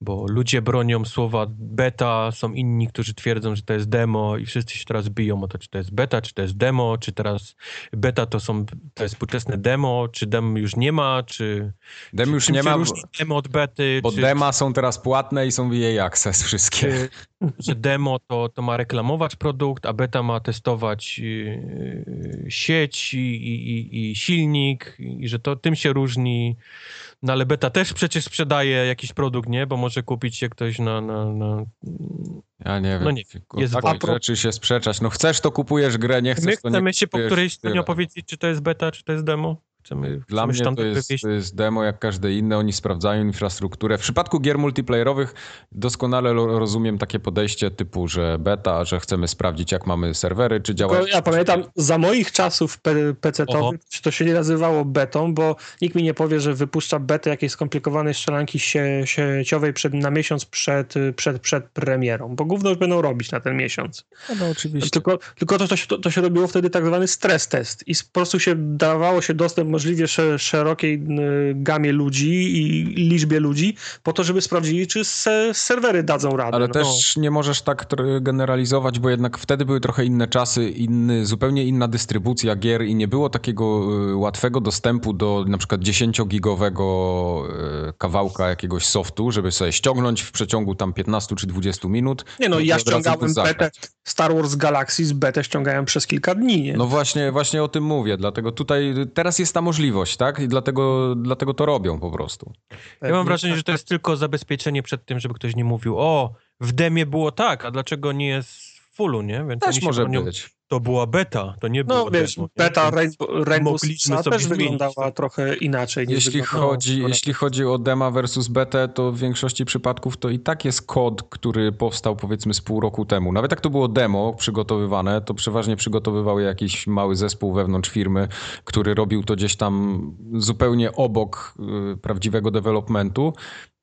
C: bo ludzie bronią słowa beta, są inni, którzy twierdzą, że to jest demo i wszyscy się teraz biją o to, czy to jest beta, czy to jest demo, czy teraz beta to są, to jest współczesne demo, czy demo już nie ma, czy
A: Dem
C: czy
A: już
C: czym
A: nie
C: się
A: ma, bo,
C: różni demo od bety,
A: bo
C: czy,
A: dema są teraz płatne i są w jej access wszystkie.
C: czy, że demo to, to ma reklamować produkt, a beta ma testować yy, sieć i, i, i- i silnik i że to tym się różni. No ale beta też przecież sprzedaje jakiś produkt, nie? Bo może kupić się ktoś na... na, na...
A: Ja nie wiem.
C: No nie,
A: o
C: jest
A: takich
C: wojna.
A: rzeczy się sprzeczać. No chcesz, to kupujesz grę, nie
C: My
A: chcesz, Tak, to nie
C: chcemy się po
A: kupujesz,
C: którejś stronie
A: tyle.
C: opowiedzieć, czy to jest beta, czy to jest demo? Chcemy,
A: Dla
C: chcemy się
A: mnie
C: tam
A: to
C: tak
A: jest,
C: wywieźć?
A: to jest demo jak każde inne, oni sprawdzają infrastrukturę. W przypadku gier multiplayerowych doskonale lo- rozumiem takie podejście typu, że beta, że chcemy sprawdzić jak mamy serwery, czy działa.
B: Tylko ja pamiętam, za moich czasów pe-
C: Oho.
B: PC-towych to się nie nazywało betą, bo nikt mi nie powie, że wypuszcza betę jakiejś skomplikowanej strzelanki sie, sieciowej przed, na miesiąc przed, przed, przed premierą, bo gówno już będą robić na ten miesiąc.
A: No oczywiście.
B: Znaczy, Tylko, tylko to, to, się, to, to się robiło wtedy tak zwany stres test i po prostu się dawało się dostęp możliwie sze- szerokiej y, gamie ludzi i liczbie ludzi po to, żeby sprawdzili, czy se, serwery dadzą radę.
A: Ale
B: no.
A: też nie możesz tak tr- generalizować, bo jednak wtedy były trochę inne czasy, inny, zupełnie inna dystrybucja gier i nie było takiego y, łatwego dostępu do na przykład 10-gigowego y, kawałka jakiegoś softu, żeby sobie ściągnąć w przeciągu tam 15 czy 20 minut.
B: Nie no,
A: i
B: ja
A: od razu
B: ściągałem
A: zagrać.
B: betę Star Wars Galaxy z betę ściągałem przez kilka dni, nie?
A: No właśnie, właśnie o tym mówię, dlatego tutaj teraz jest ta możliwość, tak? I dlatego, dlatego to robią po prostu.
C: Ja mam wrażenie,
A: tak.
C: że to jest tylko zabezpieczenie przed tym, żeby ktoś nie mówił, o, w demie było tak, a dlaczego nie jest w fullu, nie? Więc oni
A: Też
C: się
A: może
C: bronią,
A: być.
C: To była beta, to nie było
B: No wiesz,
C: demo, nie?
B: beta
C: Więc-
B: Rainbow, Rainbow
C: mogliśmy
B: Sixa
C: sobie
B: też
C: zmienić,
B: wyglądała
C: tak.
B: trochę inaczej. niż
A: Jeśli
B: wyglądała
A: chodzi,
B: ona.
A: jeśli chodzi o dema versus betę, to w większości przypadków to i tak jest kod, który powstał powiedzmy z pół roku temu. Nawet jak to było demo przygotowywane, to przeważnie przygotowywał je jakiś mały zespół wewnątrz firmy, który robił to gdzieś tam zupełnie obok y, prawdziwego developmentu.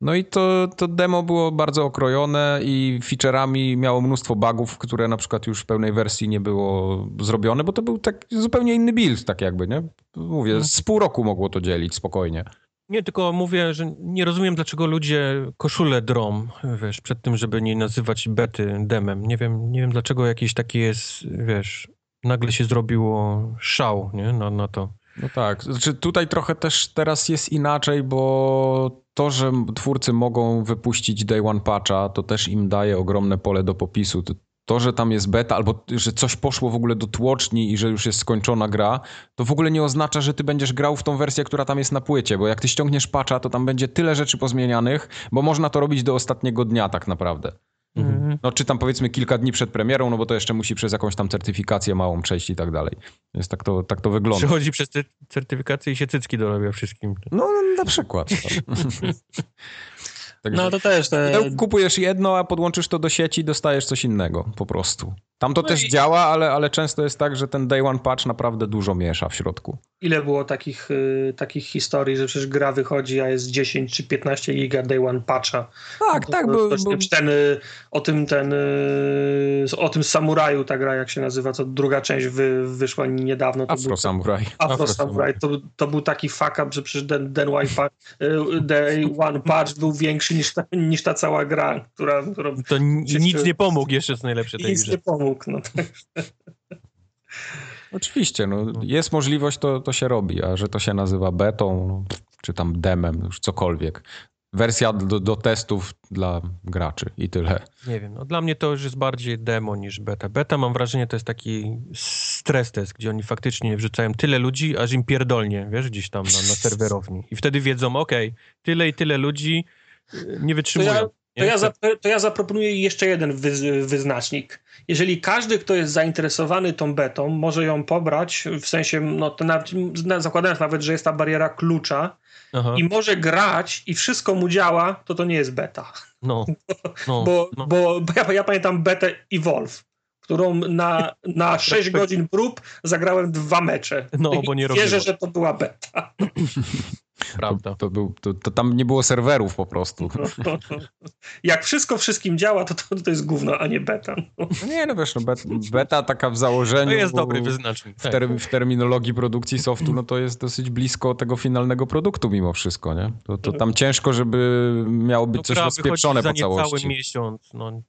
A: No i to, to demo było bardzo okrojone i featureami miało mnóstwo bugów, które na przykład już w pełnej wersji nie było zrobione, bo to był tak zupełnie inny build, tak jakby, nie? Mówię, z pół roku mogło to dzielić spokojnie.
C: Nie, tylko mówię, że nie rozumiem, dlaczego ludzie koszulę drą, wiesz, przed tym, żeby nie nazywać bety demem. Nie wiem, nie wiem dlaczego jakiś taki jest, wiesz, nagle się zrobiło szał, nie, na, na to.
A: No tak, znaczy tutaj trochę też teraz jest inaczej, bo to, że twórcy mogą wypuścić Day One Patcha, to też im daje ogromne pole do popisu. To, to, że tam jest beta, albo że coś poszło w ogóle do tłoczni i że już jest skończona gra, to w ogóle nie oznacza, że ty będziesz grał w tą wersję, która tam jest na płycie, bo jak ty ściągniesz patcha, to tam będzie tyle rzeczy pozmienianych, bo można to robić do ostatniego dnia tak naprawdę.
C: Mhm.
A: No, czy tam powiedzmy kilka dni przed premierą, no bo to jeszcze musi przez jakąś tam certyfikację małą przejść i tak dalej. Więc tak to, tak to wygląda.
C: Przychodzi przez te certyfikacje i się cycki dorabia wszystkim.
A: No, na przykład. Także
B: No to też te...
A: pudełko kupujesz jedno, a podłączysz to do sieci i dostajesz coś innego po prostu. Tam to
B: No
A: też
B: i-
A: działa, ale, ale często jest tak, że ten day one patch naprawdę dużo miesza w środku.
B: ile było takich, y, takich historii, że przecież gra wychodzi, a jest 10 czy 15 giga day one patcha.
A: Tak,
B: No To-
A: tak,
B: to-
A: bo,
B: to-
A: bo
B: Ten, y, o tym ten, y, o tym samuraju ta gra, jak się nazywa, co druga część wy, wyszła niedawno. To był
A: Afro Samurai.
B: Afro
C: Samurai.
B: Samurai. To, to był taki fuck up, że przecież ten, ten one patch, y, Day One Patch był większy niż ta, niż ta cała gra, która która
C: To n-
B: Wszyscy-
C: nic nie pomógł jeszcze z najlepszej tej
B: nic
C: grze.
B: nie pomógł. No, tak.
A: Oczywiście, no, jest możliwość, to, to się robi, a że to się nazywa betą, no, czy tam demem, no, już cokolwiek. Wersja do, do testów dla graczy i tyle.
C: Nie wiem, no dla mnie to już jest bardziej demo niż beta. Beta mam wrażenie to jest taki stres test, gdzie oni faktycznie wrzucają tyle ludzi, aż im pierdolnie, wiesz, gdzieś tam na, na serwerowni. I wtedy wiedzą, okej, tyle i tyle ludzi y, nie wytrzymują.
B: To ja-
C: nie?
B: To ja, za, to ja zaproponuję jeszcze jeden wyz- wyznacznik. Jeżeli każdy, kto jest zainteresowany tą betą, może ją pobrać, w sensie, no to nawet, na, zakładając nawet, że jest ta bariera klucza
C: Aha,
B: i może grać i wszystko mu działa, to to nie jest beta.
C: no, no,
B: bo,
C: no.
B: bo, bo ja, ja pamiętam betę Evolve, którą na, na 6 godzin prób zagrałem dwa mecze.
C: No,
B: I
C: bo nie
B: Wierzę,
C: robiło.
B: że to była beta.
C: Prawda.
A: To, to, był, to, to tam nie było serwerów po prostu.
B: Jak wszystko wszystkim działa, to to, to jest gówno, a nie beta.
A: Nie, no wiesz, no bet, beta taka w
C: To
A: założeniu.
C: jest dobry wyznacznik.
A: w,
C: Tak.
A: term, w terminologii produkcji softu, no to jest dosyć blisko tego finalnego produktu mimo wszystko, nie? To, to tam ciężko, żeby miało być
C: No,
A: coś
C: gra wychodzi
A: rozpieprzone
C: za
A: po
C: niecały
A: całości.
C: miesiąc. No,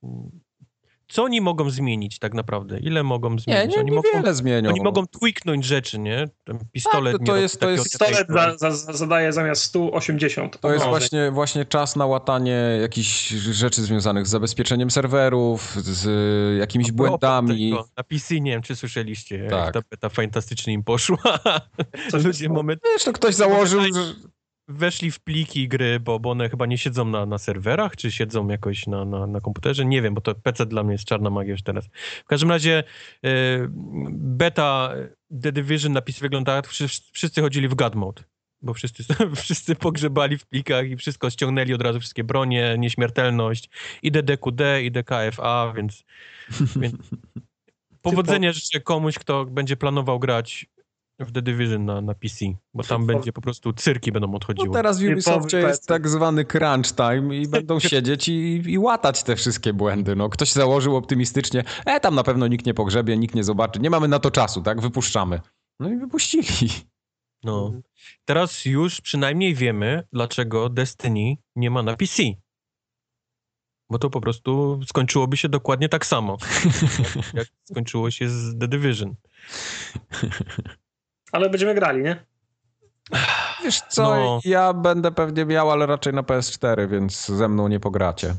C: co oni mogą zmienić tak naprawdę? Ile mogą
A: Nie,
C: zmienić?
A: nie,
C: oni,
A: nie
C: mogą,
A: wiele zmienią. no.
C: oni mogą tweaknąć rzeczy, nie? Ten pistolet
A: to- Tak, to
C: nie robi
A: jest- to jest-
C: takiego
B: Pistolet za, za, za, zadaje zamiast No. 180.
A: To jest
B: obrażeń.
A: właśnie, właśnie czas na łatanie jakichś rzeczy związanych z zabezpieczeniem serwerów, z y, jakimiś
C: propos
A: błędami.
C: tego, Na PC nie wiem, czy słyszeliście,
A: Tak.
C: jak ta beta fantastycznie im poszła.
B: Coś
C: Ludzie
B: tam-
C: moment
A: Wiesz, to ktoś założył,
C: Tutaj-
A: że...
C: weszli w pliki gry, bo, bo one chyba nie siedzą na, na serwerach, czy siedzą jakoś na, na, na komputerze. Nie wiem, bo to PC dla mnie jest czarna magia już teraz. W każdym razie e, beta The Division napis wygląda, wszyscy, wszyscy chodzili w God Mode. Bo wszyscy, wszyscy pogrzebali w plikach i wszystko ściągnęli od razu, wszystkie bronie, nieśmiertelność, i DDQD, i DKFA, więc, więc powodzenie życzę komuś, kto będzie planował grać w The Division na, na PC, bo tam
B: Typowy-
C: będzie po prostu cyrki będą
A: No
C: odchodziły.
A: teraz w
B: Typowy
A: Ubisoftie jest
B: PC.
A: tak zwany crunch time i będą siedzieć i, i łatać te wszystkie błędy. No, ktoś założył optymistycznie, e, tam na pewno nikt nie pogrzebie, nikt nie zobaczy, nie mamy na to czasu, tak? Wypuszczamy. No i wypuścili.
C: No.
B: Mhm.
C: Teraz już przynajmniej wiemy, dlaczego Destiny nie ma na PC. Bo to po prostu skończyłoby się dokładnie tak samo, jak, jak skończyło się z The Division.
B: Ale będziemy grali, nie?
A: Wiesz co,
C: No.
A: ja będę pewnie miał, ale raczej na PS4, więc ze mną nie pogracie.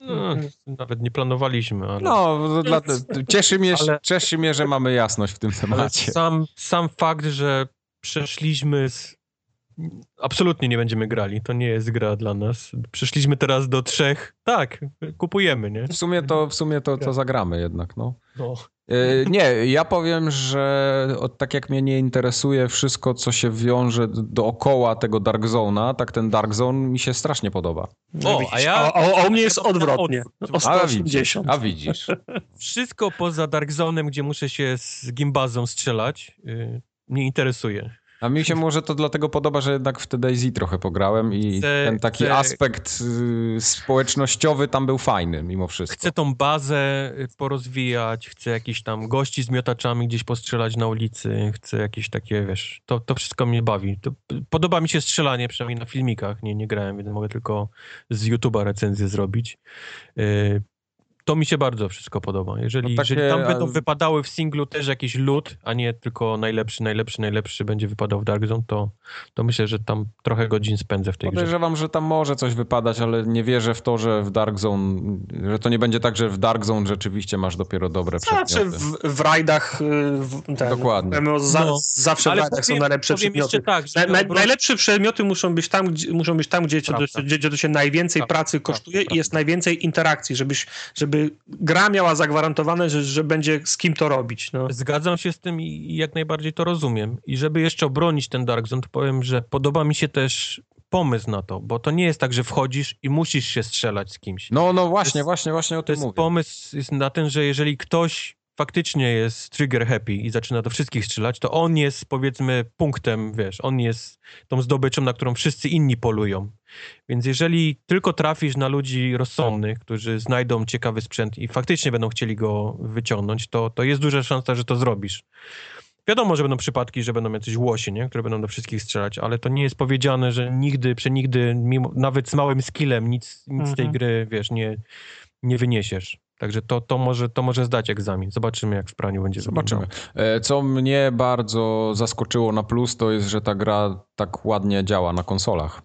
C: No,
B: Mhm.
C: Nawet nie planowaliśmy, ale...
A: Mm. No, dla, cieszy, mnie,
C: Ale-
A: cieszy mnie, że mamy jasność w tym
C: Ale
A: temacie.
C: sam, sam fakt, że przeszliśmy z... Absolutnie nie będziemy grali, to nie jest gra dla nas. Przeszliśmy teraz do trzech. Tak, kupujemy, nie?
A: W sumie to, w sumie to, to zagramy jednak, no.
C: No.
A: E, Nie, ja powiem, że o- tak jak mnie nie interesuje wszystko, co się wiąże d- dookoła tego Dark Zona, tak ten Dark Zone mi się strasznie podoba.
B: No
C: O,
B: widzisz,
C: a ja-
B: a, a, a u mnie jest
C: ja mam
B: odwrotnie.
C: odwrót.
B: O
A: A widzisz,
B: 180.
A: a widzisz.
C: Wszystko poza Dark Zone'em, gdzie muszę się z gimbazą strzelać, yy, mnie interesuje.
A: A mi się może to dlatego podoba, że jednak w TDZ trochę pograłem i
C: Chcę-
A: ten taki
C: chcę-
A: aspekt y, społecznościowy tam był fajny mimo wszystko.
C: Chcę tą bazę y, porozwijać, chcę jakiś tam gości z miotaczami gdzieś postrzelać na ulicy, chcę jakieś takie, wiesz, to, to wszystko mnie bawi. To, podoba mi się strzelanie, przynajmniej na filmikach, nie, nie grałem, więc mogę tylko z YouTube'a recenzję zrobić. Yy, to mi się bardzo wszystko podoba. Jeżeli,
A: No takie-
C: jeżeli tam będą
A: a-
C: wypadały w singlu też jakiś lód, a nie tylko najlepszy, najlepszy, najlepszy będzie wypadał w Dark Zone, to, to myślę, że tam trochę godzin spędzę w tej grze.
A: Podejrzewam, że tam może coś wypadać, ale nie wierzę w to, że w Dark Zone, że to nie będzie tak, że w Dark Zone rzeczywiście masz dopiero dobre
B: Znaczy
A: przedmioty.
B: w, w rajdach y, w, ten,
A: Dokładnie.
B: MMO za,
C: No.
B: zawsze w rajdach tak są najlepsze
C: powiem jeszcze
B: przedmioty.
C: tak,
B: Na,
C: że
B: na,
C: obro-
B: Najlepsze przedmioty muszą być tam, gdzie, muszą być tam, gdzie,
C: Prawda.
B: gdzie, gdzie to się najwięcej
C: Prawda,
B: pracy
C: prawda,
B: kosztuje
C: prawda.
B: i jest najwięcej interakcji, żebyś, żeby gra miała zagwarantowane, że, że będzie z kim to robić. No.
C: Zgadzam się z tym i- i jak najbardziej to rozumiem. I żeby jeszcze obronić ten Dark Zone, to powiem, że podoba mi się też pomysł na to, bo to nie jest tak, że wchodzisz i musisz się strzelać z kimś.
A: No, no właśnie,
C: jest-
A: właśnie, właśnie o
C: to
A: tym
C: jest
A: mówię.
C: pomysł jest na ten, że jeżeli ktoś faktycznie jest trigger happy i zaczyna do wszystkich strzelać, to on jest powiedzmy punktem, wiesz, on jest tą zdobyczą, na którą wszyscy inni polują. Więc jeżeli tylko trafisz na ludzi rozsądnych,
A: Tak.
C: którzy znajdą ciekawy sprzęt i faktycznie będą chcieli go wyciągnąć, to, to jest duża szansa, że to zrobisz. Wiadomo, że będą przypadki, że będą jacyś łosie, nie? które będą do wszystkich strzelać, ale to nie jest powiedziane, że nigdy, przenigdy, mimo, nawet z małym skillem nic, nic z tej
B: Mhm.
C: gry, wiesz, nie, nie wyniesiesz. Także to, to, może, to może zdać egzamin. Zobaczymy, jak w praniu będzie
A: Zobaczymy.
C: wyglądało.
A: E, Co mnie bardzo zaskoczyło na plus, to jest, że ta gra tak ładnie działa na konsolach.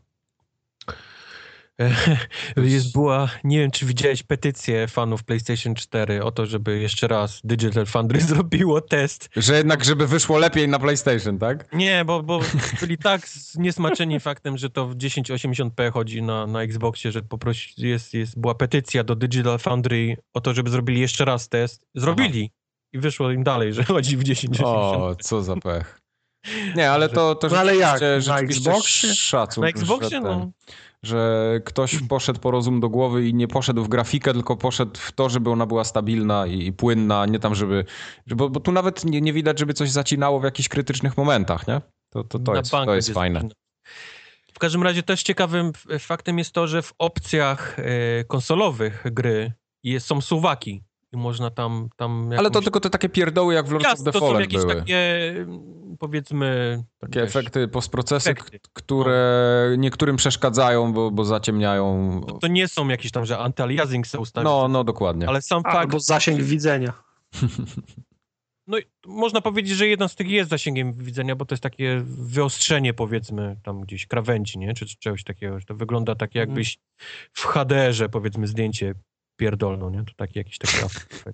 C: E, Jest była, nie wiem, czy widziałeś petycję fanów PlayStation 4 o to, żeby jeszcze raz Digital Foundry zrobiło test.
A: Że jednak, żeby wyszło lepiej na PlayStation, tak?
C: Nie, bo, bo byli tak zniesmaczeni faktem, że to w 1080p chodzi na, na Xboxie, że poprosi, jest, jest, była petycja do Digital Foundry o to, żeby zrobili jeszcze raz test. Zrobili. I wyszło im dalej, że chodzi w 1080p.
A: O, co za pech. Nie, ale to, to
B: No ale jak? Na
A: rzeczywiście
B: Xboxie?
A: szacun,
C: tak, na
A: że,
C: Xboxie,
A: ten,
C: no.
A: że ktoś poszedł po rozum do głowy i nie poszedł w grafikę, tylko poszedł w to, żeby ona była stabilna i, i płynna, nie tam, żeby... że- Bo, bo tu nawet nie, nie widać, żeby coś zacinało w jakichś krytycznych momentach, nie? To, to, to,
C: Na
A: jest,
C: bank
A: to jest
C: będzie
A: fajne.
C: zaczynał. W każdym razie też ciekawym f- faktem jest to, że w opcjach e, konsolowych gry jest, są suwaki. i można tam... tam
A: Ale to
C: jakąś-
A: tylko te takie pierdoły jak w Lords
C: Jasne,
A: of the
C: to są
A: Fallen
C: jakieś
A: były. Takie,
C: takie, mm, powiedzmy... wiesz,
A: efekty, postprocesy, k-
C: efekty. no.
A: które niektórym przeszkadzają, bo, bo zaciemniają.
C: To, to nie są jakieś tam, że anti-aliasing se ustawić,
A: No, no, dokładnie.
C: ale tak, sam fakt...
B: Albo zasięg widzenia.
C: No i można powiedzieć, że jedna z tych jest zasięgiem widzenia, bo to jest takie wyostrzenie powiedzmy tam gdzieś krawędzi, nie? Czy, czy czegoś takiego, że to wygląda takie
B: Mhm.
C: jakbyś w HDR-ze powiedzmy zdjęcie pierdolną, nie? To taki jakiś taki efekt.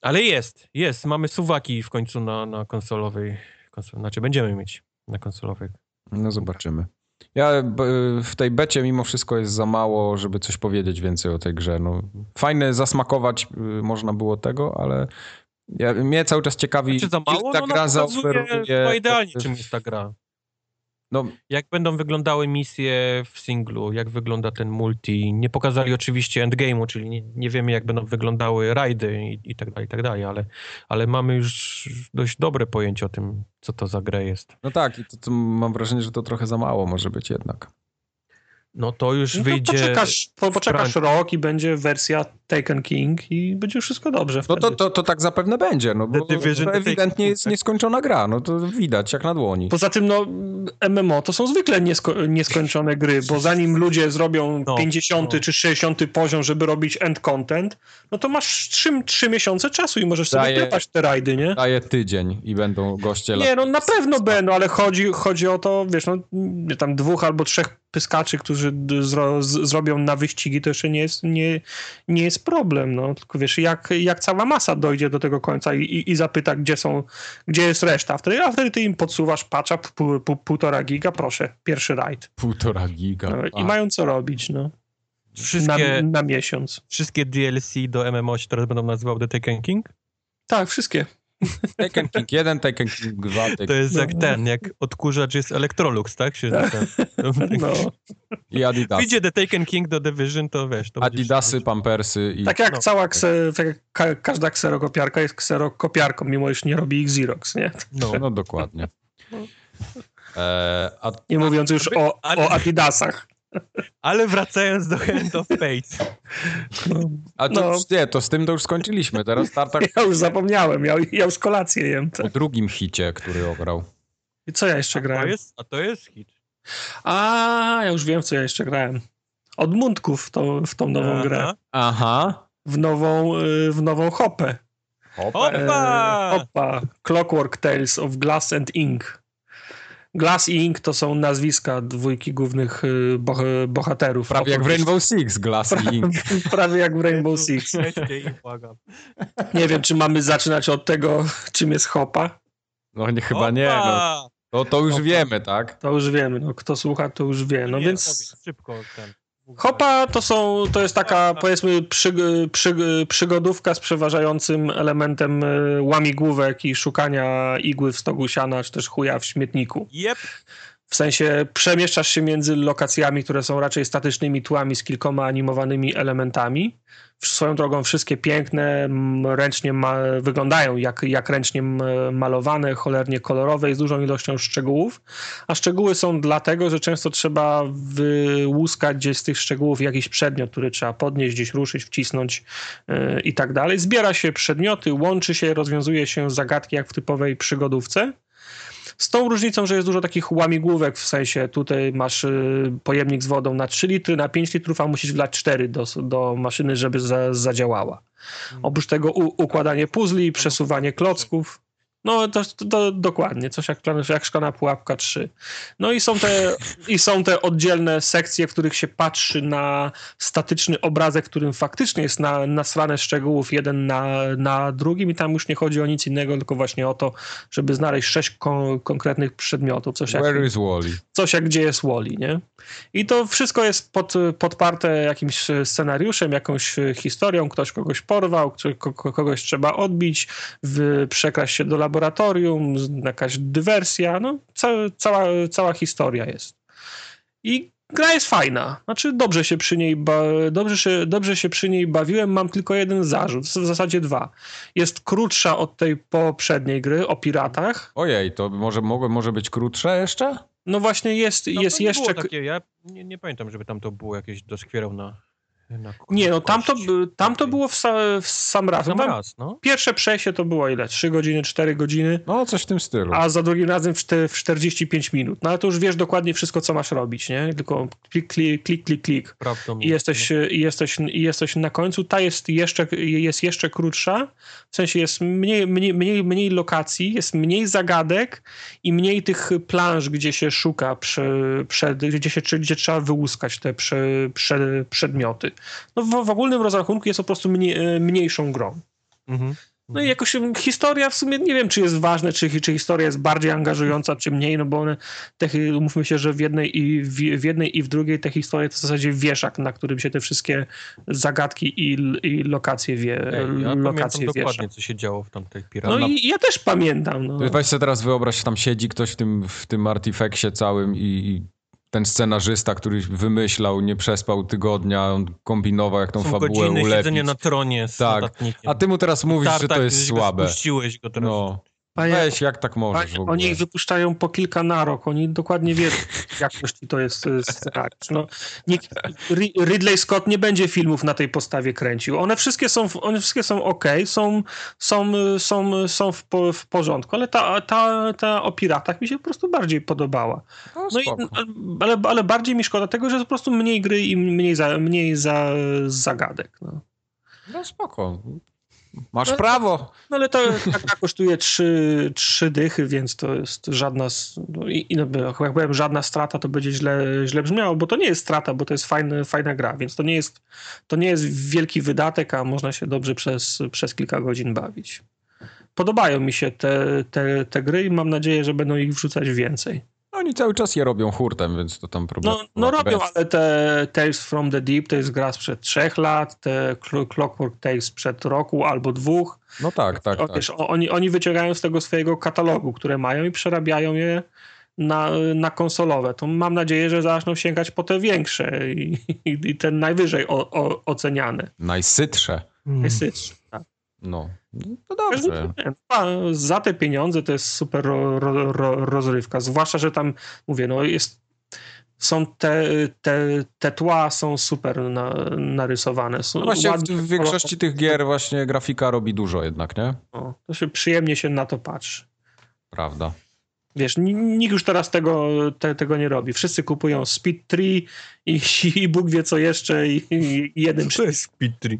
C: Ale jest, jest. Mamy suwaki w końcu na, na konsolowej, konsol, znaczy będziemy mieć na konsolowej.
A: No
C: Tak.
A: zobaczymy. Ja b- w tej becie mimo wszystko jest za mało, żeby coś powiedzieć więcej o tej grze. No, fajne zasmakować y, można było tego, ale ja, mnie cały czas ciekawi,
C: Czy za
A: ta
C: mało?
A: tak
C: No,
A: gra
C: no, pokazuje chyba
A: zaoferuje...
C: idealnie, czym jest ta gra.
A: No,
C: Jak będą wyglądały misje w singlu, jak wygląda ten multi. Nie pokazali oczywiście endgame'u, czyli nie, nie wiemy jak będą wyglądały rajdy i, i tak dalej, i tak dalej, ale, ale mamy już dość dobre pojęcie o tym, co to za gra jest.
A: no tak, i to, to mam wrażenie, że to trochę za mało może być jednak.
C: No to już
B: No to
C: wyjdzie...
B: poczekasz, po,
C: w
B: poczekasz
C: Francji.
B: rok i będzie wersja Taken King i będzie wszystko dobrze
A: No
B: wtedy.
A: to, to, to tak zapewne będzie, no bo
C: The Division,
A: to
C: The
A: ewidentnie
C: Taken,
A: jest
C: tak?
A: nieskończona gra, no to widać jak na dłoni.
B: Poza tym, no, MMO to są zwykle niesko- nieskończone gry, bo zanim ludzie zrobią
C: No,
B: 50
C: no.
B: czy 60 poziom, żeby robić end content, no to masz 3, trzy miesiące czasu i możesz sobie
A: Daję-
B: klepać te rajdy, nie?
A: Daje tydzień i będą goście
B: Nie, no na pewno będą, ale chodzi, chodzi o to, wiesz, no nie, tam dwóch albo trzech pyskaczy, którzy d- zro, z, zrobią na wyścigi, to jeszcze nie jest, nie, nie jest problem, no. Tylko wiesz, jak, jak cała masa dojdzie do tego końca i, i, i zapyta, gdzie są, gdzie jest reszta, a wtedy, a wtedy ty im podsuwasz patcha pół, pół, półtora giga, proszę, pierwszy rajd.
A: Półtora giga.
B: No,
A: A,
B: I mają co robić, no.
C: Wszystkie,
B: Na, na miesiąc.
C: wszystkie DLC do MMO się teraz będą nazywał The Taken King?
B: Tak, wszystkie.
A: Taken King 1, Taken King 2, Taken
C: To jest
B: No.
C: jak ten, jak odkurzacz jest Electrolux, tak? Się
B: No.
A: i Adidas.
C: Wyjdzie The Taken King do Division, to wiesz... To będzie-
A: Adidasy, Pampersy i...
B: Tak jak
C: No.
B: cała kse, tak jak ka, każda kserokopiarka jest kserokopiarką, mimo iż nie robi ich Xerox, nie?
C: No.
A: No dokładnie. E, a
B: Nie mówiąc już o,
C: No, ale-
B: o Adidasach.
C: Ale wracając do Hand of Fate.
A: a to,
B: No.
A: już nie, to z tym to już skończyliśmy. Teraz Tartak
B: Ja już zapomniałem, ja, ja już kolację jem.
A: o drugim hicie, który ograł.
B: I co ja jeszcze
C: A to
B: grałem?
C: jest, a to jest hit.
B: A, ja już wiem, co ja jeszcze grałem. Od Mundków w, tą- w tą nową
C: Aha.
B: grę.
A: Aha.
B: W nową, y, w nową hopę.
A: Hopper.
B: E,
C: Hopa!
B: hopa. Clockwork Tales of Glass and Ink. Glass i Ink to są nazwiska dwójki głównych y, boh bohaterów.
A: Prawie jak w
B: Oprócz-
A: Rainbow Six, Glass i Ink.
B: Prawie jak w Rainbow
C: Jezu,
B: Six.
C: jedźcie i błagam.
B: Nie wiem, czy mamy zaczynać od tego, czym jest hopa.
A: No nie, chyba nie. No.
C: Hopa!
A: To, to już
C: Hopa.
A: wiemy, tak?
B: To już wiemy, no, kto słucha, to już wie. No
C: Nie,
B: więc
C: powiedz, szybko ten.
B: hopa to, są, to jest taka, powiedzmy, przy, przy, przygodówka z przeważającym elementem e, łamigłówek i szukania igły w stogu siana, czy też chuja w śmietniku.
C: Jep,
B: W sensie przemieszczasz się między lokacjami, które są raczej statycznymi tłami z kilkoma animowanymi elementami. W- Swoją drogą wszystkie piękne, m, ręcznie ma, wyglądają jak, jak ręcznie m, malowane, cholernie kolorowe i z dużą ilością szczegółów. A szczegóły są dlatego, że często trzeba wyłuskać gdzieś z tych szczegółów jakiś przedmiot, który trzeba podnieść, gdzieś ruszyć, wcisnąć yy, i tak dalej. Zbiera się przedmioty, łączy się, rozwiązuje się zagadki jak w typowej przygodówce. Z tą różnicą, że jest dużo takich łamigłówek, w sensie tutaj masz y, pojemnik z wodą na 3 litry, na 5 litrów, a musisz wlać 4 do, do maszyny, żeby za, zadziałała. Oprócz tego u, układanie puzli, przesuwanie klocków. No, to, to, to dokładnie, coś jak, plan- jak szklana pułapka 3. No i są, te, i są te oddzielne sekcje, w których się patrzy na statyczny obrazek, w którym faktycznie jest na, nasrane szczegółów jeden na, na drugim i tam już nie chodzi o nic innego, tylko właśnie o to, żeby znaleźć sześć kon- konkretnych przedmiotów, coś jak
A: Where is Wally?
B: coś jak gdzie jest Wally, nie? I to wszystko jest pod, podparte jakimś scenariuszem, jakąś historią, ktoś kogoś porwał, kto- ko- ko- kogoś trzeba odbić, w, przekraść się do laboratorium, z- jakaś dywersja, no ca, cała, cała historia jest. I gra jest fajna, znaczy dobrze się przy niej, ba, dobrze, się, dobrze się przy niej bawiłem, mam tylko jeden zarzut, w zasadzie dwa. Jest krótsza od tej poprzedniej gry o piratach,
A: Ojej, to może, mogło- może być krótsze jeszcze?
B: no właśnie jest,
C: Tam
B: jest
C: to nie było
B: jeszcze...
C: Takie, ja nie, nie pamiętam, żeby tam to było jakieś doskwierał na Na
B: Nie, no
C: kość.
B: tamto, by- tamto było w, sa, w sam raz. No,
C: Sam
B: tam
C: raz, no.
B: Pierwsze przejście to było ile? 3 godziny, 4 godziny,
A: No, coś w tym stylu.
B: a za drugim razem w, czte- w 45 minut. No ale to już wiesz dokładnie wszystko, co masz robić, nie? Tylko klik, klik, klik, klik, klik. I
C: Prawdopodobnie.
B: jesteś, i jesteś, i jesteś na końcu. Ta jest jeszcze, jest jeszcze krótsza, w sensie jest mniej, mniej, mniej, mniej lokacji, jest mniej zagadek i mniej tych planż, gdzie się szuka, przy, przed, gdzie, się, gdzie trzeba wyłuskać te prze, prze, przedmioty. No w, w ogólnym rozrachunku jest po prostu mniej, mniejszą grą.
C: Mhm.
B: No i jakoś em, historia w sumie nie wiem, czy jest ważne, czy, czy historia jest bardziej angażująca, czy mniej, no bo one, te, hi- umówmy się, że w jednej, i w, w jednej i w drugiej te historie to w zasadzie wieszak, na którym się te wszystkie zagadki i, l- i lokacje, wie,
C: Ej, ja pamiętam
B: e, lokacje wiesza.
C: dokładnie, co się działo w tamtych
B: No
C: piranach.
B: i ja też pamiętam. No.
A: Weź sobie teraz wyobraź, tam siedzi ktoś w tym, w tym artifeksie całym i, i ten scenarzysta, który wymyślał, nie przespał tygodnia, on kombinował, jak tą
C: Są
A: fabułę
C: godziny siedzenia
A: ulepić.
C: na tronie z
A: Tak.
C: notatnikiem.
A: A ty mu teraz mówisz, że
C: Tartak,
A: to jest
C: gdzieś go
A: słabe.
C: Spuściłeś go teraz.
A: No.
B: Panie-
A: Weź, jak tak możesz
B: Panie,
A: w ogóle?
B: oni ich wypuszczają po kilka na rok. Oni dokładnie wiedzą, jakości to jest e, scenariusz. No, nikt, Ri- Ridley Scott nie będzie filmów na tej postawie kręcił. One wszystkie są, w- one wszystkie są ok, są, są, e, są, są w, po, w porządku, ale ta, ta, ta o piratach mi się po prostu bardziej podobała.
A: No,
B: No i,
A: spoko.
B: ale, ale bardziej mi szkoda tego, że jest po prostu mniej gry i mniej, za, mniej za, zagadek. No.
A: no spoko. Masz
B: No-
A: prawo.
B: No ale to tak tak kosztuje trzy trzy dychy, więc to jest żadna, s- no i, i no, jak powiem żadna strata, to będzie źle, źle brzmiało, bo to nie jest strata, bo to jest fajny, fajna gra, więc to nie jest, to nie jest wielki wydatek, a można się dobrze przez, przez kilka godzin bawić. Podobają mi się te, te, te gry i mam nadzieję, że będą ich wrzucać więcej.
A: No Oni cały czas je robią hurtem, więc to tam problem.
B: No, no robią,
A: Bez-
B: ale te Tales from the Deep to jest gra sprzed trzech lat, te Cl- Clockwork Tales sprzed roku albo dwóch,
A: No tak, tak,
B: o,
A: tak.
B: wiesz, o- oni, oni wyciągają z tego swojego katalogu, które mają i przerabiają je na, na konsolowe. To mam nadzieję, że zaczną sięgać po te większe i, i, i te najwyżej o, o, oceniane.
A: Najsytsze.
C: Mm.
B: Najsytsze. tak.
A: No. No to
B: Każdy-
A: dobrze.
B: nie, a Za te pieniądze to jest super ro, ro, ro, rozrywka. Zwłaszcza, że tam, mówię, no jest są te, te, te tła są super na, narysowane. Są
A: No właśnie w,
B: ładnie
A: w większości tych gier właśnie grafika robi dużo jednak, nie?
B: kolorowane. no. To się przyjemnie się na to patrzy.
A: Prawda.
B: Wiesz, ni- nikt już teraz tego, te, tego nie robi. Wszyscy kupują Speed 3 i, i Bóg wie co jeszcze i, i jeden
C: To jest speed tree.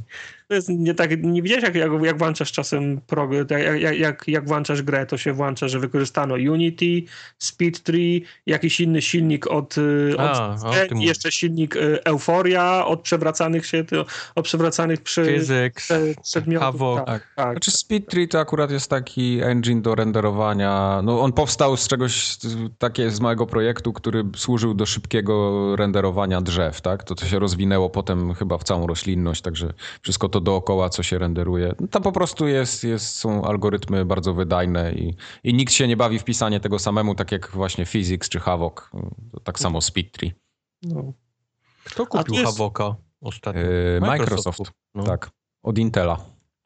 B: to jest nie tak, nie widziałeś jak, jak, jak włączasz czasem prog, jak, jak, jak, jak włączasz grę, to się włącza, że wykorzystano Unity, Speed 3, jakiś inny silnik od, y, od
C: A, o
B: Zen,
C: tym
B: i jeszcze silnik y, Euforia od przewracanych się, ty- od przewracanych przy,
C: Physics,
B: prze- przedmiotów.
C: Havok.
B: tak, tak.
A: Znaczy Speed Tree to akurat jest taki engine do renderowania. No on powstał z czegoś z- takie z małego projektu, który służył do szybkiego renderowania drzew, tak? To to się rozwinęło potem chyba w całą roślinność, także wszystko to dookoła, co się renderuje. No, to po prostu jest, jest, są algorytmy bardzo wydajne i, i nikt się nie bawi w pisanie tego samemu, tak jak właśnie Physics czy Havok. To Tak samo Speed Tree.
B: No.
C: Kto
B: A tu
C: kupił
B: jest-
C: Havoka ostatnio?
A: Yy, Microsoft,
C: Microsoft No.
A: tak. Od Intela.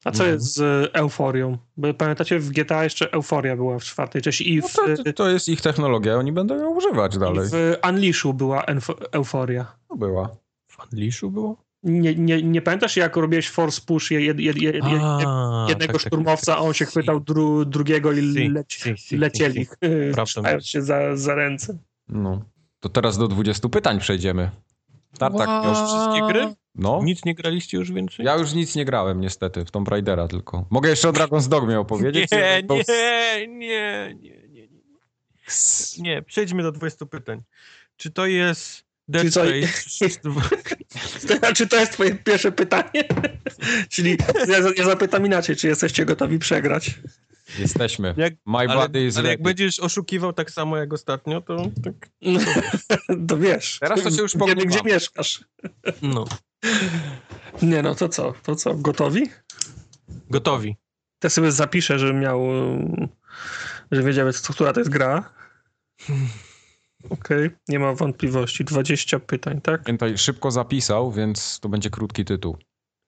B: A co
C: No.
B: jest z e, Euforią? Bo pamiętacie, w GTA jeszcze Euforia była w czwartej części i
A: No
B: w,
A: to, to jest ich technologia, oni będą ją używać dalej.
B: i w Unleashu była Enfo- Euforia.
A: To była.
C: W Unleashu było?
B: Nie, nie, nie pamiętasz, jak robiłeś force push je, je, je, je,
C: A,
B: jednego
C: tak, tak,
B: szturmowca,
C: tak,
B: a on się
C: si,
B: chwytał dru, drugiego i
C: si,
B: leci,
C: si, si, si,
B: lecieli,
C: si.
B: y,
C: Prawda.
B: trzymając się za, za ręce.
A: No. To teraz do 20 pytań przejdziemy. Tartak
C: Wow.
A: już.
C: wszystkie gry?
A: No.
C: Nic nie graliście już więcej?
A: Ja już nic nie grałem niestety w Tomb Raidera tylko. Mogę jeszcze o Dragon's Dogmie opowiedzieć?
C: nie,
A: Bo-
C: nie, nie, nie, nie, nie. Nie, przejdźmy do 20 pytań. Czy to jest Dead
B: Czy co-
C: Space?
B: Czy to jest twoje pierwsze pytanie? Czyli ja, ja zapytam inaczej, czy jesteście gotowi przegrać?
A: Jesteśmy.
C: Jak-
A: My
C: Ale,
A: body is
C: ale jak
A: ready.
C: będziesz oszukiwał tak samo jak ostatnio, to tak...
B: To wiesz.
A: Teraz to się już
B: Wiemy,
A: pognywam.
B: gdzie mieszkasz.
C: No.
B: Nie no, to co? To co? Gotowi?
C: Gotowi.
B: Ja sobie zapiszę, żebym miał, y, że wiedziałem, co, która to jest gra. Okej, nie ma wątpliwości. 20 pytań, tak?
A: Pamiętaj, szybko zapisał, więc to będzie krótki tytuł.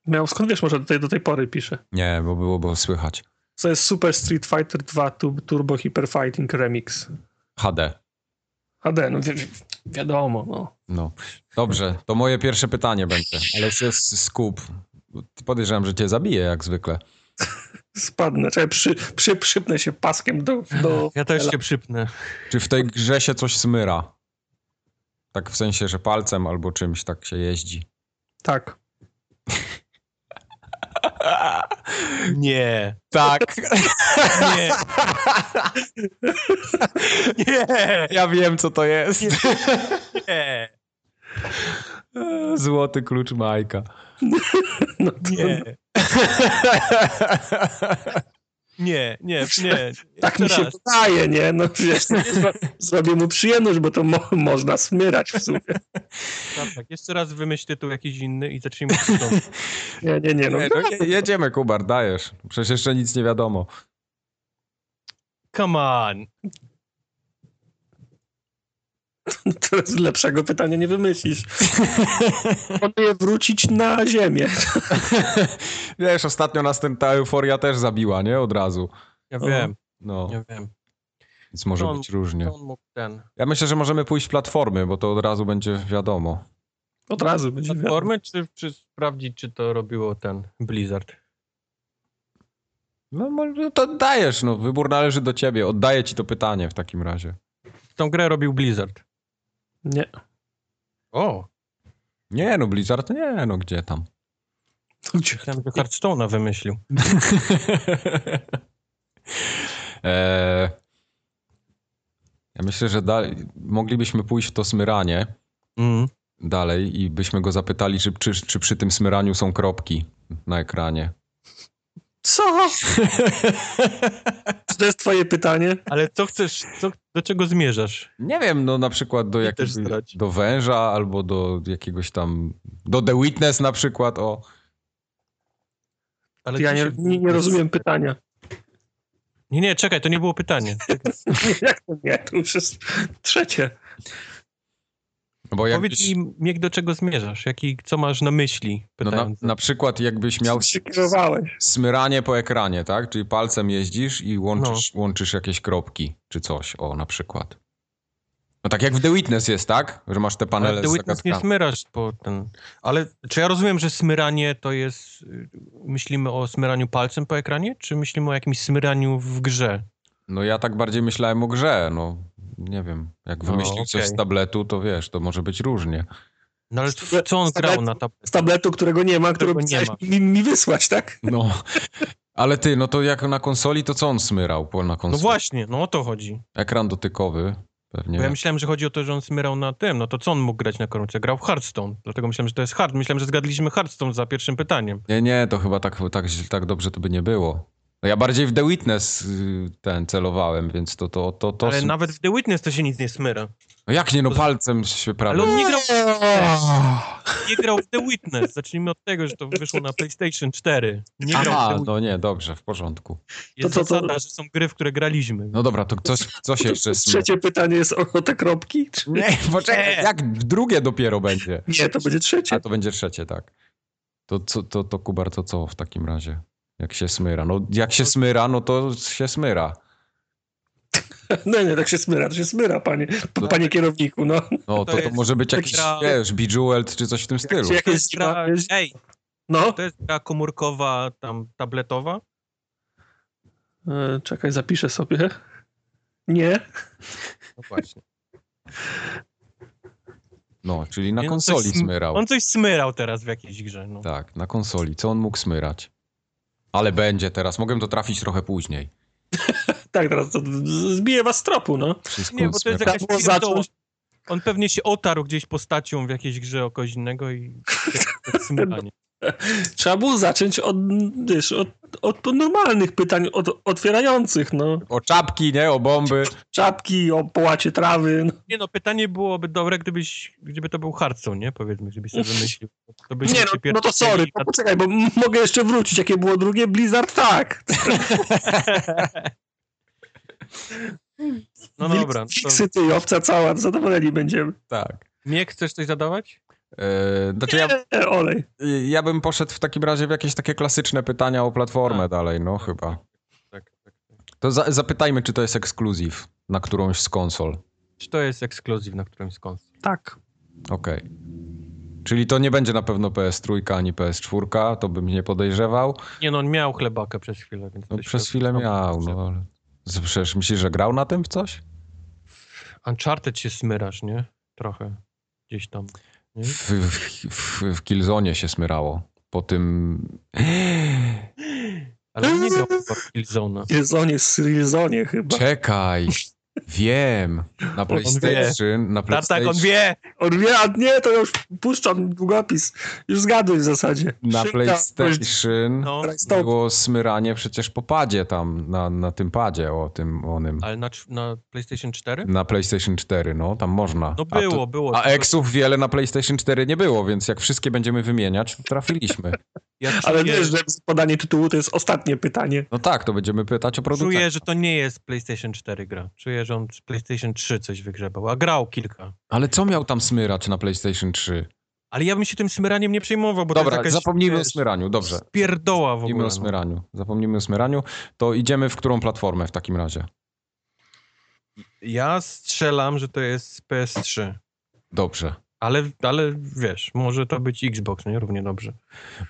B: Miał, skąd wiesz, może do tej, do tej pory piszę.
A: Nie, bo było bo słychać.
B: Co jest Super Street Fighter 2 tu, Turbo Hyper Fighting Remix.
A: HD.
B: HD, no wie- wie- wiadomo, no.
A: No. Dobrze, to moje pierwsze pytanie będzie, ale się s- skup. Podejrzewam, że cię zabiję jak zwykle.
B: Spadnę, czekaj, przy, przy, przypnę się paskiem do... do...
C: Ja też się przypnę.
A: Czy w tej grze się coś smyra? Tak w sensie, że palcem albo czymś tak się jeździ.
B: Tak.
C: Nie.
A: Tak,
C: Nie. Nie.
A: ja wiem co to jest.
C: Nie.
A: Złoty klucz Majka.
B: No, to,
C: Nie. Nie. Nie. Nie.
B: Tak mi się
C: Teraz.
B: wydaje, nie? No wiesz, zro- zrobię mu przyjemność, bo to mo- można smyrać w sumie.
C: Tak, tak. Jeszcze raz wymyśl tytuł jakiś inny i zacznijmy od początku.
B: Nie, nie, nie, no.
A: Nie, no, je- jedziemy Kubar, dajesz. Przecież jeszcze nic nie wiadomo.
C: Come on.
B: Teraz lepszego pytania nie wymyślisz. Proponuję wrócić na ziemię.
A: Wiesz, ostatnio nas ten, ta euforia też zabiła, nie? Od razu.
C: Ja
B: O.
C: wiem.
A: No,
C: Ja wiem.
A: więc może
C: To on-
A: być różnie.
C: To on mógł ten.
A: Ja myślę, że możemy pójść w platformy, bo to od razu będzie wiadomo.
B: Od razu będzie wiadomo.
C: Platformy, czy, czy sprawdzić, czy to robiło ten Blizzard?
A: No może to dajesz, no wybór należy do ciebie. Oddaję ci to pytanie w takim razie.
C: Tą grę robił Blizzard.
B: Nie.
C: O,
A: Nie no, Blizzard nie, no gdzie tam.
B: Gdzie?
C: myślałem, że Hearthstone'a wymyślił.
A: Eee, ja myślę, że dalej, moglibyśmy pójść w to smyranie
C: Mm.
A: dalej i byśmy go zapytali, czy, czy, czy przy tym smyraniu są kropki na ekranie.
B: Co? Czy to jest twoje pytanie?
C: Ale co chcesz, co, do czego zmierzasz?
A: Nie wiem, no na przykład do
C: I
A: jakiegoś,
C: też zdradzi.
A: do węża albo do jakiegoś tam, do The Witness na przykład, o.
C: Ale
B: Ja
C: co
B: nie,
C: się-
B: nie, nie rozumiem pytania.
C: Nie, nie, czekaj, to nie było pytanie.
B: Jak to nie? To już jest trzecie.
A: Bo
C: Powiedz
A: jakbyś,
C: mi, Miek, do czego zmierzasz? Jaki, co masz na myśli?
A: no na,
C: Pytając.
A: na przykład jakbyś miał
B: Przykierowałeś.
A: smyranie po ekranie, tak? Czyli palcem jeździsz i łączysz,
C: No.
A: łączysz jakieś kropki czy coś, o na przykład. No tak jak w The Witness jest, tak? Że masz te panele
C: Ale The
A: z
C: Witness nie
A: zagadkami.
C: smyrasz po ten... Ale czy ja rozumiem, że smyranie to jest... y, Myślimy o smyraniu palcem po ekranie, czy myślimy o jakimś smyraniu w grze?
A: No ja tak bardziej myślałem o grze, no nie wiem. Jak
C: No,
A: wymyślił coś
C: okej.
A: z tabletu, to wiesz, to może być różnie.
C: No ale
B: Z tablet-
C: co on
B: z
C: grał
B: tabletu-
C: na tablet?
B: Z tabletu, którego nie ma, którego
C: Którego nie
B: chciałeś mi, mi wysłać, tak?
A: No. Ale ty, no to jak na konsoli, to co on smyrał po na
C: No
A: konsoli?
C: właśnie, no o to chodzi.
A: Ekran dotykowy pewnie.
C: Bo ja myślałem, że chodzi o to, że on smyrał na tym. No to co on mógł grać na koronce? Grał w Hearthstone. Dlatego myślałem, że to jest hard. Myślałem, że zgadliśmy Hearthstone za pierwszym pytaniem.
A: Nie, nie, to chyba tak, tak, źle- tak dobrze to by nie było. No ja bardziej w The Witness y, ten celowałem, więc to to to, to
C: Ale
A: są-
C: nawet w The Witness to się nic nie smyra.
A: No jak nie, no palcem się prawie.
C: Ale on nie grał,
B: O,
C: nie grał w The Witness. Zacznijmy od tego, że to wyszło na PlayStation 4. Nie grał w The
A: Aha,
C: Witness.
A: no nie, dobrze, w porządku.
C: Jest
B: to- to-
C: zasada, że są gry, w które graliśmy.
A: No dobra, to coś, coś jeszcze jest.
B: Trzecie pytanie jest o te kropki? Czy...
A: Nie, poczekaj, jak drugie dopiero będzie.
B: Nie, to będzie trzecie.
A: A to będzie trzecie, tak. To, co- to, to Kubar, to co w takim razie? Jak się smyra? No jak się smyra, no to się smyra.
B: No nie, tak się smyra, to się smyra, panie, p- panie kierowniku, no.
A: No to, to
C: jest
A: może być jakiś,
C: gra-
A: wiesz, bejeweled czy coś w tym stylu.
B: się jak
C: To
B: jest
C: jest gra,
B: dziwa- jest-
C: ej,
B: No,
C: to jest gra komórkowa, tam tabletowa.
B: E, czekaj, zapiszę sobie. Nie,
C: No właśnie.
A: No, czyli na
C: Nie, no, coś
A: konsoli
C: sm-
A: smyrał.
C: On coś smyrał teraz w jakiejś grze. No.
A: Tak, na konsoli. Co on mógł smyrać? Ale będzie teraz. Mogłem to trafić trochę później.
B: tak, teraz to zbiję was z tropu, no.
A: Wszystko
C: Nie, bo to jest
A: smyra-
B: Trzeba
C: jakaś
B: było
C: pierdoła.
B: zacząć.
C: On pewnie się otarł gdzieś postacią w jakiejś grze o kogoś innego i tak smyranie.
B: Trzeba było zacząć od, wiesz, od, od normalnych pytań, od otwierających, no.
A: O czapki, nie? O bomby.
B: Czapki, o połacie trawy, no.
C: Nie no, pytanie byłoby dobre, gdybyś, gdyby to był Harcą, nie? Powiedzmy, gdybyś sobie wymyślił. To byśmy
B: Nie,
C: się tak-
B: no, no to
C: pierdolili
B: sorry,
C: na-
B: no, poczekaj, bo m- mogę jeszcze wrócić. Jakie było drugie? Blizzard, tak.
C: No
B: Wilk-
C: dobra, to
B: Fiksy, ty, owca cała, zadowoleni będziemy.
A: Tak.
C: Miek, chcesz coś zadawać?
A: Yy, znaczy ja,
B: E, olej.
A: ja bym poszedł w takim razie w jakieś takie klasyczne pytania o platformę
C: Tak.
A: dalej, no chyba.
C: Tak, tak.
A: To za, zapytajmy, czy to jest ekskluzyw na którąś z konsol.
C: Czy to jest ekskluzyw na którymś z konsol?
B: Tak.
A: Okej. Czyli to nie będzie na pewno PS3 ani PS4, to bym nie podejrzewał.
C: Nie no, on miał chlebakę przez chwilę, więc...
A: No,
C: to się-
A: przez chwilę miał, no ale... Z- Przecież myślisz, że grał na tym w coś?
C: Uncharted się smyrasz, nie? Trochę. Gdzieś tam. Nie?
A: W, w, w, w Killzone się smyrało. Po tym...
C: Ale on nie grał chyba w Killzone'a.
B: Killzone jest Killzone chyba.
A: Czekaj! Wiem! Na PlayStation... Na
C: Tartak,
A: PlayStation,
C: on wie!
B: On wie, a nie, to ja już puszczam długopis. Już zgaduj w zasadzie.
A: na
B: Szybka odpowiedź.
A: PlayStation
C: No,
B: Stop.
A: było smyranie przecież po padzie tam, na, na tym padzie, o tym, onym.
C: ale na, cz- na PlayStation 4?
A: Na PlayStation 4, no, tam można.
C: No
A: A to-
C: było, było.
A: A
C: tylko
A: eksów wiele na PlayStation 4 nie było, więc jak wszystkie będziemy wymieniać, to trafiliśmy.
C: ja
B: Ale
C: czuję-
B: wiesz, że podanie tytułu to jest ostatnie pytanie.
A: No tak, to będziemy pytać o producenta.
C: Czuję, że to nie jest PlayStation 4 gra. Czuję, że on z PlayStation 3 coś wygrzebał, a grał kilka.
A: Ale co miał tam smyrać na PlayStation 3?
C: Ale ja bym się tym smyraniem nie przejmował, bo to
A: Dobra,
C: jest jakaś...
A: zapomnijmy
C: wiesz,
A: o smyraniu, dobrze.
C: Pierdoła w
A: Zapomnijmy
C: ogóle.
A: o
C: No.
A: smyraniu. Zapomnijmy o smyraniu. To idziemy w którą platformę w takim razie?
C: Ja strzelam, że to jest PS3.
A: Dobrze.
C: Ale, ale wiesz, może to być Xbox, nie? Równie dobrze.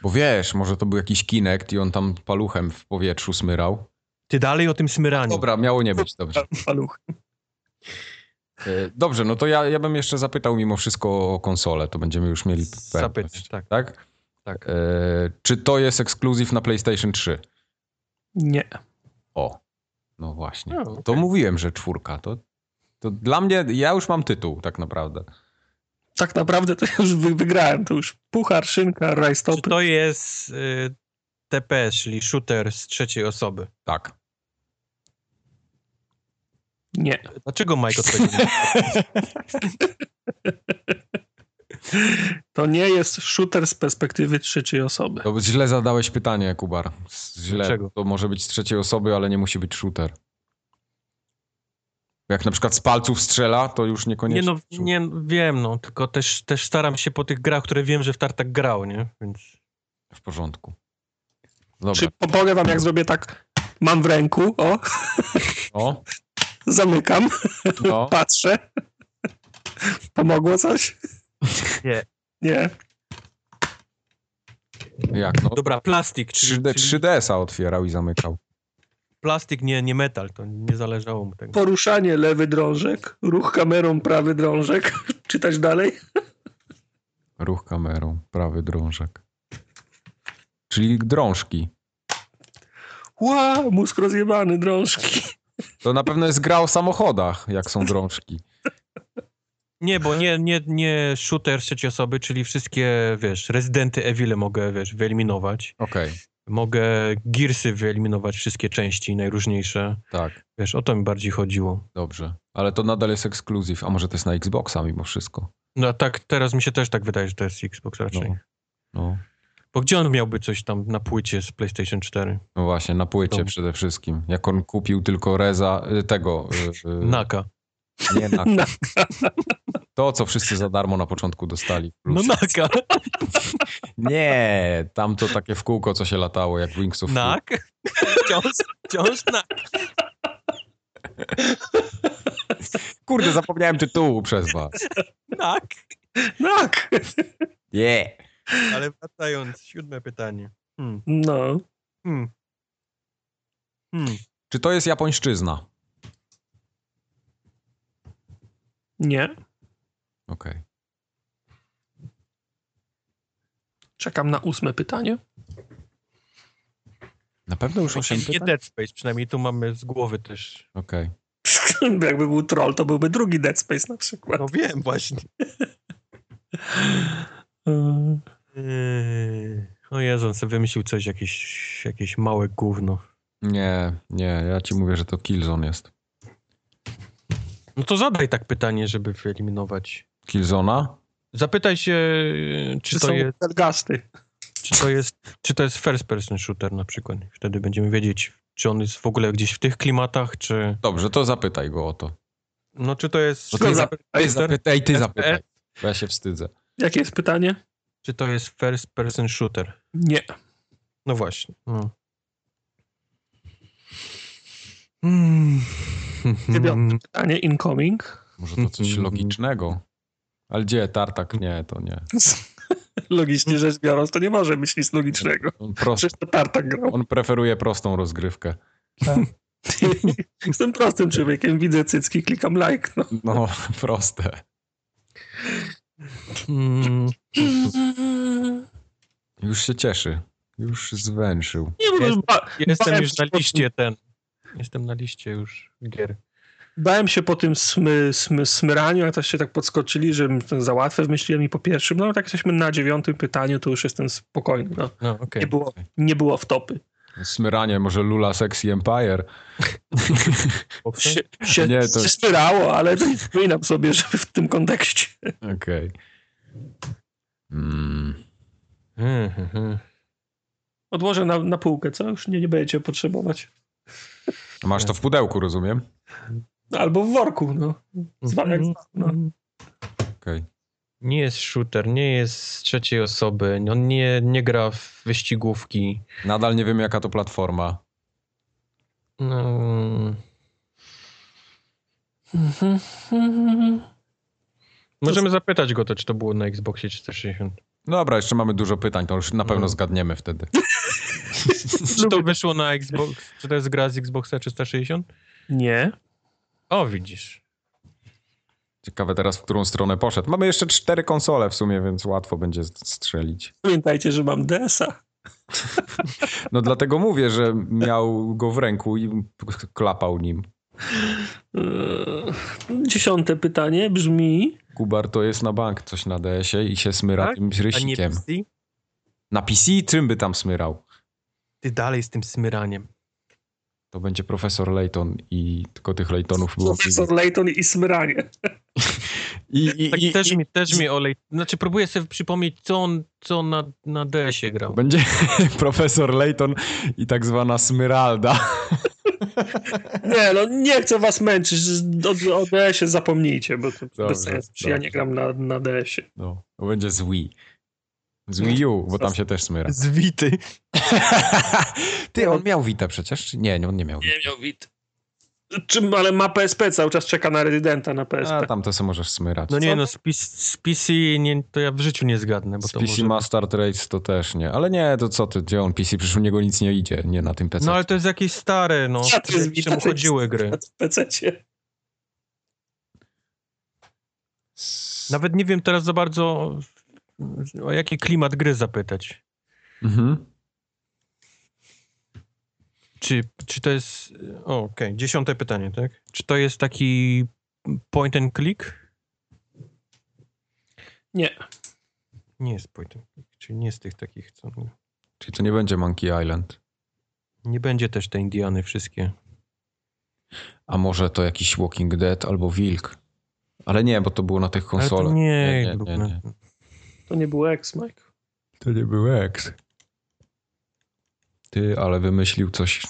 A: Bo wiesz, może to był jakiś Kinect i on tam paluchem w powietrzu smyrał.
C: Ty dalej o tym smyraniu.
A: Dobra, miało nie być, dobrze.
B: Paluch.
A: E, Dobrze, no to ja, ja bym jeszcze zapytał mimo wszystko o konsolę, to będziemy już mieli
C: Zapytasz,
A: pewność.
C: tak,
A: Tak?
C: tak.
A: E, czy to jest ekskluzyw na PlayStation 3?
B: Nie.
A: O, no właśnie.
C: No,
A: to,
C: okej.
A: to mówiłem, że czwórka. To, to dla mnie, ja już mam tytuł tak naprawdę.
B: Tak naprawdę to już wy- wygrałem. To już puchar, szynka,
C: Czy
B: rajstopy.
C: to jest y, TPS, czyli shooter z trzeciej osoby?
A: Tak.
B: Nie.
C: Dlaczego Mike odpowiedział?
B: To nie jest shooter z perspektywy trzeciej osoby.
A: To źle zadałeś pytanie, Kubar. S- Źle.
C: Dlaczego?
A: To może być z trzeciej osoby, ale nie musi być shooter. Jak na przykład z palców strzela, to już
C: Nie
A: niekoniecznie.
C: no, nie, no, wiem no, tylko też, też staram się po tych grach, które wiem, że w Tartak grał, nie? Więc...
A: W porządku. Dobra.
B: Czy pomogę wam, jak zrobię tak, mam w ręku, o,
A: No,
B: zamykam,
A: no.
B: patrzę. Pomogło coś?
C: Nie.
B: Nie.
A: Jak no?
C: Dobra, plastik, czyli,
A: 3D,
C: czyli
A: 3DS-a otwierał i zamykał.
C: plastik, nie, nie metal, to nie zależało mu tego.
B: Poruszanie lewy drążek, ruch kamerą prawy drążek. Czytać dalej?
A: Ruch kamerą, prawy drążek. Czyli drążki.
B: Ła, mózg rozjebany, drążki.
A: To na pewno jest gra o samochodach, jak są drążki.
C: Nie, bo nie, nie, nie shooter z trzeciej osoby, czyli wszystkie, wiesz, Residenty Evil mogę, wiesz, wyeliminować.
A: Okej,
C: Mogę Gearsy wyeliminować, wszystkie części najróżniejsze.
A: tak,
C: Wiesz, o to mi bardziej chodziło.
A: dobrze. Ale to nadal jest ekskluzyw, a może to jest na Xboxa mimo wszystko.
C: No a tak, teraz mi się też tak wydaje, że to jest Xbox raczej.
A: No, no.
C: Bo gdzie on miałby coś tam na płycie z PlayStation 4?
A: no właśnie, na płycie
C: Dobra.
A: przede wszystkim. Jak on kupił tylko Reza, y, tego... y, y,
C: Naka.
A: Nie, na,
B: Na-
A: to, co wszyscy za darmo na początku dostali.
C: No
A: Plus.
C: naka.
A: Nie, tam to takie w kółko, co się latało, jak Wings of Fury.
C: Nak? Wciąż, wciąż nak.
A: Kurde, zapomniałem tytułu przez was.
C: Nak.
B: Tak.
A: Nie.
C: Ale wracając, siódme pytanie. Hmm.
B: No.
C: Hmm. Hmm.
A: Czy to jest japońszczyzna?
B: Nie.
A: Okej.
B: Czekam na ósme pytanie.
A: Na pewno już 8
C: Nie
A: pytań?
C: Dead Space, przynajmniej tu mamy z głowy też.
A: Okej.
B: Jakby był troll, to byłby drugi Dead Space na przykład.
C: No wiem właśnie.
B: Yy,
C: Yy. O Jezu, on sobie wymyślił coś, jakieś, jakieś małe gówno.
A: Nie, nie, ja ci mówię, że to Killzone jest.
C: No to zadaj tak pytanie, żeby wyeliminować.
A: Killzona?
C: Zapytaj się, yy, czy
B: Czy
C: to,
B: są
C: jest,
B: Gasty?
C: czy, to jest, czy to jest first person shooter na przykład. Wtedy będziemy wiedzieć, czy on jest w ogóle gdzieś w tych klimatach, czy...
A: Dobrze, to zapytaj go o to.
C: No czy to jest...
A: No to
C: first
A: zap- Ej,
C: person-
A: zapytaj, ty
C: FPS?
A: zapytaj. Bo ja się wstydzę.
B: Jakie jest pytanie?
C: Czy to jest first person shooter?
B: Nie.
C: No właśnie. No. Mm. Hmm.
B: Dziewiąte pytanie, incoming.
A: Może to coś
C: Mhm.
A: logicznego. Ale gdzie? Tartak? Nie, to nie.
B: Logicznie rzecz biorąc, to nie może być nic logicznego.
A: On, prost,
B: Przecież to tartak grał.
A: on preferuje prostą rozgrywkę.
B: Jestem prostym człowiekiem, widzę cycki, klikam like. No.
A: No, proste.
C: Mm,
A: Już się cieszy. Już zwęszył.
B: Nie, bo
C: Jest-
B: już ba-
C: jestem
B: bałem
C: już
B: się
C: na
B: po tym-
C: liście ten. Jestem na liście już gier.
B: Bałem się po tym smy, smy, smyraniu, a też się tak podskoczyli, że m- za łatwe wymyśliłem i po pierwszym. No, ale tak jesteśmy na dziewiątym pytaniu, to już jestem spokojny. No.
C: No, okej.
B: Nie, było, nie było w topy.
A: Smyranie, może Lula Sexy Empire?
C: Boksy?
B: Się, się,
A: Nie,
B: nie,
A: to-
B: to... się spyrało, ale to nie przypominam sobie, żeby w tym kontekście.
A: Okej. Mm.
C: Mhm, mhm.
B: Odłożę na, na półkę, co? Już nie, nie będziecie potrzebować.
A: Masz to w pudełku, rozumiem?
B: Albo w worku, no. Zwane jak no.
C: Mhm.
B: zwane,
A: Okej.
C: Nie jest shooter, nie jest z trzeciej osoby, on nie, nie gra w wyścigówki.
A: Nadal nie wiem, jaka to platforma.
C: No.
A: Mhm.
C: Możemy zapytać go to, czy to było na Xboxie 360.
A: No Dobra, jeszcze mamy dużo pytań, to już na pewno
C: Mm.
A: zgadniemy wtedy.
C: Czy to wyszło na Xbox? Czy to jest gra z Xboxa 360?
B: Nie.
C: O, widzisz.
A: Ciekawe teraz, w którą stronę poszedł. Mamy jeszcze cztery konsole w sumie, więc łatwo będzie strzelić.
B: Pamiętajcie, że mam DS-a.
A: No dlatego mówię, że miał go w ręku i klapał nim.
B: Yy, Dziesiąte pytanie brzmi...
A: Kubar to jest na bank coś na DS-ie i się smyra
C: Tak?
A: tym
C: A nie
A: rysikiem.
C: PC?
A: Na PC czym by tam smyrał?
C: Ty dalej z tym smyraniem.
A: To będzie profesor Layton i tylko tych Laytonów było.
B: Profesor Layton i smyranie.
A: I, i,
C: Tak
A: i,
C: też,
A: i,
C: mi, też mi olej... Znaczy próbuję sobie przypomnieć, co on, co on na, na DS-ie grał.
A: będzie profesor Layton i tak zwana Smyralda.
B: Nie, no nie chcę was męczyć. O, o DS-ie zapomnijcie, bo to
A: Dobrze,
B: bez sensu. Ja
A: dobrze.
B: nie gram na, na DS-ie.
A: No, to będzie z Wii. Z Wii U, bo tam się też smyra.
C: Zwity.
A: Ty, on miał Witę przecież? czy Nie, nie, on nie miał Witę.
B: miał wit. Czym, ale ma PSP, cały czas czeka na rezydenta na PSP.
A: A tam to sobie możesz smyrać.
C: No nie,
B: Co?
C: no z, PC z PC nie, to ja w życiu nie zgadnę, bo
A: Z
C: to
A: PC
C: może...
A: Master Race to też nie. Ale nie, to co ty, gdzie on PC? Przecież u niego nic nie idzie, nie na tym PC.
C: No ale to jest jakieś stare, no.
B: Ja to jest
C: Czemu
B: widać.
C: chodziły gry?
B: w PC-cie.
C: Nawet nie wiem teraz za bardzo o jaki klimat gry zapytać.
A: Mhm.
C: Czy, czy to jest... O, okej, dziesiąte pytanie, tak? Czy to jest taki point and click?
B: Nie.
C: Nie jest point and click, czyli nie z tych takich, co...
A: Czyli to nie będzie Monkey Island.
C: Nie będzie też te Indiany wszystkie.
A: A może to jakiś Walking Dead albo Wilk. Ale nie, bo to było na tych
C: Ale
A: konsolach.
C: to nie,
A: nie, nie, nie, nie.
B: To nie był X, Mike.
A: To nie był X. Ty, ale wymyślił coś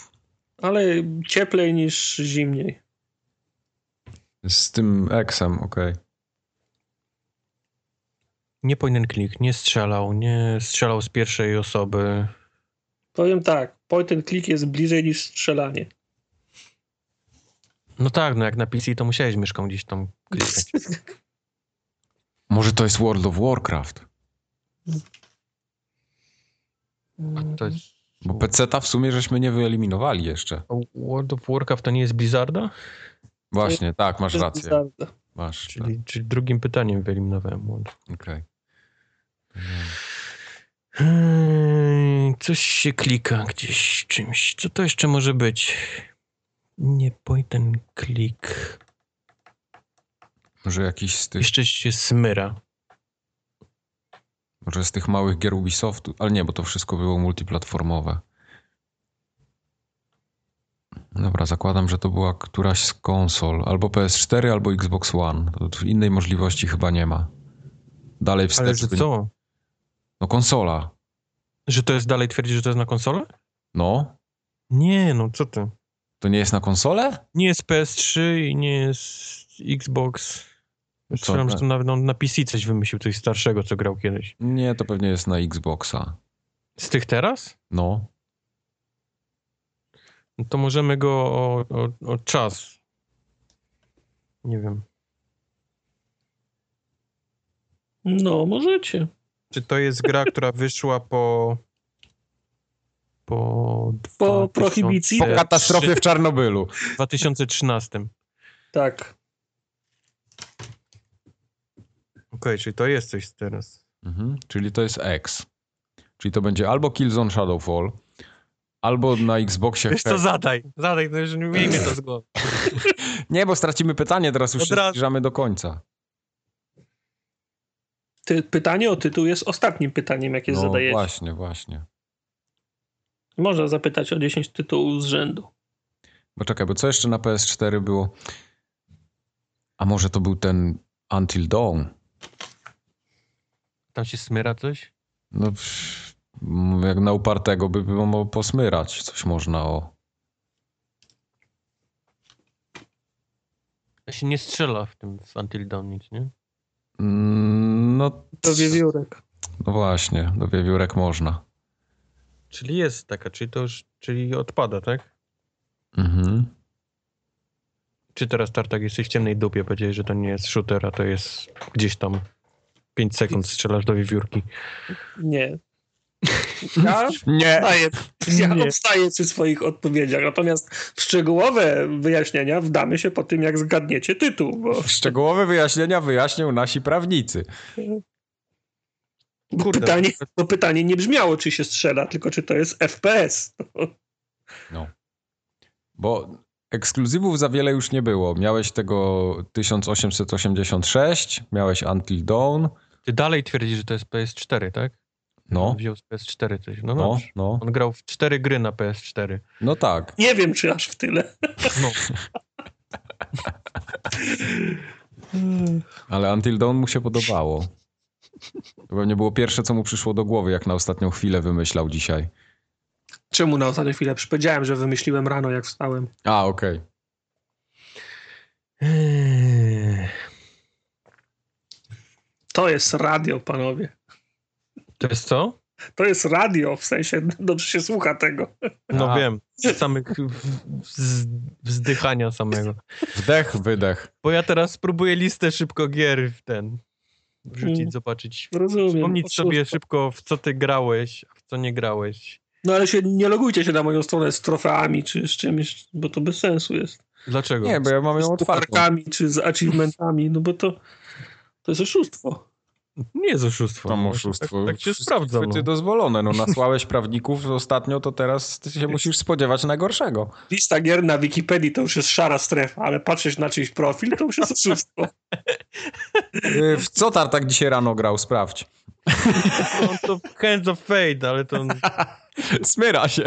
B: Ale cieplej niż zimniej.
A: z tym Xem, okej.
C: Nie point and click, nie strzelał, nie strzelał z pierwszej osoby.
B: Powiem tak, point and click jest bliżej niż strzelanie.
C: No tak, no jak na PC to musiałeś myszką gdzieś tam klikać.
A: Może to jest World of Warcraft?
C: A to jest...
A: Bo PC-ta w sumie żeśmy nie wyeliminowali jeszcze.
C: A World of Warcraft to nie jest Blizzarda?
A: Właśnie, tak, masz
B: To jest
A: rację.
B: bizarne.
A: Masz,
C: Czyli, czyli drugim pytaniem wyeliminowałem World.
A: tak, okej. Nie.
C: Hmm, Coś się klika gdzieś czymś. Co to jeszcze może być? Nie point and click.
A: Może jakiś z tych,
C: Jeszcze się smyra.
A: może z tych małych gier Ubisoftu, ale nie, bo to wszystko było multiplatformowe. Dobra, zakładam, że to była któraś z konsol, albo PS4, albo Xbox One. To tu Innej możliwości chyba nie ma. Dalej
C: Ale
A: wstecz.
C: że
A: by-
C: co?
A: No konsola.
C: Że to jest dalej twierdzi, że to jest na konsolę?
A: No,
C: Nie, no co ty.
A: to nie jest na konsolę?
C: Nie jest PS3 i nie jest Xbox. Myślałem, że
A: tak?
C: to nawet on na PC coś wymyślił, coś starszego, co grał kiedyś.
A: Nie, to pewnie jest na Xboxa.
C: Z tych teraz?
A: No,
C: No to możemy go o, o, o czas. Nie wiem.
B: No, możecie.
C: Czy to jest gra, która wyszła po. Po.
B: Po
C: 2000
B: prohibicji?
A: Po katastrofie w Czarnobylu.
C: W 2013. Okej,
B: Tak.
C: czyli to jest coś teraz.
A: Mhm. Czyli to jest X. Czyli to będzie albo Killzone Shadowfall, albo na Xboxie...
C: Wiesz,
A: He-
C: to zadaj. Zadaj, no już nie miejmy to z głowy.
A: Nie, bo stracimy pytanie, teraz już
C: Od
A: się
C: razu.
A: zbliżamy do końca.
B: Ty, pytanie o tytuł jest ostatnim pytaniem, jakie
A: no
B: zadajecie.
A: właśnie, właśnie.
B: Można zapytać o 10 tytułów z rzędu.
A: Bo czekaj, bo co jeszcze na PS4 było? A może to był ten Until Dawn?
C: Tam się smyra coś?
A: No, pff, m, jak na upartego by było posmyrać coś można o...
C: Ja się nie strzela w tym w Until Dawn nic, nie?
A: Mm, No,
B: To wiewiórek.
A: no właśnie, do wiewiórek można.
C: Czyli jest taka, czyli to już, czyli odpada, tak?
A: Mhm.
C: Czy teraz Tartak jesteś w ciemnej dupie, powiedziałeś, że to nie jest shooter, a to jest gdzieś tam 5 sekund strzelasz do wiewiórki.
B: Nie. Ja
A: Nie!
B: odstaję, ja
C: Nie.
B: odstaję przy swoich odpowiedziach, natomiast szczegółowe wyjaśnienia wdamy się po tym, jak zgadniecie tytuł, bo
A: Szczegółowe wyjaśnienia wyjaśnią nasi prawnicy.
B: bo
C: Kurde.
B: pytanie, bo pytanie nie brzmiało, czy się strzela, tylko czy to jest FPS.
A: Bo ekskluzywów za wiele już nie było. Miałeś tego 1886, miałeś Until Dawn.
C: Ty dalej twierdzisz, że to jest PS4, tak?
A: No,
C: On wziął z PS4 coś. No,
A: no,
C: dobrze.
A: no.
C: On grał w cztery gry na PS4.
A: No tak.
B: Nie wiem, czy aż w tyle.
C: No.
A: Ale Until Dawn mu się podobało. To pewnie było pierwsze, co mu przyszło do głowy, jak na ostatnią chwilę wymyślał dzisiaj.
B: Czemu na ostatnią chwilę? Przypowiedziałem, że wymyśliłem rano, jak wstałem.
A: A, okej. Eee.
B: To jest radio, panowie.
C: To jest co?
B: To jest radio, w sensie no, dobrze się słucha tego.
C: No
A: A.
C: wiem, z samych w- z, wzdychania samego.
A: Wdech, wydech.
C: Bo ja teraz spróbuję listę szybko gier w ten
B: Mm.
C: wrzucić, zobaczyć.
B: Rozumiem.
C: Wspomnieć sobie
B: Oszustwo.
C: szybko, w co ty grałeś, a w co nie grałeś.
B: No ale się nie logujcie się na moją stronę z trofeami czy z czymś, bo to bez sensu jest.
C: Dlaczego?
A: Nie, bo ja mam ją
B: Z
A: otwartą.
B: pucharkami czy z achievementami, no bo to, to jest oszustwo.
C: nie jest oszustwo.
A: Tam
C: No,
A: oszustwo.
C: Tak, tak się
A: Wszystkie
C: sprawdza.
A: chwyty
C: No.
A: dozwolone. No, nasłałeś prawników ostatnio, to teraz ty się musisz spodziewać najgorszego.
B: Lista gier na Wikipedii to już jest szara strefa, ale patrzeć na czyjś profil to już jest oszustwo.
A: Yy, W co Tartak dzisiaj rano grał? Sprawdź.
C: On no to hands of fate, ale to...
A: Smyra się.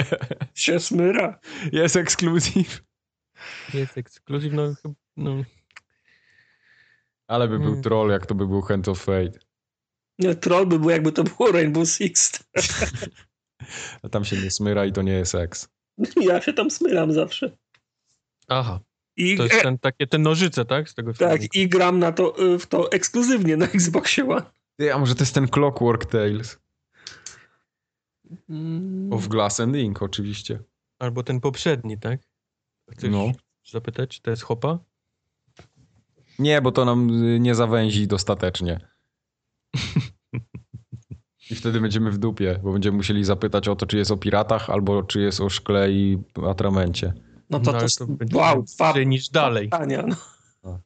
B: się smyra.
A: Jest ekskluzyw.
C: Jest ekskluzyw, no, chyb- no.
A: Ale by był
C: Mm.
A: troll, jak to by był Hand of Fate.
B: Nie, troll by był jakby to było Rainbow Six.
A: A tam się nie smyra i to nie jest eks.
B: Ja się tam smyram zawsze.
C: Aha,
B: I, e,
C: to jest ten, takie te nożyce, tak? Z tego filmu.
B: tak, i gram na to, y, w to ekskluzywnie na Xboxie One.
A: Ty, a może to jest ten Clockwork Tales?
B: Mm.
A: Of Glass and Ink oczywiście.
C: Albo ten poprzedni, tak? Chcesz
A: No.
C: zapytać, czy to jest hopa?
A: Nie, bo to nam y, nie zawęzi dostatecznie. I wtedy będziemy w dupie, bo będziemy musieli zapytać o to, czy jest o piratach, albo czy jest o szkle i atramencie.
B: No to,
C: No,
B: to,
C: ale
B: s-
C: to będzie
B: wow, dwa
C: bliżej niż dalej.
B: pytania. No.
A: No.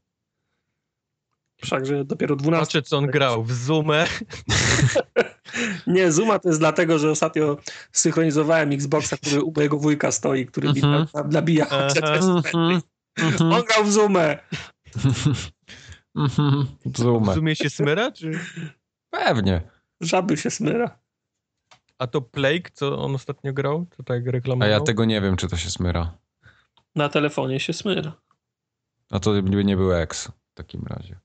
B: Wszakże dopiero 12.
C: Patrzę, co on grał w Zoomę.
B: Nie, Zuma to jest dlatego, że ostatnio synchronizowałem Xboxa, który u mojego wujka stoi, który
A: Mhm.
B: mm nabija.
C: Aha.
B: On grał w Zoomę.
C: W
A: mhm. Zoomę.
C: Zoomie się smyra? Czy...
A: Pewnie.
B: Żaby się smyra.
C: A to Plague, co on ostatnio grał? To tak
A: A
C: reklamował?
A: ja tego nie wiem, czy to się smyra.
B: Na telefonie się smyra.
A: A to by nie był eks w takim razie.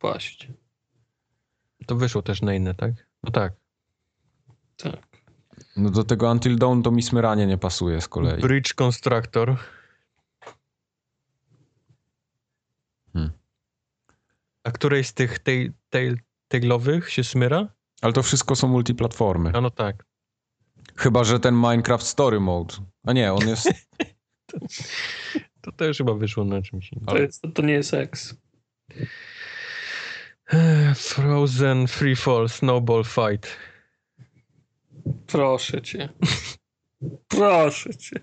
B: Właśnie.
C: To wyszło też na inne, tak? No tak.
A: No do tego Until Dawn to mi smyranie nie pasuje z kolei.
C: Bridge Constructor.
A: Hmm.
C: A której z tych tej, tej, tailowych się smyra?
A: Ale to wszystko są multiplatformy.
C: A no tak.
A: Chyba, że ten Minecraft Story Mode. A nie, on jest...
C: To też chyba wyszło na czymś innym.
B: To, jest, to nie jest seks.
A: Hmm.
C: Ech, Frozen Free Fall Snowball Fight.
B: Proszę cię. Proszę cię.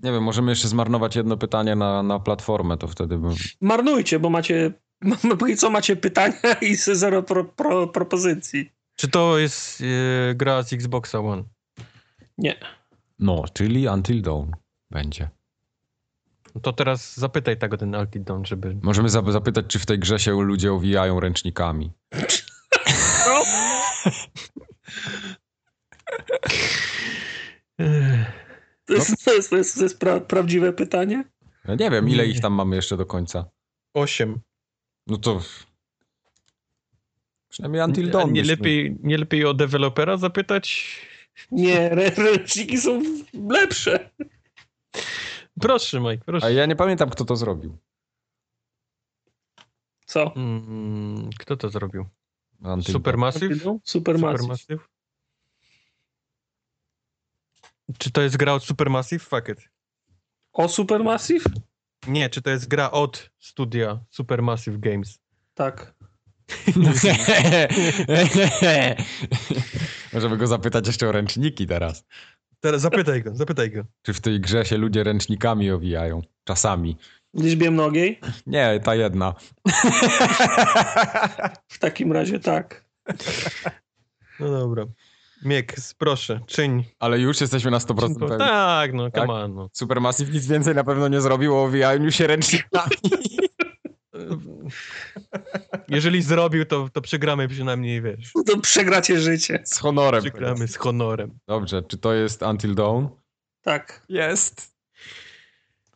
A: Nie wiem, możemy jeszcze zmarnować jedno pytanie na, na platformę, to wtedy bym...
B: Marnujcie, bo macie. ma- Póki co macie pytania i se zero pro, pro, propozycji.
C: Czy to jest e, gra z Xboxa One?
A: No, czyli Until Dawn będzie.
C: No To teraz zapytaj tak o ten Altidon, żeby...
A: Możemy zap- zapytać, czy w tej grze się ludzie owijają ręcznikami.
B: No.
C: Ech,
B: To jest, to jest, to jest, to jest pra, prawdziwe pytanie?
A: Ja nie wiem, ile
C: Nie.
A: ich tam mamy jeszcze do końca.
C: Osiem.
A: No to... Przynajmniej Until
C: A
A: Dawn.
C: Nie
A: byśmy-
C: lepiej, nie lepiej o dewelopera zapytać?
B: Nie, rę- ręczniki są lepsze.
C: Proszę, Mike, proszę.
A: A ja nie pamiętam, kto to zrobił.
B: Co?
C: Mm, kto to zrobił?
A: Until
C: Supermassive?
B: Supermassive.
C: Supermassive? Czy to jest gra od Supermassive? Fuck it.
B: O Supermassive?
C: Nie, czy to jest gra od studia Supermassive Games?
B: Tak.
A: Możemy No, go zapytać jeszcze o ręczniki teraz.
C: Teraz zapytaj go, zapytaj go.
A: Czy w tej grze się ludzie ręcznikami owijają? Czasami.
B: W liczbie mnogiej?
A: Nie, ta jedna.
B: W takim razie tak.
C: No dobra. Miek, proszę, czyń.
A: Ale już jesteśmy na 100%
C: To,
A: pewni.
C: tak, no,
A: Tak?
C: come on. No.
A: Supermassive nic więcej na pewno nie zrobił o owijaniu się ręcznikami.
C: Jeżeli zrobił, to, to przegramy przynajmniej, wiesz.
B: No To przegracie życie.
A: Z honorem.
C: Przegramy z honorem.
A: Dobrze, czy to jest Until Dawn?
B: Tak.
A: Jest.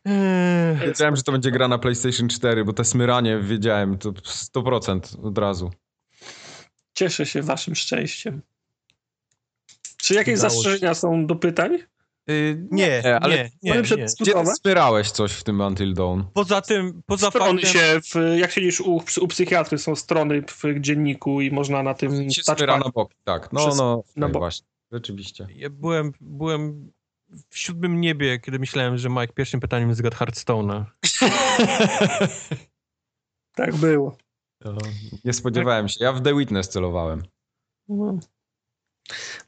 C: Eee,
A: Wiedziałem, że to będzie gra na PlayStation 4, bo te smyranie wiedziałem to 100% od razu.
B: Cieszę się waszym szczęściem. Czy jakieś
C: Udało się.
B: zastrzeżenia są do pytań?
A: Yy,
C: nie, nie,
A: ale
C: nie,
B: Mamy
C: nie,
B: przed-
A: Gdzie
B: Gotowe?
A: wspierałeś coś w tym Until Dawn?
C: Poza tym, poza
B: Strony
C: No, faktem...
B: się, w, jak siedzisz u, u psychiatry, są strony w dzienniku i można na tym
A: Się
B: touchpad-
A: zbiera na boki, tak. No,
B: Przez-
A: no,
B: na
A: tak,
B: bok.
A: właśnie. Rzeczywiście.
C: Ja byłem, byłem w siódmym niebie, kiedy myślałem, że Mike pierwszym pytaniem zgadł Hearthstone'a.
B: Tak było.
C: No.
A: Nie spodziewałem się. Ja w The Witness celowałem.
B: No.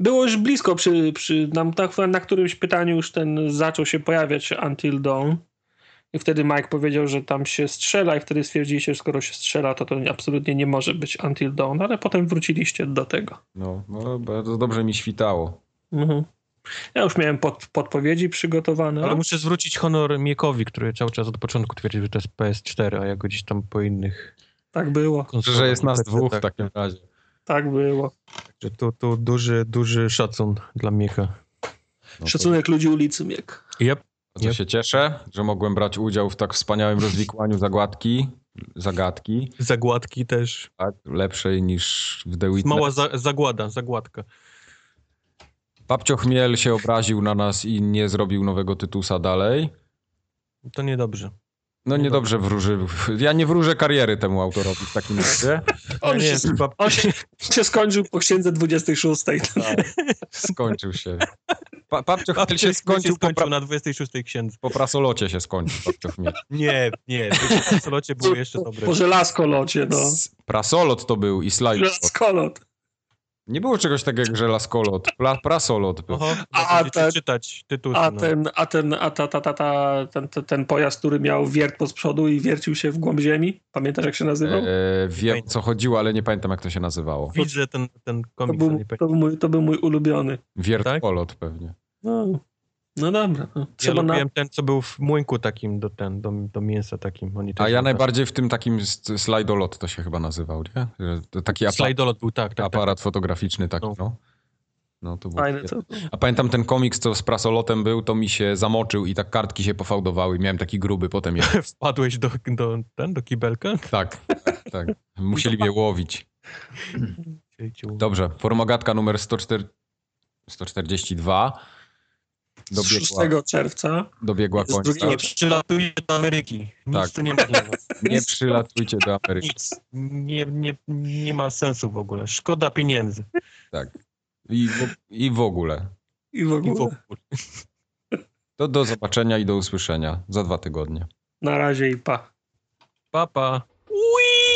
B: Było już blisko, przy, przy, na, na- na którymś pytaniu już ten zaczął się pojawiać Until Dawn. I wtedy Mike powiedział, że tam się strzela i wtedy stwierdziliście, że skoro się strzela, to to absolutnie nie może być Until Dawn, ale potem wróciliście do tego.
A: No, no bardzo dobrze mi świtało.
B: Mhm. Ja już miałem pod, podpowiedzi przygotowane.
C: Ale muszę zwrócić honor Miekowi, który cały czas od początku twierdził, że to jest PS4, a ja go gdzieś tam po innych
B: Tak było,
A: Że,
C: konsolach.
A: że jest nas
C: PC-tach.
A: dwóch w takim razie.
B: tak było.
C: Że tu, tu duży, duży szacun dla Mieka.
A: No to-
B: Szacunek ludzi ulicy Miek.
C: Yep.
A: Bardzo się cieszę, że mogłem brać udział w tak wspaniałym rozwikłaniu zagładki, zagadki,
C: Zagładki też.
A: tak, lepszej niż w The Witness.
C: Mała za, zagłada, zagładka.
A: Babcio Chmiel się obraził na nas i nie zrobił nowego Tytusa dalej.
C: To niedobrze.
A: No
C: Nie
A: niedobrze wróży. Ja nie wróżę kariery temu autorowi w takim razie.
B: On
C: Ja
B: się,
C: nie, chyba-
B: on się, się skończył po księdze 26.
C: Tak,
A: Skończył się. Pa, papcio
C: Babciu
A: Chmiel się skończył, po, pra,
C: na 26 księdze.
A: po prasolocie się skończył papcio Chmiel.
C: Nie, nie. W solocie było jeszcze dobre.
B: Po żelazkolocie, no.
A: Prasolot to był i slajsolot.
B: Żelazkolot.
A: Nie było czegoś takiego jak żelazkolot. Pla, prasolot był.
C: Oho,
B: A,
C: a,
B: ten-
C: czytać tytuł.
B: A ten, a ten, a ta, ta, ta, ta, ten, ten, ten pojazd, który miał wiert po z przodu i wiercił się w głąb ziemi. Pamiętasz, jak się nazywał?
A: E, wiem co chodziło, ale nie pamiętam jak to się nazywało.
C: Widzę ten, ten
B: To
C: komiks.
B: był,
C: nie pe-
B: to był, mój, to był mój ulubiony.
A: Wiertolot pewnie.
B: No, no dobra. No.
C: Ja
B: Trzeba na...
C: lubiłem ten, co był w młynku takim do, ten, do, do mięsa takim. Oni
A: A
C: też
A: ja
C: tam-
A: najbardziej w tym takim s- slajdolot to się chyba nazywał, nie? Że to Taki apa-
C: Slajdolot był, tak, tak, tak.
A: aparat fotograficzny taki,
C: No.
A: no. No to było
B: Fajny
A: świetne.
B: to.
A: A pamiętam ten komiks, co z prasolotem był, to mi się zamoczył i tak kartki się pofałdowały. Miałem taki gruby potem. jeden.
C: Wpadłeś do, do, ten, do kibelka?
A: Tak, tak, tak. Musieli mnie łowić. Dobrze, formogatka numer 104... 142 dobiegła,
B: 6 czerwca.
A: dobiegła
B: z
A: końca.
B: drugiego-
C: Nie przylatujcie do Ameryki. Nic
A: Tak.
C: to nie ma.
A: Nie przylatujcie do Ameryki.
C: Nic. Nie, nie, nie ma sensu w ogóle. Szkoda pieniędzy.
A: I w, I w ogóle.
B: I w
C: I w
B: ogóle.
C: ogóle.
A: To do zobaczenia i do usłyszenia za dwa tygodnie.
B: Na razie i pa.
C: Papa. Uiii!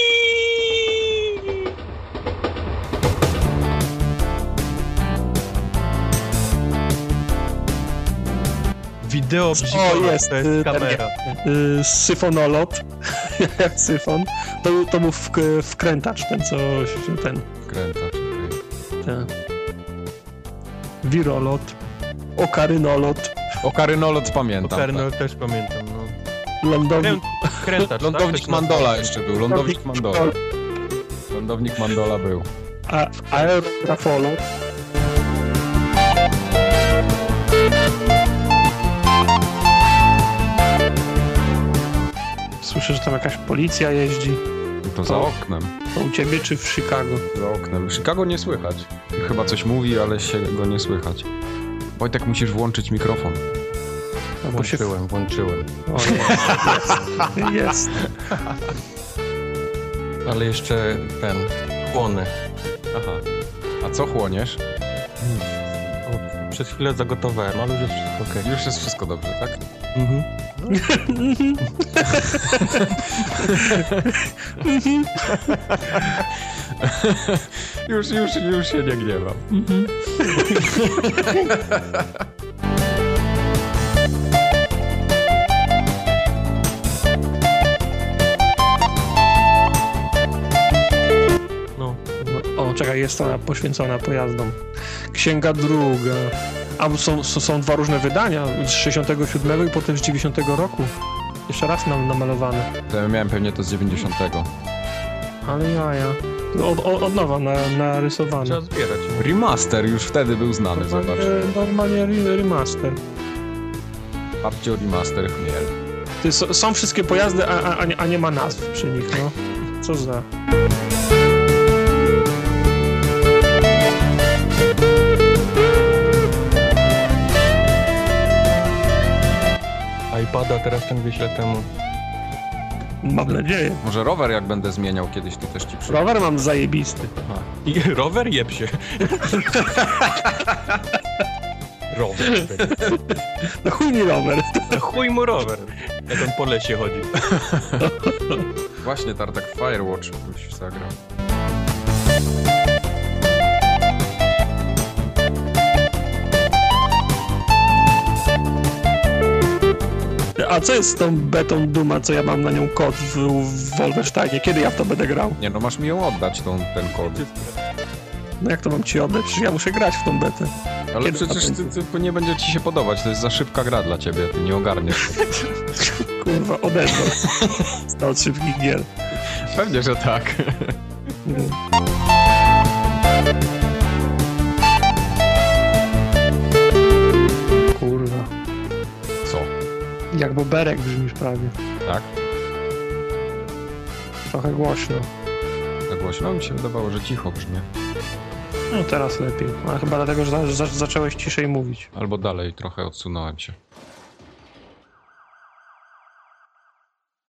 C: Wideo
B: O, jest,
C: to jest
B: y,
C: kamera.
B: Yy, syfonolot, jak syfon, to, to mu wk wkrętacz ten, co się- ten,
A: Wkrętacz, okej.
B: ten, wirolot, okarynolot,
A: O karynolot pamiętam. tak.
C: Oferno też pamiętam. No.
B: lądownik,
C: Krę- Krętacz,
A: Lądownik
C: tak? To się
A: Mandola
C: nazywa.
A: jeszcze był, lądownik Mandola. Lądownik Mandola był.
B: a, aerografolot, Słyszę, że tam jakaś policja jeździ.
A: To za oknem.
B: To u ciebie czy w Chicago?
A: Za oknem. Chicago nie słychać. Chyba coś mówi, ale się go nie słychać. Wojtek, musisz włączyć mikrofon.
B: Albo się w...
C: Włączyłem, włączyłem.
B: O, jest, jest, jest.
C: Ale jeszcze ten, chłonę.
A: Aha. A co chłoniesz?
C: O, Przez chwilę zagotowałem, ale już jest wszystko okej.
A: Już jest wszystko dobrze, tak?
C: Mhm.
A: Już, już, już się nie gniewam.
C: No.
B: O, czekaj, jest ona poświęcona pojazdom. Księga druga. A są, są, są dwa różne wydania, z 67 i potem z 90 roku. Jeszcze raz nam namalowane.
A: To ja miałem pewnie to z 90.
B: Ale jaja. No, Od, od, od nowa na, narysowane.
C: Trzeba zbierać.
A: Remaster już wtedy był znany,
B: Normalnie,
A: zobacz.
B: normalnie re- remaster.
A: Babcio remaster chmiel.
B: Ty, są, są wszystkie pojazdy, a, a, a, nie, a nie ma nazw przy nich, no. Co za...
C: iPada teraz ten wyślę temu.
B: Mam nadzieję.
A: Może rower jak będę zmieniał kiedyś, to też ci przy...
B: Rower mam zajebisty.
C: I rower jeb się. rower.
B: No chuj mi rower.
C: No chuj mu rower. Jak on po lesie chodzi.
A: Właśnie tartak Firewatch byś zagrał.
B: A co jest z tą betą Duma, co ja mam na nią kod w, w Wolfensteinie? Kiedy ja w to będę grał?
A: Nie no, masz mi ją oddać, tą, ten kod.
B: No jak to mam ci oddać? Przecież ja muszę grać w tą betę.
A: Ale
B: Kiedy
A: przecież
B: to
A: ty, ty nie będzie ci się podobać, to jest za szybka gra dla ciebie, ty nie ogarniesz.
B: Kurwa, odeszło. Stał od szybkich gier.
A: Pewnie, że tak.
B: Kurwa.
A: Co?
B: Jak boberek brzmisz prawie.
A: Tak?
B: Trochę głośno.
A: Za głośno? Mi się wydawało, że cicho brzmi.
B: No teraz lepiej. Ale chyba dlatego, że za, za, zacząłeś ciszej mówić.
A: Albo dalej, trochę odsunąłem się.